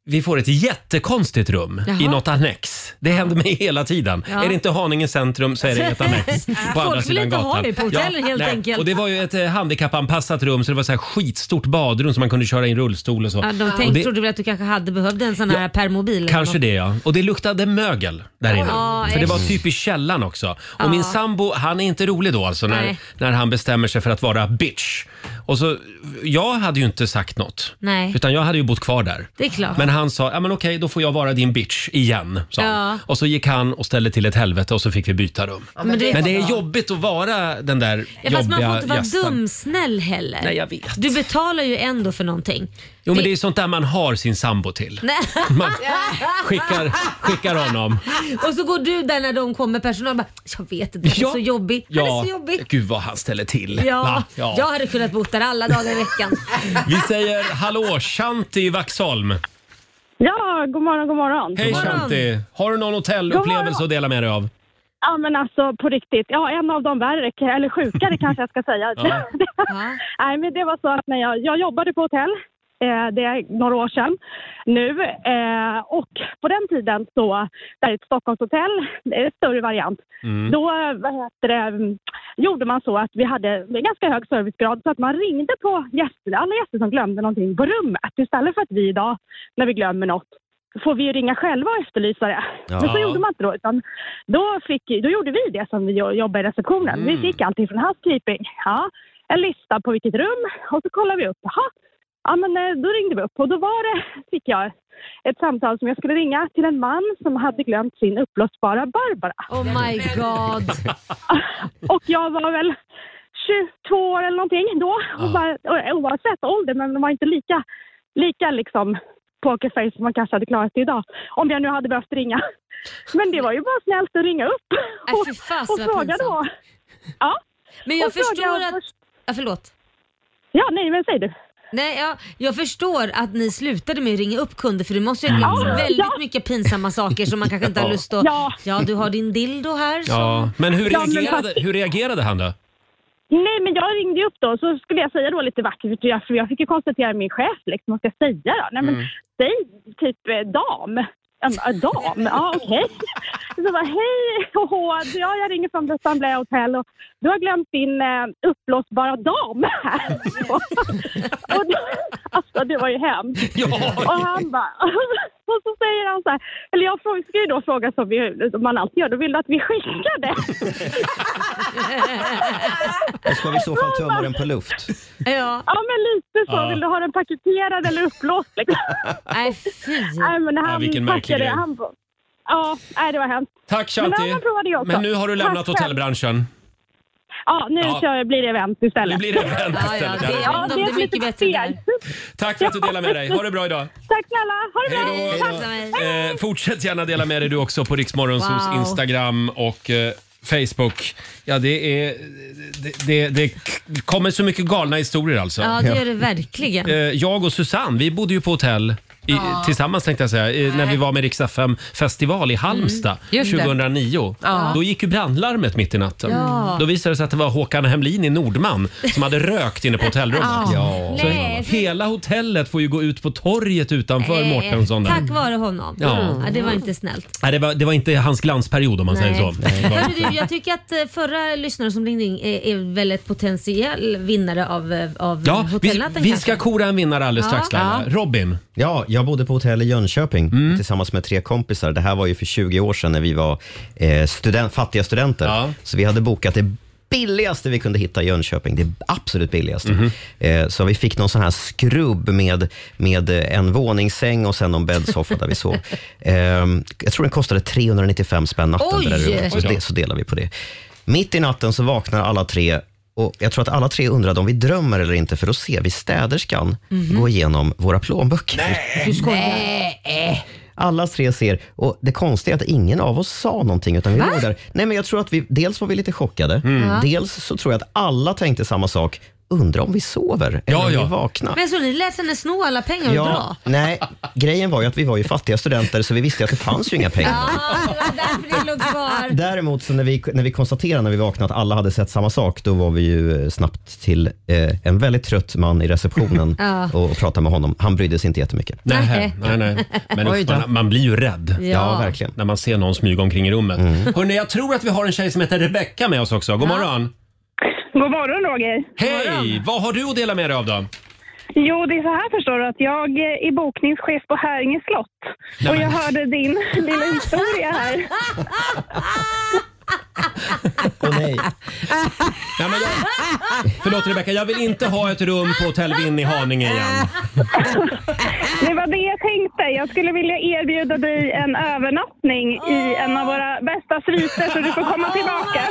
[SPEAKER 1] vi får ett jättekonstigt rum
[SPEAKER 2] Jaha.
[SPEAKER 1] i något annex. Det händer mig hela tiden.
[SPEAKER 2] Ja.
[SPEAKER 1] Är det inte Haninge centrum så är det ett annex på
[SPEAKER 2] Folk
[SPEAKER 1] andra
[SPEAKER 2] vill
[SPEAKER 1] sidan
[SPEAKER 2] inte ha
[SPEAKER 1] gatan.
[SPEAKER 2] det på hotellen helt enkelt.
[SPEAKER 1] Och det var ju ett eh, handikappanpassat rum så det var så här skitstort badrum som man kunde köra in rullstol och så.
[SPEAKER 2] Ja, de
[SPEAKER 1] och
[SPEAKER 2] tänkte,
[SPEAKER 1] det,
[SPEAKER 2] trodde väl att du kanske hade behövt en sån här permobil. eller
[SPEAKER 1] Kanske
[SPEAKER 2] något.
[SPEAKER 1] det ja. Och det luktade mögel där inne.
[SPEAKER 2] Ja,
[SPEAKER 1] för det var
[SPEAKER 2] äsch.
[SPEAKER 1] typ i källaren också. Och
[SPEAKER 2] Ja.
[SPEAKER 1] min sambo, han är inte rolig då alltså när,
[SPEAKER 2] Nej.
[SPEAKER 1] när han bestämmer sig för att vara bitch. Och så, jag hade ju inte sagt något.
[SPEAKER 2] Nej.
[SPEAKER 1] Utan jag hade ju bott kvar där.
[SPEAKER 2] Det är klart.
[SPEAKER 1] Men han sa, ja men okej då får jag vara din bitch igen. Sa han.
[SPEAKER 2] Ja.
[SPEAKER 1] Och så gick han och ställde till ett helvete och så fick vi byta rum.
[SPEAKER 2] Ja,
[SPEAKER 1] men,
[SPEAKER 2] men
[SPEAKER 1] det,
[SPEAKER 2] det-
[SPEAKER 1] är jobbigt att vara den där
[SPEAKER 2] Ja, fast man får
[SPEAKER 1] jobbiga
[SPEAKER 2] inte vara
[SPEAKER 1] gästen.
[SPEAKER 2] dumsnäll heller.
[SPEAKER 1] Nej, jag vet.
[SPEAKER 2] Du betalar ju ändå för någonting.
[SPEAKER 1] Jo men det är sånt där man har sin sambo till.
[SPEAKER 2] Nej.
[SPEAKER 1] Man skickar, skickar honom.
[SPEAKER 2] Och så går du där när de kommer personal och bara, jag vet inte, det är
[SPEAKER 1] Ja.
[SPEAKER 2] så jobbig. Han är
[SPEAKER 1] Ja,
[SPEAKER 2] så jobbig.
[SPEAKER 1] gud vad han ställer till.
[SPEAKER 2] Ja,
[SPEAKER 1] va?
[SPEAKER 2] jag hade kunnat bo där alla dagar i veckan.
[SPEAKER 1] Vi säger hallå, Shanti i Vaxholm.
[SPEAKER 15] Ja, god morgon, god morgon.
[SPEAKER 1] Hej Shanti! Har du någon hotellupplevelse att dela med dig av?
[SPEAKER 15] Ja, men alltså på riktigt. Ja, en av de värre, eller sjukare kanske jag ska säga.
[SPEAKER 1] Ja.
[SPEAKER 15] Nej, men det var så att när jag, jag jobbade på hotell, eh, det är några år sedan nu. Eh, och på den tiden så, det här är ett Stockholmshotell, det är en större variant.
[SPEAKER 16] Mm.
[SPEAKER 15] Då eh, vad heter det, gjorde man så att vi hade en ganska hög servicegrad så att man ringde på gäster, alla gäster som glömde någonting på rummet. Istället för att vi idag, när vi glömmer något, får vi ju ringa själva och efterlysa det.
[SPEAKER 16] Ja.
[SPEAKER 15] Men så gjorde man inte då. Utan då, fick, då gjorde vi det som vi jo- jobbar i receptionen.
[SPEAKER 16] Mm.
[SPEAKER 15] Vi fick allting från housekeeping. Ja, en lista på vilket rum och så kollade vi upp. Jaha, ja, men eh, då ringde vi upp och då var det, fick jag ett samtal som jag skulle ringa till en man som hade glömt sin uppblåsbara Barbara.
[SPEAKER 2] Oh my god.
[SPEAKER 15] och jag var väl 22 år eller någonting då. Och
[SPEAKER 16] Ja.
[SPEAKER 15] bara, och- oavsett ålder, men de var inte lika, lika liksom pokerface som man kanske hade klarat det idag. Om jag nu hade behövt ringa. Men det var ju bara snällt att ringa upp
[SPEAKER 2] Äh,
[SPEAKER 15] och,
[SPEAKER 2] fy fasen,
[SPEAKER 15] och
[SPEAKER 2] vad
[SPEAKER 15] fråga då.
[SPEAKER 2] pinsamt.
[SPEAKER 15] Ja.
[SPEAKER 2] Men jag
[SPEAKER 15] Och fråga
[SPEAKER 2] förstår
[SPEAKER 15] om-
[SPEAKER 2] att... Ja, förlåt.
[SPEAKER 15] Ja, nej men säg du.
[SPEAKER 2] Nej, ja, jag förstår att ni slutade med att ringa upp kunder för du måste ju ha glömt
[SPEAKER 1] Mm.
[SPEAKER 2] väldigt mycket pinsamma saker som man kanske inte har
[SPEAKER 1] Ja.
[SPEAKER 2] lust att...
[SPEAKER 15] Ja.
[SPEAKER 2] ja, du har din dildo här. som-
[SPEAKER 1] Ja. Men hur
[SPEAKER 15] Ja, men
[SPEAKER 1] reagerade,
[SPEAKER 15] fast-
[SPEAKER 1] hur reagerade han då?
[SPEAKER 15] Nej, men jag ringde ju upp då så skulle jag säga då lite vackert, för jag- för jag fick ju konstatera min chef liksom, vad ska jag säga då? Nej men
[SPEAKER 16] Mm.
[SPEAKER 15] säg typ eh, dam. Äm, äh, dam, ja okej. Så bara hej, åhå, ja, jag ringer från The Sunblay Hotel och du har glömt din eh, uppblåsbara dam här. och då, alltså det var ju hemskt. Och han bara, och så säger han så här, eller jag frågar- ska ju då fråga som, vi, som man alltid gör, då vill du att vi skickar det?
[SPEAKER 3] Då ska vi i så fall tömma den på luft.
[SPEAKER 2] Ja.
[SPEAKER 15] ja, men lite så.
[SPEAKER 3] Ja.
[SPEAKER 15] Vill du ha den paketerad eller uppblåst? Liksom?
[SPEAKER 2] Nej, fy.
[SPEAKER 15] Nej, men han
[SPEAKER 1] Ja, vilken märklig
[SPEAKER 15] packade-
[SPEAKER 1] grej.
[SPEAKER 15] Han, ja, nej, det var hemskt.
[SPEAKER 1] Tack
[SPEAKER 15] Men
[SPEAKER 1] Shanti!
[SPEAKER 15] det andra provade jag också.
[SPEAKER 1] Men nu har du lämnat
[SPEAKER 15] Tack själv.
[SPEAKER 1] hotellbranschen.
[SPEAKER 15] Ja, nu
[SPEAKER 1] Ja.
[SPEAKER 15] Kör, blir det event
[SPEAKER 1] Nu
[SPEAKER 15] istället.
[SPEAKER 1] blir det event Ja, ja, istället, ja. det- jag vet inte om det är
[SPEAKER 15] mycket bättre där.
[SPEAKER 1] Tack för att du delade med dig. Ha det bra idag.
[SPEAKER 15] Tack snälla. Ha det bra.
[SPEAKER 1] Hej då.
[SPEAKER 15] Tack.
[SPEAKER 1] Eh, fortsätt gärna dela med dig du också på Riksmorgonsos
[SPEAKER 15] Wow.
[SPEAKER 1] Instagram och eh, Facebook. Ja, det är... Det, det, det kommer så mycket galna historier alltså.
[SPEAKER 2] Ja, det gör det verkligen.
[SPEAKER 1] Eh, Jag och Susanne, vi bodde ju på hotell i,
[SPEAKER 2] Ja.
[SPEAKER 1] tillsammans tänkte jag säga, i- när vi var med Riksdag 5 festival i Halmstad
[SPEAKER 2] Mm, just det.
[SPEAKER 1] 2009.
[SPEAKER 2] Ja.
[SPEAKER 1] Då gick ju brandlarmet mitt i natten.
[SPEAKER 2] Ja.
[SPEAKER 1] Då visade det sig att det var Håkan Hemlin i Nordman som hade rökt inne på hotellrummet.
[SPEAKER 2] Ja. Ja.
[SPEAKER 1] Så
[SPEAKER 2] Nej, för-
[SPEAKER 1] hela hotellet får ju gå ut på torget utanför
[SPEAKER 2] Nej,
[SPEAKER 1] Mårtensson. där.
[SPEAKER 2] Eh, Tack vare honom. Mm.
[SPEAKER 1] Ja.
[SPEAKER 2] Ja. det var inte snällt.
[SPEAKER 1] Nej, det, var, det var inte hans glansperiod om man
[SPEAKER 2] Nej.
[SPEAKER 1] säger så. Det var
[SPEAKER 2] Hörru
[SPEAKER 1] inte-
[SPEAKER 2] du, jag tycker att eh, förra lyssnaren som ringde in är, är väl ett potentiell vinnare av, eh, av
[SPEAKER 1] Ja, vi,
[SPEAKER 2] hotellnatten
[SPEAKER 1] vi
[SPEAKER 2] kanske.
[SPEAKER 1] ska kora en vinnare alldeles
[SPEAKER 2] Ja.
[SPEAKER 1] strax Laila.
[SPEAKER 2] Ja.
[SPEAKER 1] Robin. Mm.
[SPEAKER 3] Ja, jag bodde på hotell i Jönköping tillsammans med tre kompisar. Det här var ju för 20 år sedan när vi var eh, student, fattiga studenter. Så vi hade bokat det billigaste vi kunde hitta i Jönköping. Det absolut billigaste.
[SPEAKER 1] Mhm.
[SPEAKER 3] Eh, så vi fick någon sån här skrubb med, med eh, en våningssäng och sen någon bäddsoffa där vi sov. Eh, jag tror den kostade 395 spänn natten.
[SPEAKER 16] Oj!
[SPEAKER 3] det där rummet, så,
[SPEAKER 16] Oj då.
[SPEAKER 3] det, så delade vi på det. Mitt i natten så vaknar alla tre och jag tror att alla tre undrade om vi drömmer eller inte, för då ser vi städerskan
[SPEAKER 16] Mhm.
[SPEAKER 3] gå igenom våra plånböcker.
[SPEAKER 16] Du skojar? Nej.
[SPEAKER 3] Alla tre ser, och det konstiga är att ingen av oss sa någonting. Utan vi
[SPEAKER 16] Va?
[SPEAKER 3] låg där. Nej, men jag tror att vi, dels var vi lite chockade,
[SPEAKER 16] Ja.
[SPEAKER 3] dels så tror jag att alla tänkte samma sak. Undrar om vi sover eller om vi vaknar.
[SPEAKER 2] Men så ni lät henne sno alla pengar och dra?
[SPEAKER 3] nej, grejen var ju att vi var ju fattiga studenter så vi visste ju att det fanns ju inga pengar.
[SPEAKER 2] Ja, det var därför det låg kvar.
[SPEAKER 3] Ah, Däremot så när vi, när vi konstaterade när vi vaknade att alla hade sett samma sak, då var vi ju eh, snabbt till eh, en väldigt trött man i receptionen
[SPEAKER 2] Ja.
[SPEAKER 3] och, och pratade med honom. Han brydde sig inte jättemycket.
[SPEAKER 1] Nej, nej, nej. Men
[SPEAKER 3] Oj då.
[SPEAKER 1] man, man blir ju rädd.
[SPEAKER 2] Ja. Ja,
[SPEAKER 3] verkligen.
[SPEAKER 1] När man ser någon smyga omkring i rummet.
[SPEAKER 3] Mm.
[SPEAKER 1] Hörrni, jag tror att vi har en tjej som heter Rebecka med oss också. God morgon!
[SPEAKER 16] God morgon Roger.
[SPEAKER 1] Hej! Vad har du att dela med dig av då?
[SPEAKER 15] Jo, det är så här förstår du att jag eh, är bokningschef på Häringe slott.
[SPEAKER 10] Nej,
[SPEAKER 15] och jag
[SPEAKER 10] men-
[SPEAKER 15] hörde din lilla historia här.
[SPEAKER 3] Åh nej.
[SPEAKER 1] Nej, men jag... Förlåt Rebecka, jag vill inte ha ett rum på Hotell Vinn i Haninge igen.
[SPEAKER 15] Det var det jag tänkte. Jag skulle vilja erbjuda dig en övernattning i en av våra bästa sviter så du får komma tillbaka.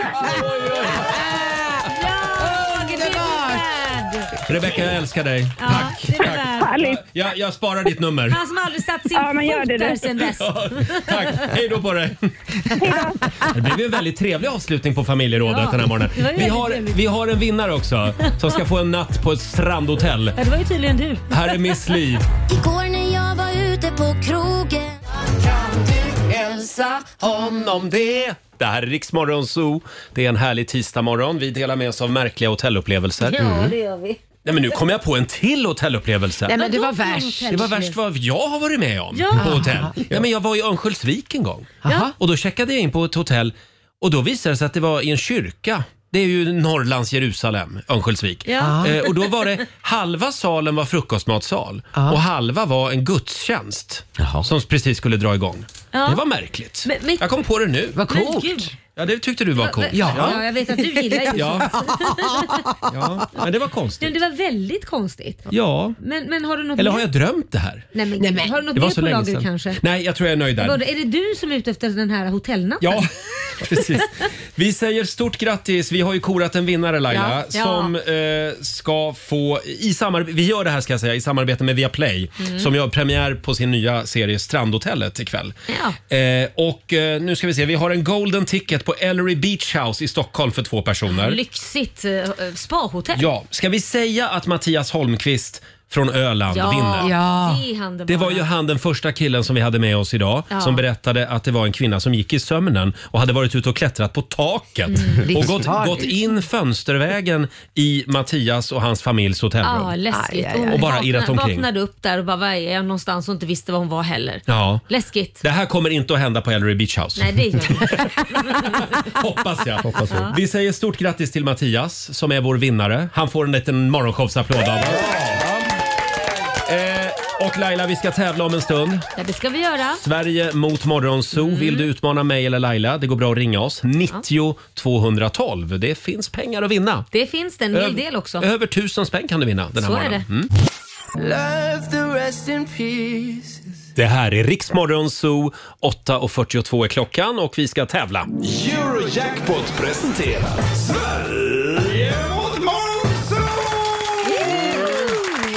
[SPEAKER 1] Rebecka, jag älskar dig.
[SPEAKER 2] Ja, det är värt.
[SPEAKER 1] Jag, jag sparar ditt nummer.
[SPEAKER 2] Han som aldrig satt sin
[SPEAKER 15] Ja, men gör
[SPEAKER 2] fot
[SPEAKER 15] det
[SPEAKER 2] där
[SPEAKER 15] du.
[SPEAKER 2] sen dess.
[SPEAKER 1] Tack, hej då på dig. Det blev ju en väldigt trevlig avslutning på familjerådet
[SPEAKER 2] Ja,
[SPEAKER 1] den här morgonen.
[SPEAKER 2] det var ju
[SPEAKER 1] Vi
[SPEAKER 2] väldigt
[SPEAKER 1] har,
[SPEAKER 2] trevligt.
[SPEAKER 1] vi har en vinnare också som ska få en natt på ett strandhotell.
[SPEAKER 2] Ja, det var ju tydligen du.
[SPEAKER 1] Här är Miss Li.
[SPEAKER 17] Igår när jag var ute på krogen Kan du hälsa honom det?
[SPEAKER 1] Det här är Riksmorgon Zoo. Det är en härlig tisdagmorgon. Vi delar med oss av märkliga hotellupplevelser.
[SPEAKER 2] Ja, det gör vi.
[SPEAKER 1] Nej, men nu kom jag på en till hotellupplevelse.
[SPEAKER 7] Nej, men det var värst.
[SPEAKER 1] Det var värst vad jag har varit med om
[SPEAKER 7] Ja.
[SPEAKER 1] på hotell. Nej, men jag var i Örnsköldsvik en gång och då checkade jag in på ett hotell och då visade det sig att det var i en kyrka. Det är ju Norrlands Jerusalem, Örnsköldsvik.
[SPEAKER 10] Ja.
[SPEAKER 1] Eh, och då var det, halva salen var frukostmatsal och halva var en gudstjänst som precis skulle dra igång.
[SPEAKER 2] Ja.
[SPEAKER 1] Det var märkligt.
[SPEAKER 2] Men- men-
[SPEAKER 1] jag kom på det nu. Vad
[SPEAKER 2] Men coolt. gud.
[SPEAKER 1] Ja, det tyckte du var coolt.
[SPEAKER 2] Ja. ja, jag vet att du gillar ju
[SPEAKER 1] Ja.
[SPEAKER 2] sånt.
[SPEAKER 1] Ja, men det var konstigt.
[SPEAKER 2] Men det var väldigt konstigt.
[SPEAKER 1] Ja.
[SPEAKER 2] Men, men har du något
[SPEAKER 1] Eller
[SPEAKER 2] mer-
[SPEAKER 1] har jag drömt det här?
[SPEAKER 2] Nej, men, Nej, men. Har du något
[SPEAKER 1] Det var
[SPEAKER 2] mer
[SPEAKER 1] så
[SPEAKER 2] på
[SPEAKER 1] länge
[SPEAKER 2] lager
[SPEAKER 1] sedan.
[SPEAKER 2] kanske?
[SPEAKER 1] Nej, jag tror jag är nöjd där.
[SPEAKER 2] Vadå, är det du som är ute efter den här hotellnatten?
[SPEAKER 1] Ja, precis. Vi säger stort grattis. Vi har ju korat en vinnare Laila
[SPEAKER 2] Ja.
[SPEAKER 1] som eh, ska få, i samarbete, vi gör det här ska jag säga, i samarbete med Viaplay
[SPEAKER 10] Mm.
[SPEAKER 1] som gör premiär på sin nya serie Strandhotellet ikväll. Eh, och eh, nu ska vi se, vi har en golden ticket på Ellery Beach House i Stockholm för två personer.
[SPEAKER 2] Lyxigt eh, spahotell.
[SPEAKER 1] Ja, ska vi säga att Mattias Holmqvist från Öland
[SPEAKER 2] Ja,
[SPEAKER 1] vinner?
[SPEAKER 2] det är han det
[SPEAKER 1] Det
[SPEAKER 2] bara.
[SPEAKER 1] var ju han den första killen som vi hade med oss idag
[SPEAKER 2] Ja.
[SPEAKER 1] som berättade att det var en kvinna som gick i sömnen och hade varit ute och klättrat på taket
[SPEAKER 2] Mm.
[SPEAKER 1] och gått,
[SPEAKER 2] Livsfarligt.
[SPEAKER 1] gått in fönstervägen i Mattias och hans familjs hotellrum.
[SPEAKER 2] Ja, läskigt.
[SPEAKER 1] aj, aj. Och bara irrat omkring.
[SPEAKER 2] vaknade upp där och bara, var är jag någonstans och inte visste var hon var heller.
[SPEAKER 1] Ja. Alltså.
[SPEAKER 2] Läskigt.
[SPEAKER 1] Det här kommer inte att hända på Ellery Beach House.
[SPEAKER 2] Nej, det gör jag inte.
[SPEAKER 1] Hoppas jag.
[SPEAKER 2] Hoppas vi. Ja.
[SPEAKER 1] vi säger stort grattis till Mattias som är vår vinnare. Han får en liten morgonshowsapplåd av oss. Eh, och Laila, vi ska tävla om en stund.
[SPEAKER 2] Ja, det ska vi göra.
[SPEAKER 1] Sverige mot Morgonzoo.
[SPEAKER 2] Mm.
[SPEAKER 1] Vill du utmana mig eller Laila? Det går bra att ringa oss. 90 212. Det finns pengar att vinna.
[SPEAKER 2] Det finns det en hel del också.
[SPEAKER 1] Över tusen spänn kan du vinna den här
[SPEAKER 2] Så är
[SPEAKER 1] morgonen.
[SPEAKER 2] det.
[SPEAKER 1] Mm.
[SPEAKER 10] Love the rest in peace.
[SPEAKER 1] Det här är Riksmorgonzoo. 8.42 är klockan och vi ska tävla.
[SPEAKER 10] Eurojackpot presenterar Sverige mot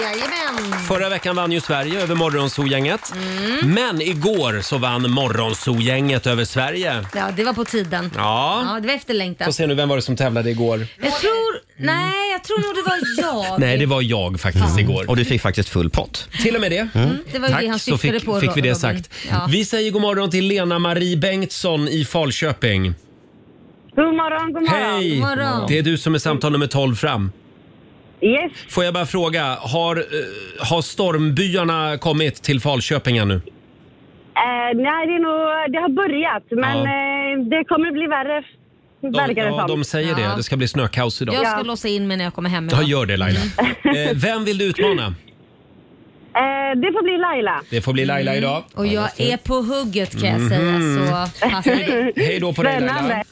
[SPEAKER 2] Jajamän.
[SPEAKER 1] Förra veckan vann ju Sverige över Morgonzoo-gänget.
[SPEAKER 2] Mm.
[SPEAKER 1] Men igår så vann Morgonzoo-gänget över Sverige.
[SPEAKER 2] Ja, det var på tiden.
[SPEAKER 1] Ja.
[SPEAKER 2] det var efterlängtat.
[SPEAKER 1] Får se nu, vem var det som tävlade igår?
[SPEAKER 2] Jag tror, nej, jag tror nog det var jag.
[SPEAKER 1] Nej, det var jag faktiskt igår.
[SPEAKER 3] Och du fick faktiskt full pott.
[SPEAKER 1] Till och med det.
[SPEAKER 2] Mm. Det var ju det han
[SPEAKER 1] Mm. så
[SPEAKER 2] syftade
[SPEAKER 1] fick,
[SPEAKER 2] på,
[SPEAKER 1] fick vi det
[SPEAKER 2] Robin.
[SPEAKER 1] sagt.
[SPEAKER 2] Ja.
[SPEAKER 1] Vi säger god morgon till Lena-Marie Bengtsson i Falköping.
[SPEAKER 18] God morgon, god morgon.
[SPEAKER 1] Hej! Det är du som är samtal nummer 12 fram.
[SPEAKER 18] Yes,
[SPEAKER 1] Får jag bara fråga, har, eh, har stormbyarna kommit till Falköping ännu?
[SPEAKER 18] eh, nej, det, är nog, det har börjat, men
[SPEAKER 1] Ja.
[SPEAKER 18] eh, det kommer bli värre,
[SPEAKER 1] De,
[SPEAKER 18] verkar det
[SPEAKER 1] ja,
[SPEAKER 18] som.
[SPEAKER 1] de säger det. Det ska bli snökaos idag.
[SPEAKER 2] Jag ska låsa in mig när jag kommer hem.
[SPEAKER 1] Ja,
[SPEAKER 2] idag.
[SPEAKER 1] gör det Laila. Eh, vem vill du utmana?
[SPEAKER 18] Eh, det får bli Laila.
[SPEAKER 1] Det får bli Laila idag.
[SPEAKER 2] Mm. Och jag är på hugget kan jag
[SPEAKER 1] Mhm.
[SPEAKER 2] säga. Så passa dig.
[SPEAKER 1] Hej då på dig Laila.
[SPEAKER 2] Spännande.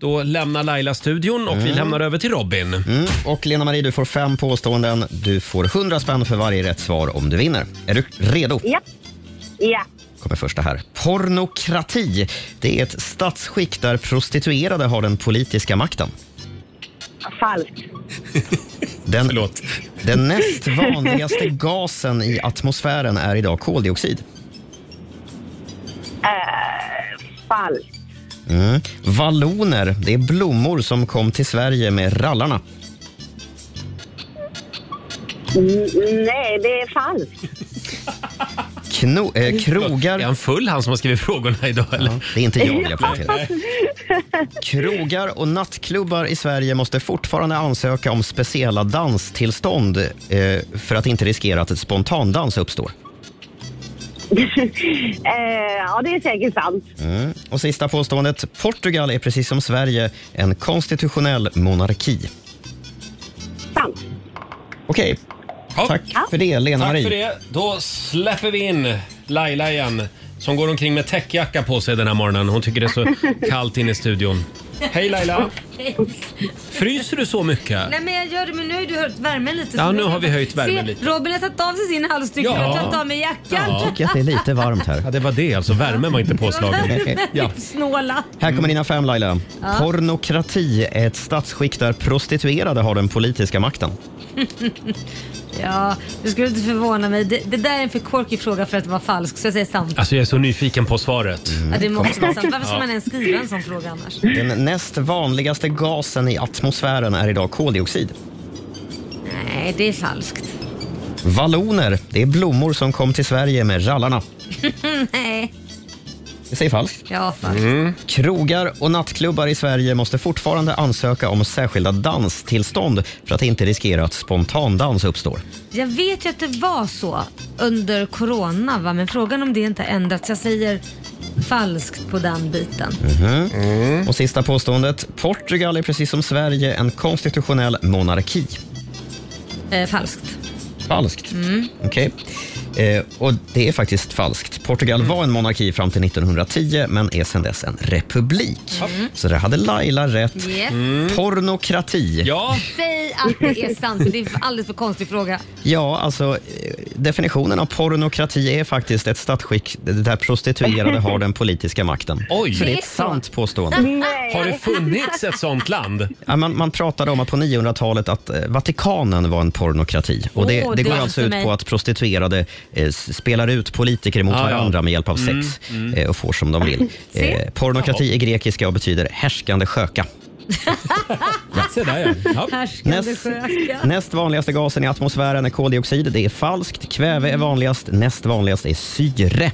[SPEAKER 1] Då lämnar Laila studion och vi lämnar över till Robin.
[SPEAKER 3] Mm. Och Lena-Marie, du får fem påståenden. Du får 100 spänn för varje rätt svar om du vinner. Är du redo?
[SPEAKER 18] Ja. Ja.
[SPEAKER 3] kommer första här. Pornokrati, det är ett statsskick där prostituerade har den politiska makten.
[SPEAKER 18] Falskt.
[SPEAKER 3] Den, Förlåt. Den näst vanligaste gasen i atmosfären är idag koldioxid.
[SPEAKER 18] Eh, falskt.
[SPEAKER 3] Mm. Valloner, det är blommor som kom till Sverige med rallarna.
[SPEAKER 18] Mm, nej, det är falskt.
[SPEAKER 3] Kno, eh, krogar... Är
[SPEAKER 1] han full han som har skrivit frågorna idag eller?
[SPEAKER 3] det är inte jag vill jag poängtera.
[SPEAKER 1] Nej.
[SPEAKER 3] Krogar och nattklubbar i Sverige måste fortfarande ansöka om speciella danstillstånd eh, för att inte riskera att ett spontandans uppstår.
[SPEAKER 18] eh, ja, det är säkert sant.
[SPEAKER 3] Mm. Och sista påståendet. Portugal är precis som Sverige en konstitutionell monarki.
[SPEAKER 18] Sant.
[SPEAKER 3] Okej. Tack för det,
[SPEAKER 1] Tack
[SPEAKER 3] Lena-Marie.
[SPEAKER 1] för det. Då släpper vi in Laila igen som går omkring med täckjacka på sig den här morgonen. Hon tycker det är så kallt inne i studion. Hej Laila! Fryser du så mycket?
[SPEAKER 2] Nej men jag gör det men nu har ju du höjt värmen lite.
[SPEAKER 1] Ja,
[SPEAKER 2] så
[SPEAKER 1] nu har vi höjt värmen
[SPEAKER 2] Se,
[SPEAKER 1] lite.
[SPEAKER 2] Robin har tagit av sig sin halsduk
[SPEAKER 1] Ja.
[SPEAKER 2] och har tagit av mig jackan.
[SPEAKER 3] Jag tycker att det är lite varmt här.
[SPEAKER 1] Ja, det var det alltså. Värmen var inte
[SPEAKER 2] Värmen är
[SPEAKER 3] ja.
[SPEAKER 2] Snåla.
[SPEAKER 3] Här kommer dina fem Laila.
[SPEAKER 2] Ja.
[SPEAKER 3] Pornokrati är ett statsskick där prostituerade har den politiska makten.
[SPEAKER 2] ja, det skulle inte förvåna mig. Det, det där är en för quirky fråga för att vara falsk så jag säger sant.
[SPEAKER 1] Alltså jag är så nyfiken på svaret.
[SPEAKER 3] Mm.
[SPEAKER 2] ja, det måste
[SPEAKER 3] kom.
[SPEAKER 2] vara sant. Varför ska
[SPEAKER 3] Ja.
[SPEAKER 2] man ens skriva en sån fråga annars?
[SPEAKER 3] Den näst vanligaste gasen i atmosfären är idag koldioxid.
[SPEAKER 2] Nej, det är falskt.
[SPEAKER 3] Valloner, det är blommor som kom till Sverige med rallarna.
[SPEAKER 2] Nej.
[SPEAKER 3] Det säger falskt.
[SPEAKER 2] Ja, falskt.
[SPEAKER 3] Krogar och nattklubbar i Sverige måste fortfarande ansöka om särskilda danstillstånd för att inte riskera att spontandans uppstår.
[SPEAKER 2] Jag vet ju att det var så under corona va? men frågan om det inte har ändrats. Jag säger falskt på den biten.
[SPEAKER 3] Mhm.
[SPEAKER 2] Mm.
[SPEAKER 3] Och sista påståendet. Portugal är precis som Sverige en konstitutionell monarki.
[SPEAKER 2] Eh, falskt.
[SPEAKER 3] Falskt.
[SPEAKER 2] Mm.
[SPEAKER 3] Okej. Eh, och det är faktiskt falskt. Portugal
[SPEAKER 2] Mm.
[SPEAKER 3] var en monarki fram till 1910 men är sedan dess en republik. Så det hade Laila rätt.
[SPEAKER 2] Yes. Mm.
[SPEAKER 3] Pornokrati.
[SPEAKER 1] Ja.
[SPEAKER 2] Säg att det är sant. Det är en alldeles för konstig fråga.
[SPEAKER 3] Ja, alltså eh, definitionen av pornokrati är faktiskt ett statsskick där prostituerade har den politiska makten.
[SPEAKER 1] Oj.
[SPEAKER 3] Så det är
[SPEAKER 1] Det är
[SPEAKER 3] ett
[SPEAKER 1] så.
[SPEAKER 3] sant påstående.
[SPEAKER 1] Har det funnits ett sånt land?
[SPEAKER 3] Ja, man, man pratade om att på 900-talet att eh, Vatikanen var en pornokrati. Och det,
[SPEAKER 1] Åh,
[SPEAKER 3] det
[SPEAKER 1] det
[SPEAKER 3] går
[SPEAKER 1] är
[SPEAKER 3] alltså
[SPEAKER 1] för
[SPEAKER 3] ut
[SPEAKER 1] mig.
[SPEAKER 3] på att prostituerade eh, s- spelar ut politiker mot
[SPEAKER 1] Ah, ja.
[SPEAKER 3] varandra med hjälp av sex
[SPEAKER 1] Mm,
[SPEAKER 3] eh, och får som de vill.
[SPEAKER 1] Se.
[SPEAKER 3] Eh, pornokrati är grekiska och betyder härskande sköka.
[SPEAKER 1] Se där ja. ja.
[SPEAKER 2] Härskande sköka.
[SPEAKER 3] Näst vanligaste gasen i atmosfären är koldioxid. Det är falskt. Kväve är vanligast. Näst vanligast är syre.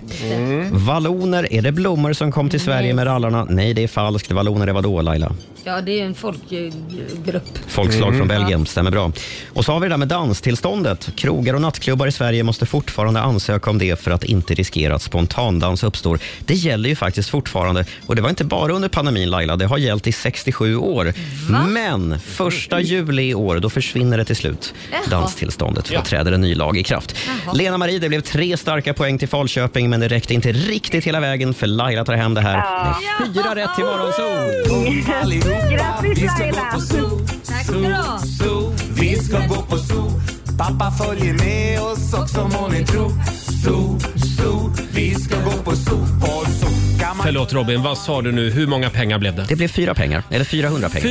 [SPEAKER 3] Valloner, är det blommor som kom till Sverige med rallarna? Nej, det är falskt. Valloner är vadå, Laila?
[SPEAKER 2] Ja, det är ju en folkgrupp.
[SPEAKER 3] Folkslag
[SPEAKER 2] Mm.
[SPEAKER 3] från Belgien, stämmer bra. Och så har vi det där med danstillståndet. Krogar och nattklubbar i Sverige måste fortfarande ansöka om det för att inte riskera att spontandans uppstår. Det gäller ju faktiskt fortfarande och det var inte bara under pandemin Laila, det har gällt i 67 år. Men första juli i år, då försvinner det till slut,
[SPEAKER 10] Jaha.
[SPEAKER 3] danstillståndet. Då träder en ny lag i kraft.
[SPEAKER 10] Jaha.
[SPEAKER 3] Lena-Marie, det blev tre starka poäng till Falköping men det räckte inte riktigt hela vägen för Laila tar hem det här med Fyra rätt till Morgonzoo!
[SPEAKER 10] Grattis Laila!
[SPEAKER 2] Tack ska du ha.
[SPEAKER 10] Vi ska gå på zoo Pappa följer med oss också må ni tro Zoo, zoo Vi ska gå på zoo, på zoo Kan man
[SPEAKER 1] Förlåt Robin, vad sa du nu? Hur många pengar blev det?
[SPEAKER 3] Det blev fyra pengar, eller 400 pengar.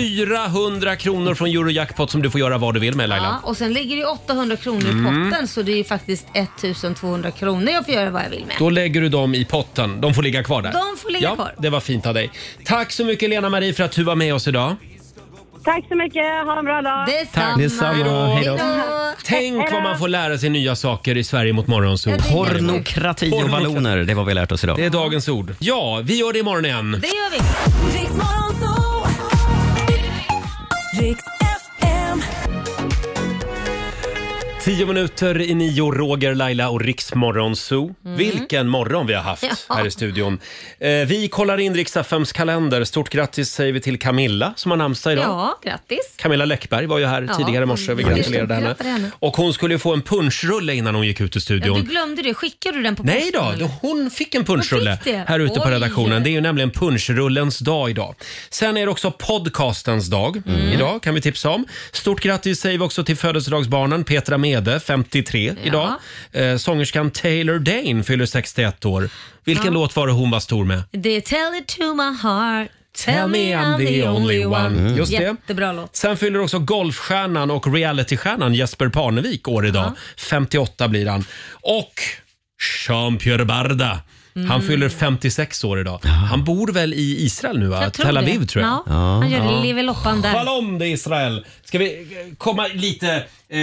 [SPEAKER 1] 400 kronor från Eurojackpot som du får göra vad du vill med Laila.
[SPEAKER 2] Ja, och sen ligger det ju 800 kronor i
[SPEAKER 1] Mm.
[SPEAKER 2] potten så det är ju faktiskt 1200 kronor jag får göra vad jag vill med.
[SPEAKER 1] Då lägger du dem i potten. De får ligga kvar där.
[SPEAKER 2] De får ligga
[SPEAKER 1] ja,
[SPEAKER 2] kvar.
[SPEAKER 1] Det var fint av dig. Tack så mycket Lena-Marie för att du var med oss idag.
[SPEAKER 18] Tack så mycket, ha en bra dag.
[SPEAKER 1] Tack. Hej då. Tänk vad man får lära sig nya saker i Sverige mot morgonzoo.
[SPEAKER 3] Pornokrati och valloner, det var vi lärt oss idag.
[SPEAKER 1] Det är dagens ord. Ja, vi gör det imorgon igen.
[SPEAKER 2] Det gör vi.
[SPEAKER 1] Tio minuter i nio, Roger, Laila och Riksmorgon Zoo. Vilken morgon vi har haft
[SPEAKER 2] Mm. Ja.
[SPEAKER 1] här i studion. Eh, vi kollar in Rix FMs kalender. Stort grattis säger vi till Camilla som har namnsdag idag.
[SPEAKER 2] Ja, grattis.
[SPEAKER 1] Camilla Läckberg var ju här
[SPEAKER 2] Ja.
[SPEAKER 1] tidigare i morse. Vi
[SPEAKER 2] Ja, just det.
[SPEAKER 1] gratulerade henne.
[SPEAKER 2] Gratulerar henne.
[SPEAKER 1] Och hon skulle ju få en punschrulle innan hon gick ut ur
[SPEAKER 2] Ja, du
[SPEAKER 1] studion.
[SPEAKER 2] glömde det. Skickade du den på
[SPEAKER 1] Nej
[SPEAKER 2] posten?
[SPEAKER 1] då,
[SPEAKER 2] eller?
[SPEAKER 1] hon fick en punschrulle
[SPEAKER 2] Hon fick det?
[SPEAKER 1] här ute på
[SPEAKER 2] Oj.
[SPEAKER 1] redaktionen. Det är ju nämligen punschrullens dag idag. Sen är det också podcastens dag
[SPEAKER 2] Mm.
[SPEAKER 1] idag, kan vi tipsa om. Stort grattis säger vi också till födelsedagsbarnen Petra Mede, 53 idag. Eh, sångerskan Taylor Dane fyller 61 år. Vilken
[SPEAKER 2] Ja.
[SPEAKER 1] låt var det hon var stor med?
[SPEAKER 2] Det är Tell it to my heart. Tell,
[SPEAKER 1] me I'm the only one. Mm. Just det.
[SPEAKER 2] Jättebra låt.
[SPEAKER 1] Sen fyller också golfstjärnan och realitystjärnan Jesper Parnevik år idag. 58 blir han. Och Jean-Pierre Barda. Han
[SPEAKER 2] Mm.
[SPEAKER 1] fyller 56 år idag. Han bor väl i Israel nu? Va?
[SPEAKER 2] Jag tror
[SPEAKER 1] Tel Aviv
[SPEAKER 2] det.
[SPEAKER 1] tror jag.
[SPEAKER 2] Ja, han gör det. Lever loppan där.
[SPEAKER 1] Shalom det Israel! Ska vi eh, komma lite, eh,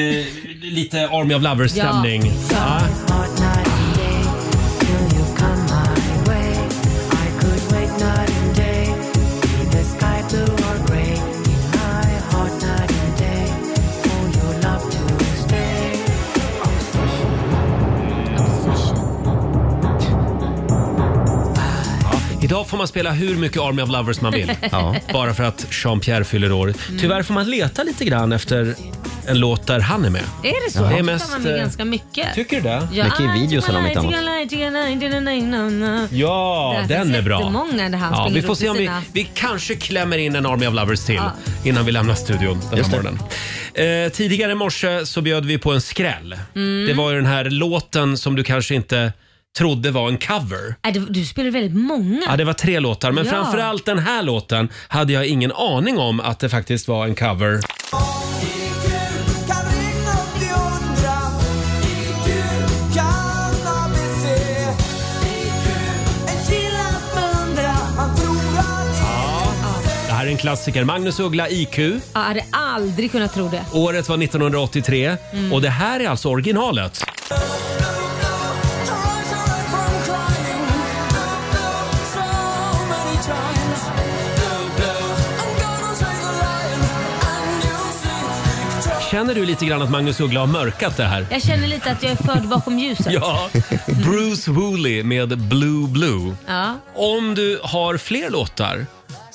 [SPEAKER 1] lite Army of Lovers-stämning?
[SPEAKER 10] Ja.
[SPEAKER 1] Ja. Idag får man spela hur mycket Army of Lovers man vill.
[SPEAKER 10] Ja.
[SPEAKER 2] Mm.
[SPEAKER 1] Bara för att Jean-Pierre fyller år. Tyvärr får man leta lite grann efter en låt där han är med.
[SPEAKER 2] Är det så?
[SPEAKER 1] Det
[SPEAKER 2] Då
[SPEAKER 1] är
[SPEAKER 2] kan
[SPEAKER 1] mest,
[SPEAKER 2] man med
[SPEAKER 1] eh,
[SPEAKER 2] ganska mycket.
[SPEAKER 1] Tycker du det?
[SPEAKER 2] Ja, ah,
[SPEAKER 1] Mycket i videosen om inte annat.
[SPEAKER 2] annat.
[SPEAKER 1] Ja, den är bra.
[SPEAKER 2] Många där han
[SPEAKER 1] Ja,
[SPEAKER 2] springer
[SPEAKER 1] vi får
[SPEAKER 2] runt
[SPEAKER 1] se
[SPEAKER 2] med
[SPEAKER 1] om vi,
[SPEAKER 2] sina-
[SPEAKER 1] vi kanske klämmer in en Army of Lovers till
[SPEAKER 2] Ja.
[SPEAKER 1] innan vi lämnar studion den
[SPEAKER 2] Just
[SPEAKER 1] här
[SPEAKER 2] det.
[SPEAKER 1] morgonen. Eh, tidigare i morse så bjöd vi på en skräll.
[SPEAKER 2] Mm.
[SPEAKER 1] Det var ju den här låten som du kanske inte trodde var en cover.
[SPEAKER 2] Nej, Äh, det- Du spelar väldigt många.
[SPEAKER 1] Ja, det var tre låtar, men
[SPEAKER 2] Ja.
[SPEAKER 1] framför allt den här låten hade jag ingen aning om att det faktiskt var en cover. Det här är en klassiker. Magnus Uggla, IQ.
[SPEAKER 2] Jag hade aldrig kunnat tro det.
[SPEAKER 1] Året var 1983
[SPEAKER 2] Mm.
[SPEAKER 1] och det här är alltså originalet. Känner du lite grann att Magnus Uggla har mörkat det här?
[SPEAKER 2] Jag känner lite att jag är förd bakom ljuset.
[SPEAKER 1] Ja, Bruce Woolley med Blue Blue.
[SPEAKER 2] Ja,
[SPEAKER 1] Om du har fler låtar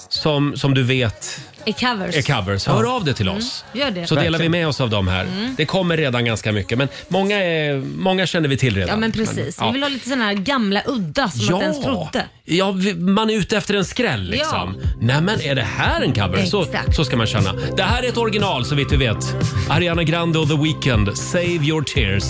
[SPEAKER 1] som, som du vet
[SPEAKER 2] är covers.
[SPEAKER 1] är covers, hör av dig till
[SPEAKER 2] Mm.
[SPEAKER 1] oss.
[SPEAKER 2] Gör det.
[SPEAKER 1] Så delar vi med oss av dem här.
[SPEAKER 2] Mm.
[SPEAKER 1] Det kommer redan ganska mycket, men många, är, många känner vi till redan.
[SPEAKER 2] Ja men precis.
[SPEAKER 1] ja.
[SPEAKER 2] Vi vill ha lite sådana här gamla udda som man inte ens trodde.
[SPEAKER 1] Ja, vi- man är ute efter en skräll liksom.
[SPEAKER 2] Ja.
[SPEAKER 1] Nej men är det här en cover? Så,
[SPEAKER 2] Exakt.
[SPEAKER 1] så ska man känna. Det här är ett original så vitt vi vet. Ariana Grande och The Weeknd, Save Your Tears.